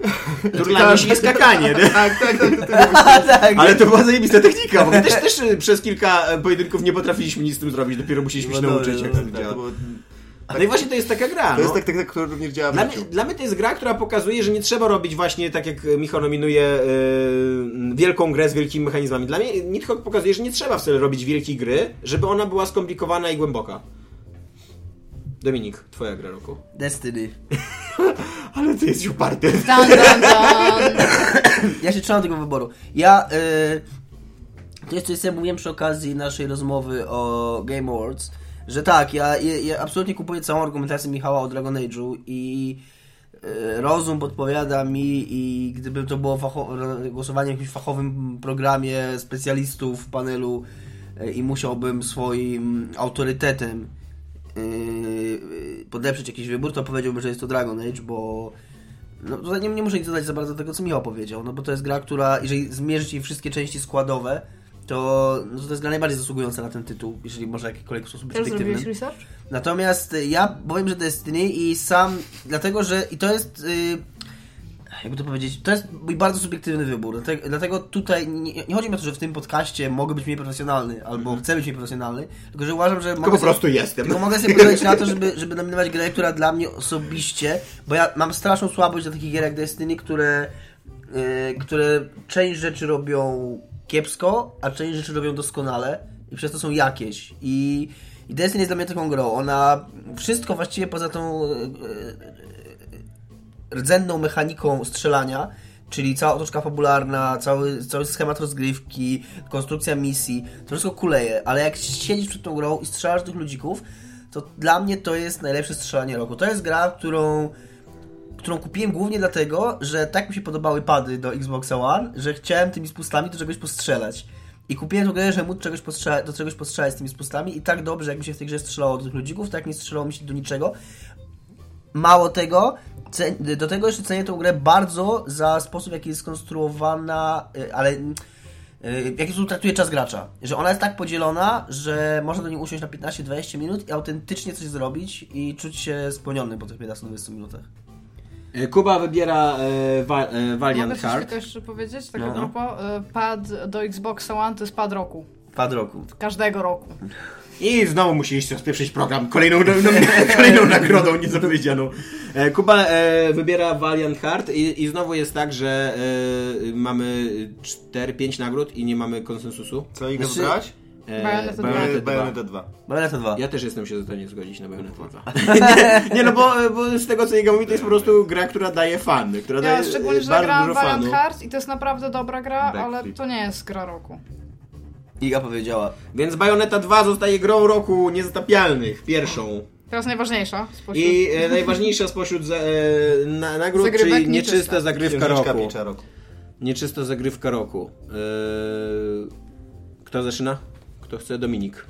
Speaker 4: turlanie się i skakanie,
Speaker 2: [laughs]
Speaker 4: nie?
Speaker 2: tak, tak, tak, to [laughs] ty
Speaker 5: [laughs] A tak,
Speaker 4: Ale to była zajebista technika, bo my też, też y, przez kilka e, pojedynków nie potrafiliśmy nic z tym zrobić, dopiero musieliśmy się
Speaker 2: No
Speaker 4: nauczyć,
Speaker 2: dobrze,
Speaker 4: jak
Speaker 2: no
Speaker 4: to
Speaker 2: tak, to
Speaker 4: działa.
Speaker 2: było-
Speaker 4: No i właśnie to jest taka gra,
Speaker 2: To jest tak,
Speaker 4: no.
Speaker 2: taktyka, która również działa w
Speaker 4: Dla mnie,
Speaker 2: życiu.
Speaker 4: dla mnie to jest gra, która pokazuje, że nie trzeba robić właśnie tak jak Michał nominuje y, wielką grę z wielkimi mechanizmami. Dla mnie Nidhogg pokazuje, że nie trzeba wcale robić wielkiej gry, żeby ona była skomplikowana i głęboka. Dominik, twoja gra roku.
Speaker 5: Destiny.
Speaker 4: Ale ty jesteś uparty.
Speaker 3: Dan, dan, dan.
Speaker 5: Ja się trzymam tego wyboru. Ja. y, to jest coś, co ja mówiłem przy okazji naszej rozmowy o Game Awards, że tak, ja, ja, ja absolutnie kupuję całą argumentację Michała o Dragon Age'u i y, rozum podpowiada mi i gdyby to było facho- ro- głosowanie w jakimś fachowym programie specjalistów w panelu y, i musiałbym swoim autorytetem y, y, podeprzeć jakiś wybór, to powiedziałbym, że jest to Dragon Age, bo no tutaj nie, nie muszę nic dodać za bardzo do tego, co Michał powiedział, no bo to jest gra, która, jeżeli zmierzyć jej wszystkie części składowe, to, no to to jest gra najbardziej zasługująca na ten tytuł, jeżeli może w jakikolwiek sposób
Speaker 3: Też zrobiłeś
Speaker 5: obiektywny.
Speaker 3: research?
Speaker 5: Natomiast y, ja powiem, że Destiny i sam, dlatego że, i to jest, y, jakby to powiedzieć, to jest mój bardzo subiektywny wybór, dlatego, dlatego tutaj nie, nie chodzi mi o to, że w tym podcaście mogę być mniej profesjonalny, albo chcę być mniej profesjonalny, tylko że uważam, że
Speaker 4: Mhm. Tylko po prostu jestem.
Speaker 5: tylko mogę sobie pozwolić
Speaker 4: [laughs]
Speaker 5: na to, żeby, żeby nominować grę, która dla mnie osobiście, bo ja mam straszną słabość do takich gier jak Destiny, które, yy, które część rzeczy robią kiepsko, a część rzeczy robią doskonale i przez to są jakieś. I, i Destiny jest dla mnie taką grą. Ona wszystko właściwie poza tą yy, rdzenną mechaniką strzelania, czyli cała otoczka fabularna, cały, cały schemat rozgrywki, konstrukcja misji, to wszystko kuleje, ale jak siedzisz przed tą grą i strzelasz tych ludzików, to dla mnie to jest najlepsze strzelanie roku. To jest gra, którą którą kupiłem głównie dlatego, że tak mi się podobały pady do Xbox One, że chciałem tymi spustami do czegoś postrzelać. I kupiłem tą grę, że móc czegoś postrzela- do czegoś postrzelać z tymi spustami i tak dobrze, jak mi się w tej grze strzelało do tych ludzików, tak nie strzelało mi się do niczego. Mało tego, ce- do tego jeszcze cenię tą grę bardzo za sposób, w jaki jest skonstruowana, y, ale mm, y, w jaki sposób traktuje czas gracza. Że ona jest tak podzielona, że można do niej usiąść na 15-20 minut i autentycznie coś zrobić i czuć się spełniony po tych 15-20 minutach.
Speaker 4: E, Kuba wybiera e, wa, e, Valiant
Speaker 3: Mogę coś
Speaker 4: Heart.
Speaker 3: tylko jeszcze powiedzieć? Tak
Speaker 5: No,
Speaker 3: no,
Speaker 5: no.
Speaker 3: Pad do Xboxa One to jest pad roku.
Speaker 5: Pad roku.
Speaker 3: Każdego roku.
Speaker 4: No I znowu musieliście rozpieprzyć program kolejną, no, no, kolejną nagrodą niezapowiedzianą. E, Kuba e, wybiera Valiant Heart i, i znowu jest tak, że e, mamy 4-5 nagród i nie mamy konsensusu.
Speaker 2: Co, i go
Speaker 5: Znaczy-
Speaker 2: wybrać?
Speaker 4: E,
Speaker 3: Bayonetta dwa.
Speaker 4: Bayonetta dwa.
Speaker 2: Bayonetta 2.
Speaker 5: Bayonetta 2.
Speaker 4: Ja też jestem się w stanie zgodzić na Bayonetta 2. nie, nie, no bo, bo z tego co jego mówi, to jest po prostu gra, która daje fan, która
Speaker 3: Ja
Speaker 4: daje
Speaker 3: szczególnie,
Speaker 4: e,
Speaker 3: że
Speaker 4: bardzo dużo
Speaker 3: zagrałam
Speaker 4: fanu.
Speaker 3: Valiant Hearts i to jest naprawdę dobra gra, ale
Speaker 2: Backflip.
Speaker 3: to nie jest gra roku.
Speaker 5: Iga powiedziała.
Speaker 4: Więc Bayonetta 2 zostaje grą roku niezatapialnych, pierwszą.
Speaker 3: Teraz najważniejsza. spośród-
Speaker 4: I e, najważniejsza spośród za, e, na, nagród,
Speaker 3: Zagrywek
Speaker 4: czyli
Speaker 3: nieczysta.
Speaker 4: nieczysta zagrywka
Speaker 2: Księżniczka
Speaker 4: roku.
Speaker 2: Picza roku.
Speaker 4: Nieczysta zagrywka roku. E, kto zaczyna? Kto chce? Dominik.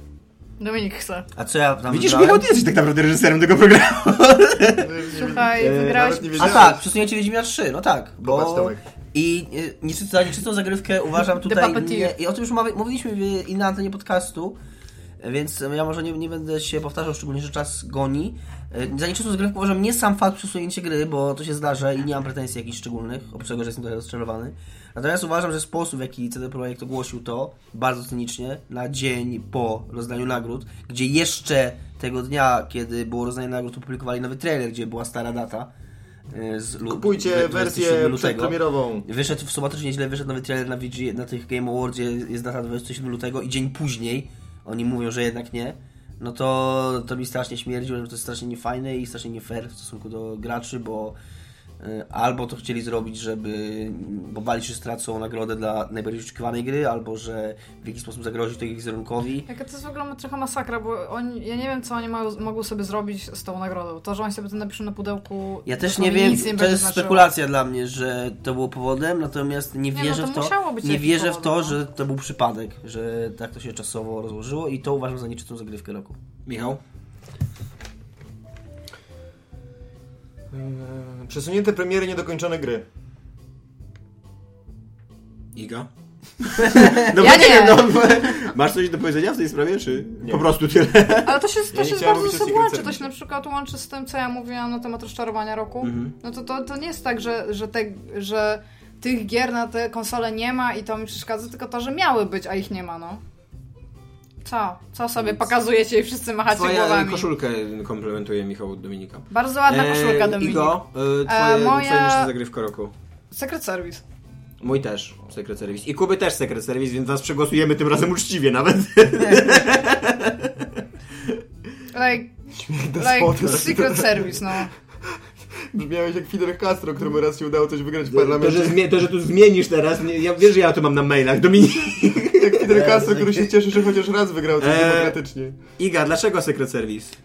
Speaker 3: Dominik chce.
Speaker 5: A co ja tam
Speaker 4: Widzisz,
Speaker 5: wybrałem?
Speaker 4: Michał, ty jesteś tak naprawdę reżyserem tego programu. E,
Speaker 3: Słuchaj, wygrałeś...
Speaker 2: Nawet nie
Speaker 5: A
Speaker 2: wiedziałem.
Speaker 5: tak, przesunięcie Wiedźmina 3, no tak. Bo...
Speaker 2: Popatrz, Tomek.
Speaker 5: I y, nieczystą, nieczystą zagrywkę uważam tutaj. Nie,
Speaker 3: Puppeteer.
Speaker 5: I o tym już mawi- mówiliśmy w, i na antenie podcastu, więc ja może nie, nie będę się powtarzał, szczególnie, że czas goni. Y, Za nieczystą zagrywkę uważam nie sam fakt przesunięcia gry, bo to się zdarza i nie mam pretensji jakichś szczególnych, oprócz tego, że jestem trochę rozczarowany. Natomiast uważam, że sposób, w jaki CD Projekt ogłosił to, bardzo cynicznie, na dzień po rozdaniu nagród, gdzie jeszcze tego dnia, kiedy było rozdanie nagród, opublikowali nowy trailer, gdzie była stara data. y, Z lu-
Speaker 2: Kupujcie
Speaker 5: 27
Speaker 2: wersję przedpremierową.
Speaker 5: Wyszedł w sobotę czy nieźle, wyszedł nowy trailer na VG, na tych Game Awardzie, jest data 27 lutego i dzień później oni mówią, że jednak nie. No to, to mi strasznie śmierdzi, że to jest strasznie niefajne i strasznie nie fair w stosunku do graczy, bo y, albo to chcieli zrobić, żeby, bo bali się, że stracą nagrodę dla najbardziej oczekiwanej gry, albo że w jakiś sposób zagrozi to ich wizerunkowi.
Speaker 3: Jaka to jest w ogóle trochę masakra, bo oni, ja nie wiem, co oni mają, mogą sobie zrobić z tą nagrodą. To, że oni sobie to napiszą na pudełku,
Speaker 5: Ja też
Speaker 3: to
Speaker 5: nie
Speaker 3: mi
Speaker 5: wiem,
Speaker 3: nic nie
Speaker 5: to
Speaker 3: będzie
Speaker 5: jest
Speaker 3: znaczyło.
Speaker 5: spekulacja dla mnie, że to było powodem, natomiast nie
Speaker 3: no
Speaker 5: wierzę
Speaker 3: to
Speaker 5: w to,
Speaker 3: musiało być
Speaker 5: nie
Speaker 3: jakiś
Speaker 5: wierzę w
Speaker 3: powód,
Speaker 5: to,
Speaker 3: no.
Speaker 5: że to był przypadek, że tak to się czasowo rozłożyło i to uważam za nieczystą zagrywkę roku.
Speaker 4: Michał? E,
Speaker 2: Przesunięte premiery niedokończone gry.
Speaker 4: Iga? No bo
Speaker 3: [laughs] Ja nie.
Speaker 4: wiem, no, bo- masz coś do powiedzenia w tej sprawie, czy po prostu tyle?
Speaker 3: Ale to się, to
Speaker 2: nie
Speaker 3: się
Speaker 2: chciałem
Speaker 3: bardzo
Speaker 2: mówić
Speaker 3: ze
Speaker 2: o
Speaker 3: sobą
Speaker 2: Secret
Speaker 3: łączy. To
Speaker 2: Service.
Speaker 3: się na przykład łączy z tym, co ja mówiłam na temat rozczarowania roku.
Speaker 4: Mhm.
Speaker 3: No to, to, to nie jest tak, że, że, te, że tych gier na te konsole nie ma i to mi przeszkadza, tylko to, że miały być, a ich nie ma, no. Co? Co sobie pokazujecie i wszyscy machacie
Speaker 4: Twoja e,
Speaker 3: głowami?
Speaker 4: koszulkę komplementuje Michał Dominika.
Speaker 3: Bardzo ładna koszulka,
Speaker 4: E,
Speaker 3: Dominik.
Speaker 4: Igo, e, twoje,
Speaker 3: E, moja-
Speaker 4: twoja niższa zagrywka roku.
Speaker 3: Secret Service.
Speaker 4: Mój też, Secret Service. I Kuby też Secret Service, więc was przegłosujemy tym razem uczciwie nawet. [laughs]
Speaker 3: Like, like
Speaker 2: despota.
Speaker 3: Secret Service, no.
Speaker 2: Brzmiałeś jak Fidel Castro, któremu raz się udało coś wygrać w
Speaker 4: E, To,
Speaker 2: parlamencie.
Speaker 4: że, zmie- to, że tu zmienisz teraz, nie, ja wiesz, że ja to mam na mailach, Dominik.
Speaker 2: Jak Fidel Castro, który
Speaker 4: E,
Speaker 2: się cieszy, że chociaż raz wygrał coś
Speaker 4: Eee.
Speaker 2: demokratycznie.
Speaker 4: Iga, dlaczego Secret Service?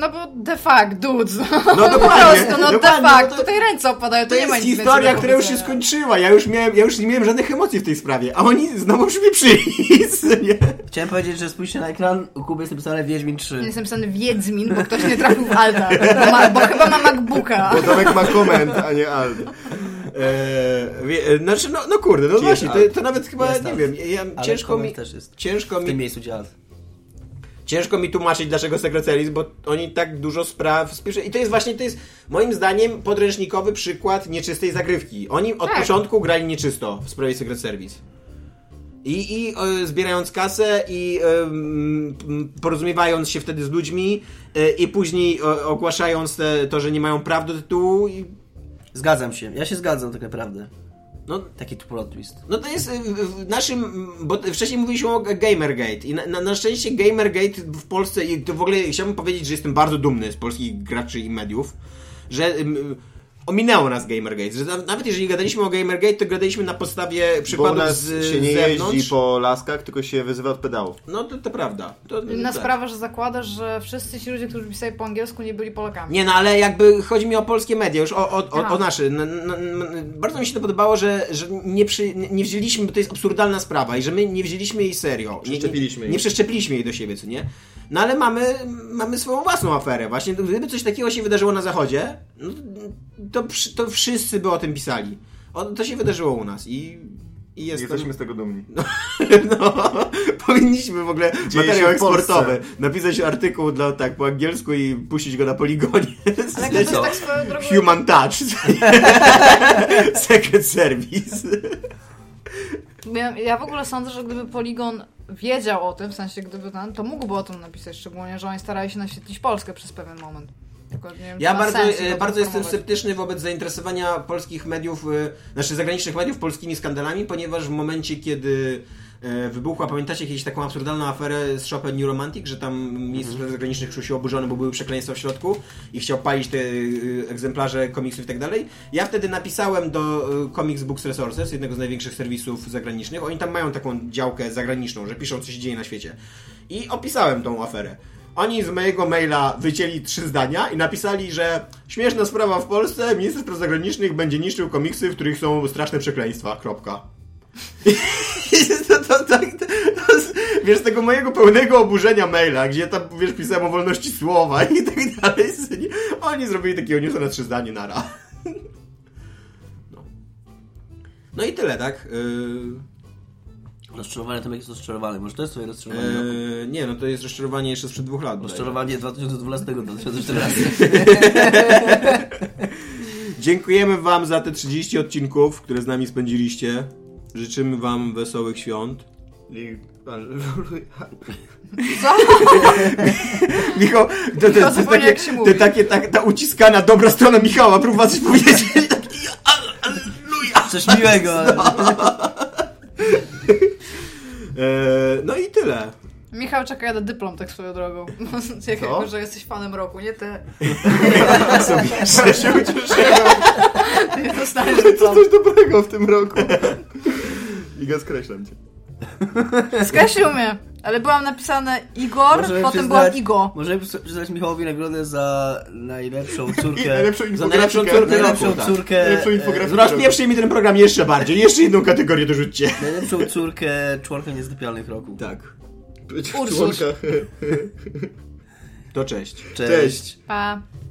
Speaker 3: No bo de facto, dudes. No, po
Speaker 4: dokładnie,
Speaker 3: prostu, no de
Speaker 4: dokładnie,
Speaker 3: facto.
Speaker 4: no to-
Speaker 3: Tutaj ręce opadają, to,
Speaker 4: To
Speaker 3: nie ma
Speaker 4: jest
Speaker 3: nic więcej
Speaker 4: historia,
Speaker 3: do
Speaker 4: która już się
Speaker 3: powiedzenia.
Speaker 4: skończyła, ja już, miałem, ja już nie miałem żadnych emocji w tej sprawie, a oni znowu przynieśli nie?
Speaker 5: Chciałem powiedzieć, że spójrzcie na ekran, u Kuby jest napisane Wiedźmin 3.
Speaker 3: Jest napisany Wiedźmin, bo ktoś nie trafił w Alta. Bo, ma, bo chyba ma MacBooka.
Speaker 2: Bo Tomek ma koment, a nie
Speaker 4: [laughs]
Speaker 2: alt.
Speaker 4: Eee, wie- e, znaczy, no, no kurde, no
Speaker 2: Czy jest
Speaker 4: właśnie,
Speaker 2: alt?
Speaker 4: to, to nawet chyba,
Speaker 5: Jest
Speaker 4: nie
Speaker 5: alt.
Speaker 4: wiem, ja, ja,
Speaker 5: Ale
Speaker 4: ciężko
Speaker 5: koment
Speaker 4: mi...
Speaker 5: też jest.
Speaker 4: Ciężko
Speaker 5: W tym
Speaker 4: mi,
Speaker 5: miejscu działa.
Speaker 4: ciężko mi tłumaczyć, dlaczego sekrecjalizm, bo oni tak dużo spraw spieszy. I to jest właśnie, to jest moim zdaniem podręcznikowy przykład nieczystej zagrywki. Oni od
Speaker 3: Tak.
Speaker 4: początku grali nieczysto w sprawie Secret Service. I, i e, zbierając kasę i em, m, porozumiewając się wtedy z ludźmi e, i później e, ogłaszając te, to, że nie mają praw do tytułu i
Speaker 5: Zgadzam się, ja się zgadzam tak naprawdę.
Speaker 4: no,
Speaker 5: Taki tu plot twist.
Speaker 4: No to jest y, w w naszym, m, bo t- wcześniej mówiliśmy o G- Gamergate i na, na, na szczęście Gamergate w Polsce, i to w ogóle chciałbym powiedzieć, że jestem bardzo dumny z polskich graczy i mediów, że ym, ominęło nas Gamergate, że na- nawet jeżeli gadaliśmy o Gamergate, to gadaliśmy na podstawie
Speaker 2: Bo u
Speaker 4: przykładów
Speaker 2: nas
Speaker 4: z
Speaker 2: się nie
Speaker 4: z zewnątrz.
Speaker 2: jeździ po laskach, tylko się wyzywa od pedałów.
Speaker 4: No to, to prawda. To,
Speaker 3: Inna
Speaker 4: tak.
Speaker 3: sprawa, że zakładasz, że wszyscy ci ludzie, którzy pisali po angielsku, nie byli Polakami.
Speaker 4: Nie, no ale jakby chodzi mi o polskie media, już o, o, o,
Speaker 3: Aha.
Speaker 4: o nasze. N- n- n- bardzo mi się to podobało, że, że nie, przy, nie wzięliśmy, bo to jest absurdalna sprawa i że my nie wzięliśmy jej serio. Nie-
Speaker 2: Przeszczepiliśmy
Speaker 4: nie,
Speaker 2: jej.
Speaker 4: Nie przeszczepiliśmy jej do siebie, co nie? No ale mamy, mamy swoją własną aferę. Właśnie gdyby coś takiego się wydarzyło na Zachodzie, no, to, przy- to wszyscy by o tym pisali. O, to się wydarzyło u nas i... i jestem...
Speaker 2: Jesteśmy z tego dumni.
Speaker 4: [laughs] No, powinniśmy w ogóle
Speaker 2: Dzieje
Speaker 4: materiał
Speaker 2: się w Polsce.
Speaker 4: eksportowy napisać artykuł dla, tak, po angielsku i puścić go na poligonie.
Speaker 3: Ale jak to jest
Speaker 5: co?
Speaker 3: tak swoją drogą... [laughs]
Speaker 4: Human touch. [laughs] Secret service.
Speaker 3: Ja, ja w ogóle sądzę, że gdyby Poligon wiedział o tym, w sensie gdyby ten, to mógłby o tym napisać, szczególnie, że oni starali się naświetlić Polskę przez pewien moment. Tylko nie wiem, czy
Speaker 4: Ja
Speaker 3: ma
Speaker 4: bardzo,
Speaker 3: sens
Speaker 4: e,
Speaker 3: tego
Speaker 4: bardzo jestem
Speaker 3: promować.
Speaker 4: sceptyczny wobec zainteresowania polskich mediów, e, znaczy zagranicznych mediów polskimi skandalami, ponieważ w momencie, kiedy e, wybuchła, pamiętacie kiedyś taką absurdalną aferę z Shopem New Romantic, że tam minister spraw zagranicznych czuł się oburzony, bo były przekleństwa w środku i chciał palić te e, egzemplarze komiksów i tak dalej. Ja wtedy napisałem do e, Comics Books Resources, jednego z największych serwisów zagranicznych. Oni tam mają taką działkę zagraniczną, że piszą, co się dzieje na świecie. I opisałem tą aferę. Oni z mojego maila wycięli trzy zdania i napisali, że śmieszna sprawa w Polsce, minister spraw zagranicznych będzie niszczył komiksy, w których są straszne przekleństwa. Kropka. [laughs] to, to, to, to, to, z- wiesz, tego mojego pełnego oburzenia maila, gdzie tam, wiesz, pisałem o wolności słowa i tak dalej. Oni zrobili takiego newsa na trzy zdanie nara. No. No i tyle, tak? Yy...
Speaker 5: Rozczarowany Tomek jest rozczarowany. Może to jest twoje rozczarowanie? roku?
Speaker 4: Yy, nie, no to jest rozczarowanie jeszcze sprzed dwóch lat. bodajże.
Speaker 5: Rozczarowanie 2012-2014.
Speaker 4: Dziękujemy Wam za te 30 odcinków, które z nami spędziliście. Życzymy Wam wesołych świąt.
Speaker 2: I...
Speaker 3: Co?
Speaker 4: [laughs] Michał, to, to, to,
Speaker 3: Michał
Speaker 4: jest
Speaker 3: zapomniał,
Speaker 4: takie,
Speaker 3: jak się mówi.
Speaker 4: to takie tak, ta uciskana dobra strona Michała, próbowa coś powiedzieć. Taki, Alleluja.
Speaker 5: [laughs] Coś miłego.
Speaker 2: E,
Speaker 4: Eee, no i tyle.
Speaker 3: Michał czeka jadę dyplom tak swoją drogą. [laughs] Jak
Speaker 2: Co?
Speaker 3: jako, że jesteś fanem roku, nie ty. [laughs]
Speaker 2: Ja się ucieszyłem.
Speaker 3: Ty nie dostaniesz
Speaker 2: To
Speaker 3: dyplom.
Speaker 2: coś dobrego w tym roku. Iga, skreślam cię.
Speaker 3: Skreślił mnie, ale byłam napisane Igor,
Speaker 5: Możemy
Speaker 3: potem
Speaker 5: przyznać-
Speaker 3: byłam Igo.
Speaker 5: Możemy przy- przyznać Michałowi nagrodę za najlepszą córkę.
Speaker 2: [laughs] I najlepszą
Speaker 5: za
Speaker 2: infografikę.
Speaker 5: najlepszą córkę.
Speaker 2: Najlepszą
Speaker 5: Najlepszą córkę.
Speaker 2: Najlepszą
Speaker 5: e,
Speaker 2: infografikę.
Speaker 4: Zobacz, pierwszy mi ten program jeszcze bardziej. Jeszcze jedną kategorię dorzućcie.
Speaker 5: Najlepszą córkę członka niezdopialnych roku.
Speaker 4: Tak.
Speaker 2: W
Speaker 3: Ursus.
Speaker 2: członkach.
Speaker 4: To cześć.
Speaker 2: Cześć.
Speaker 3: Pa.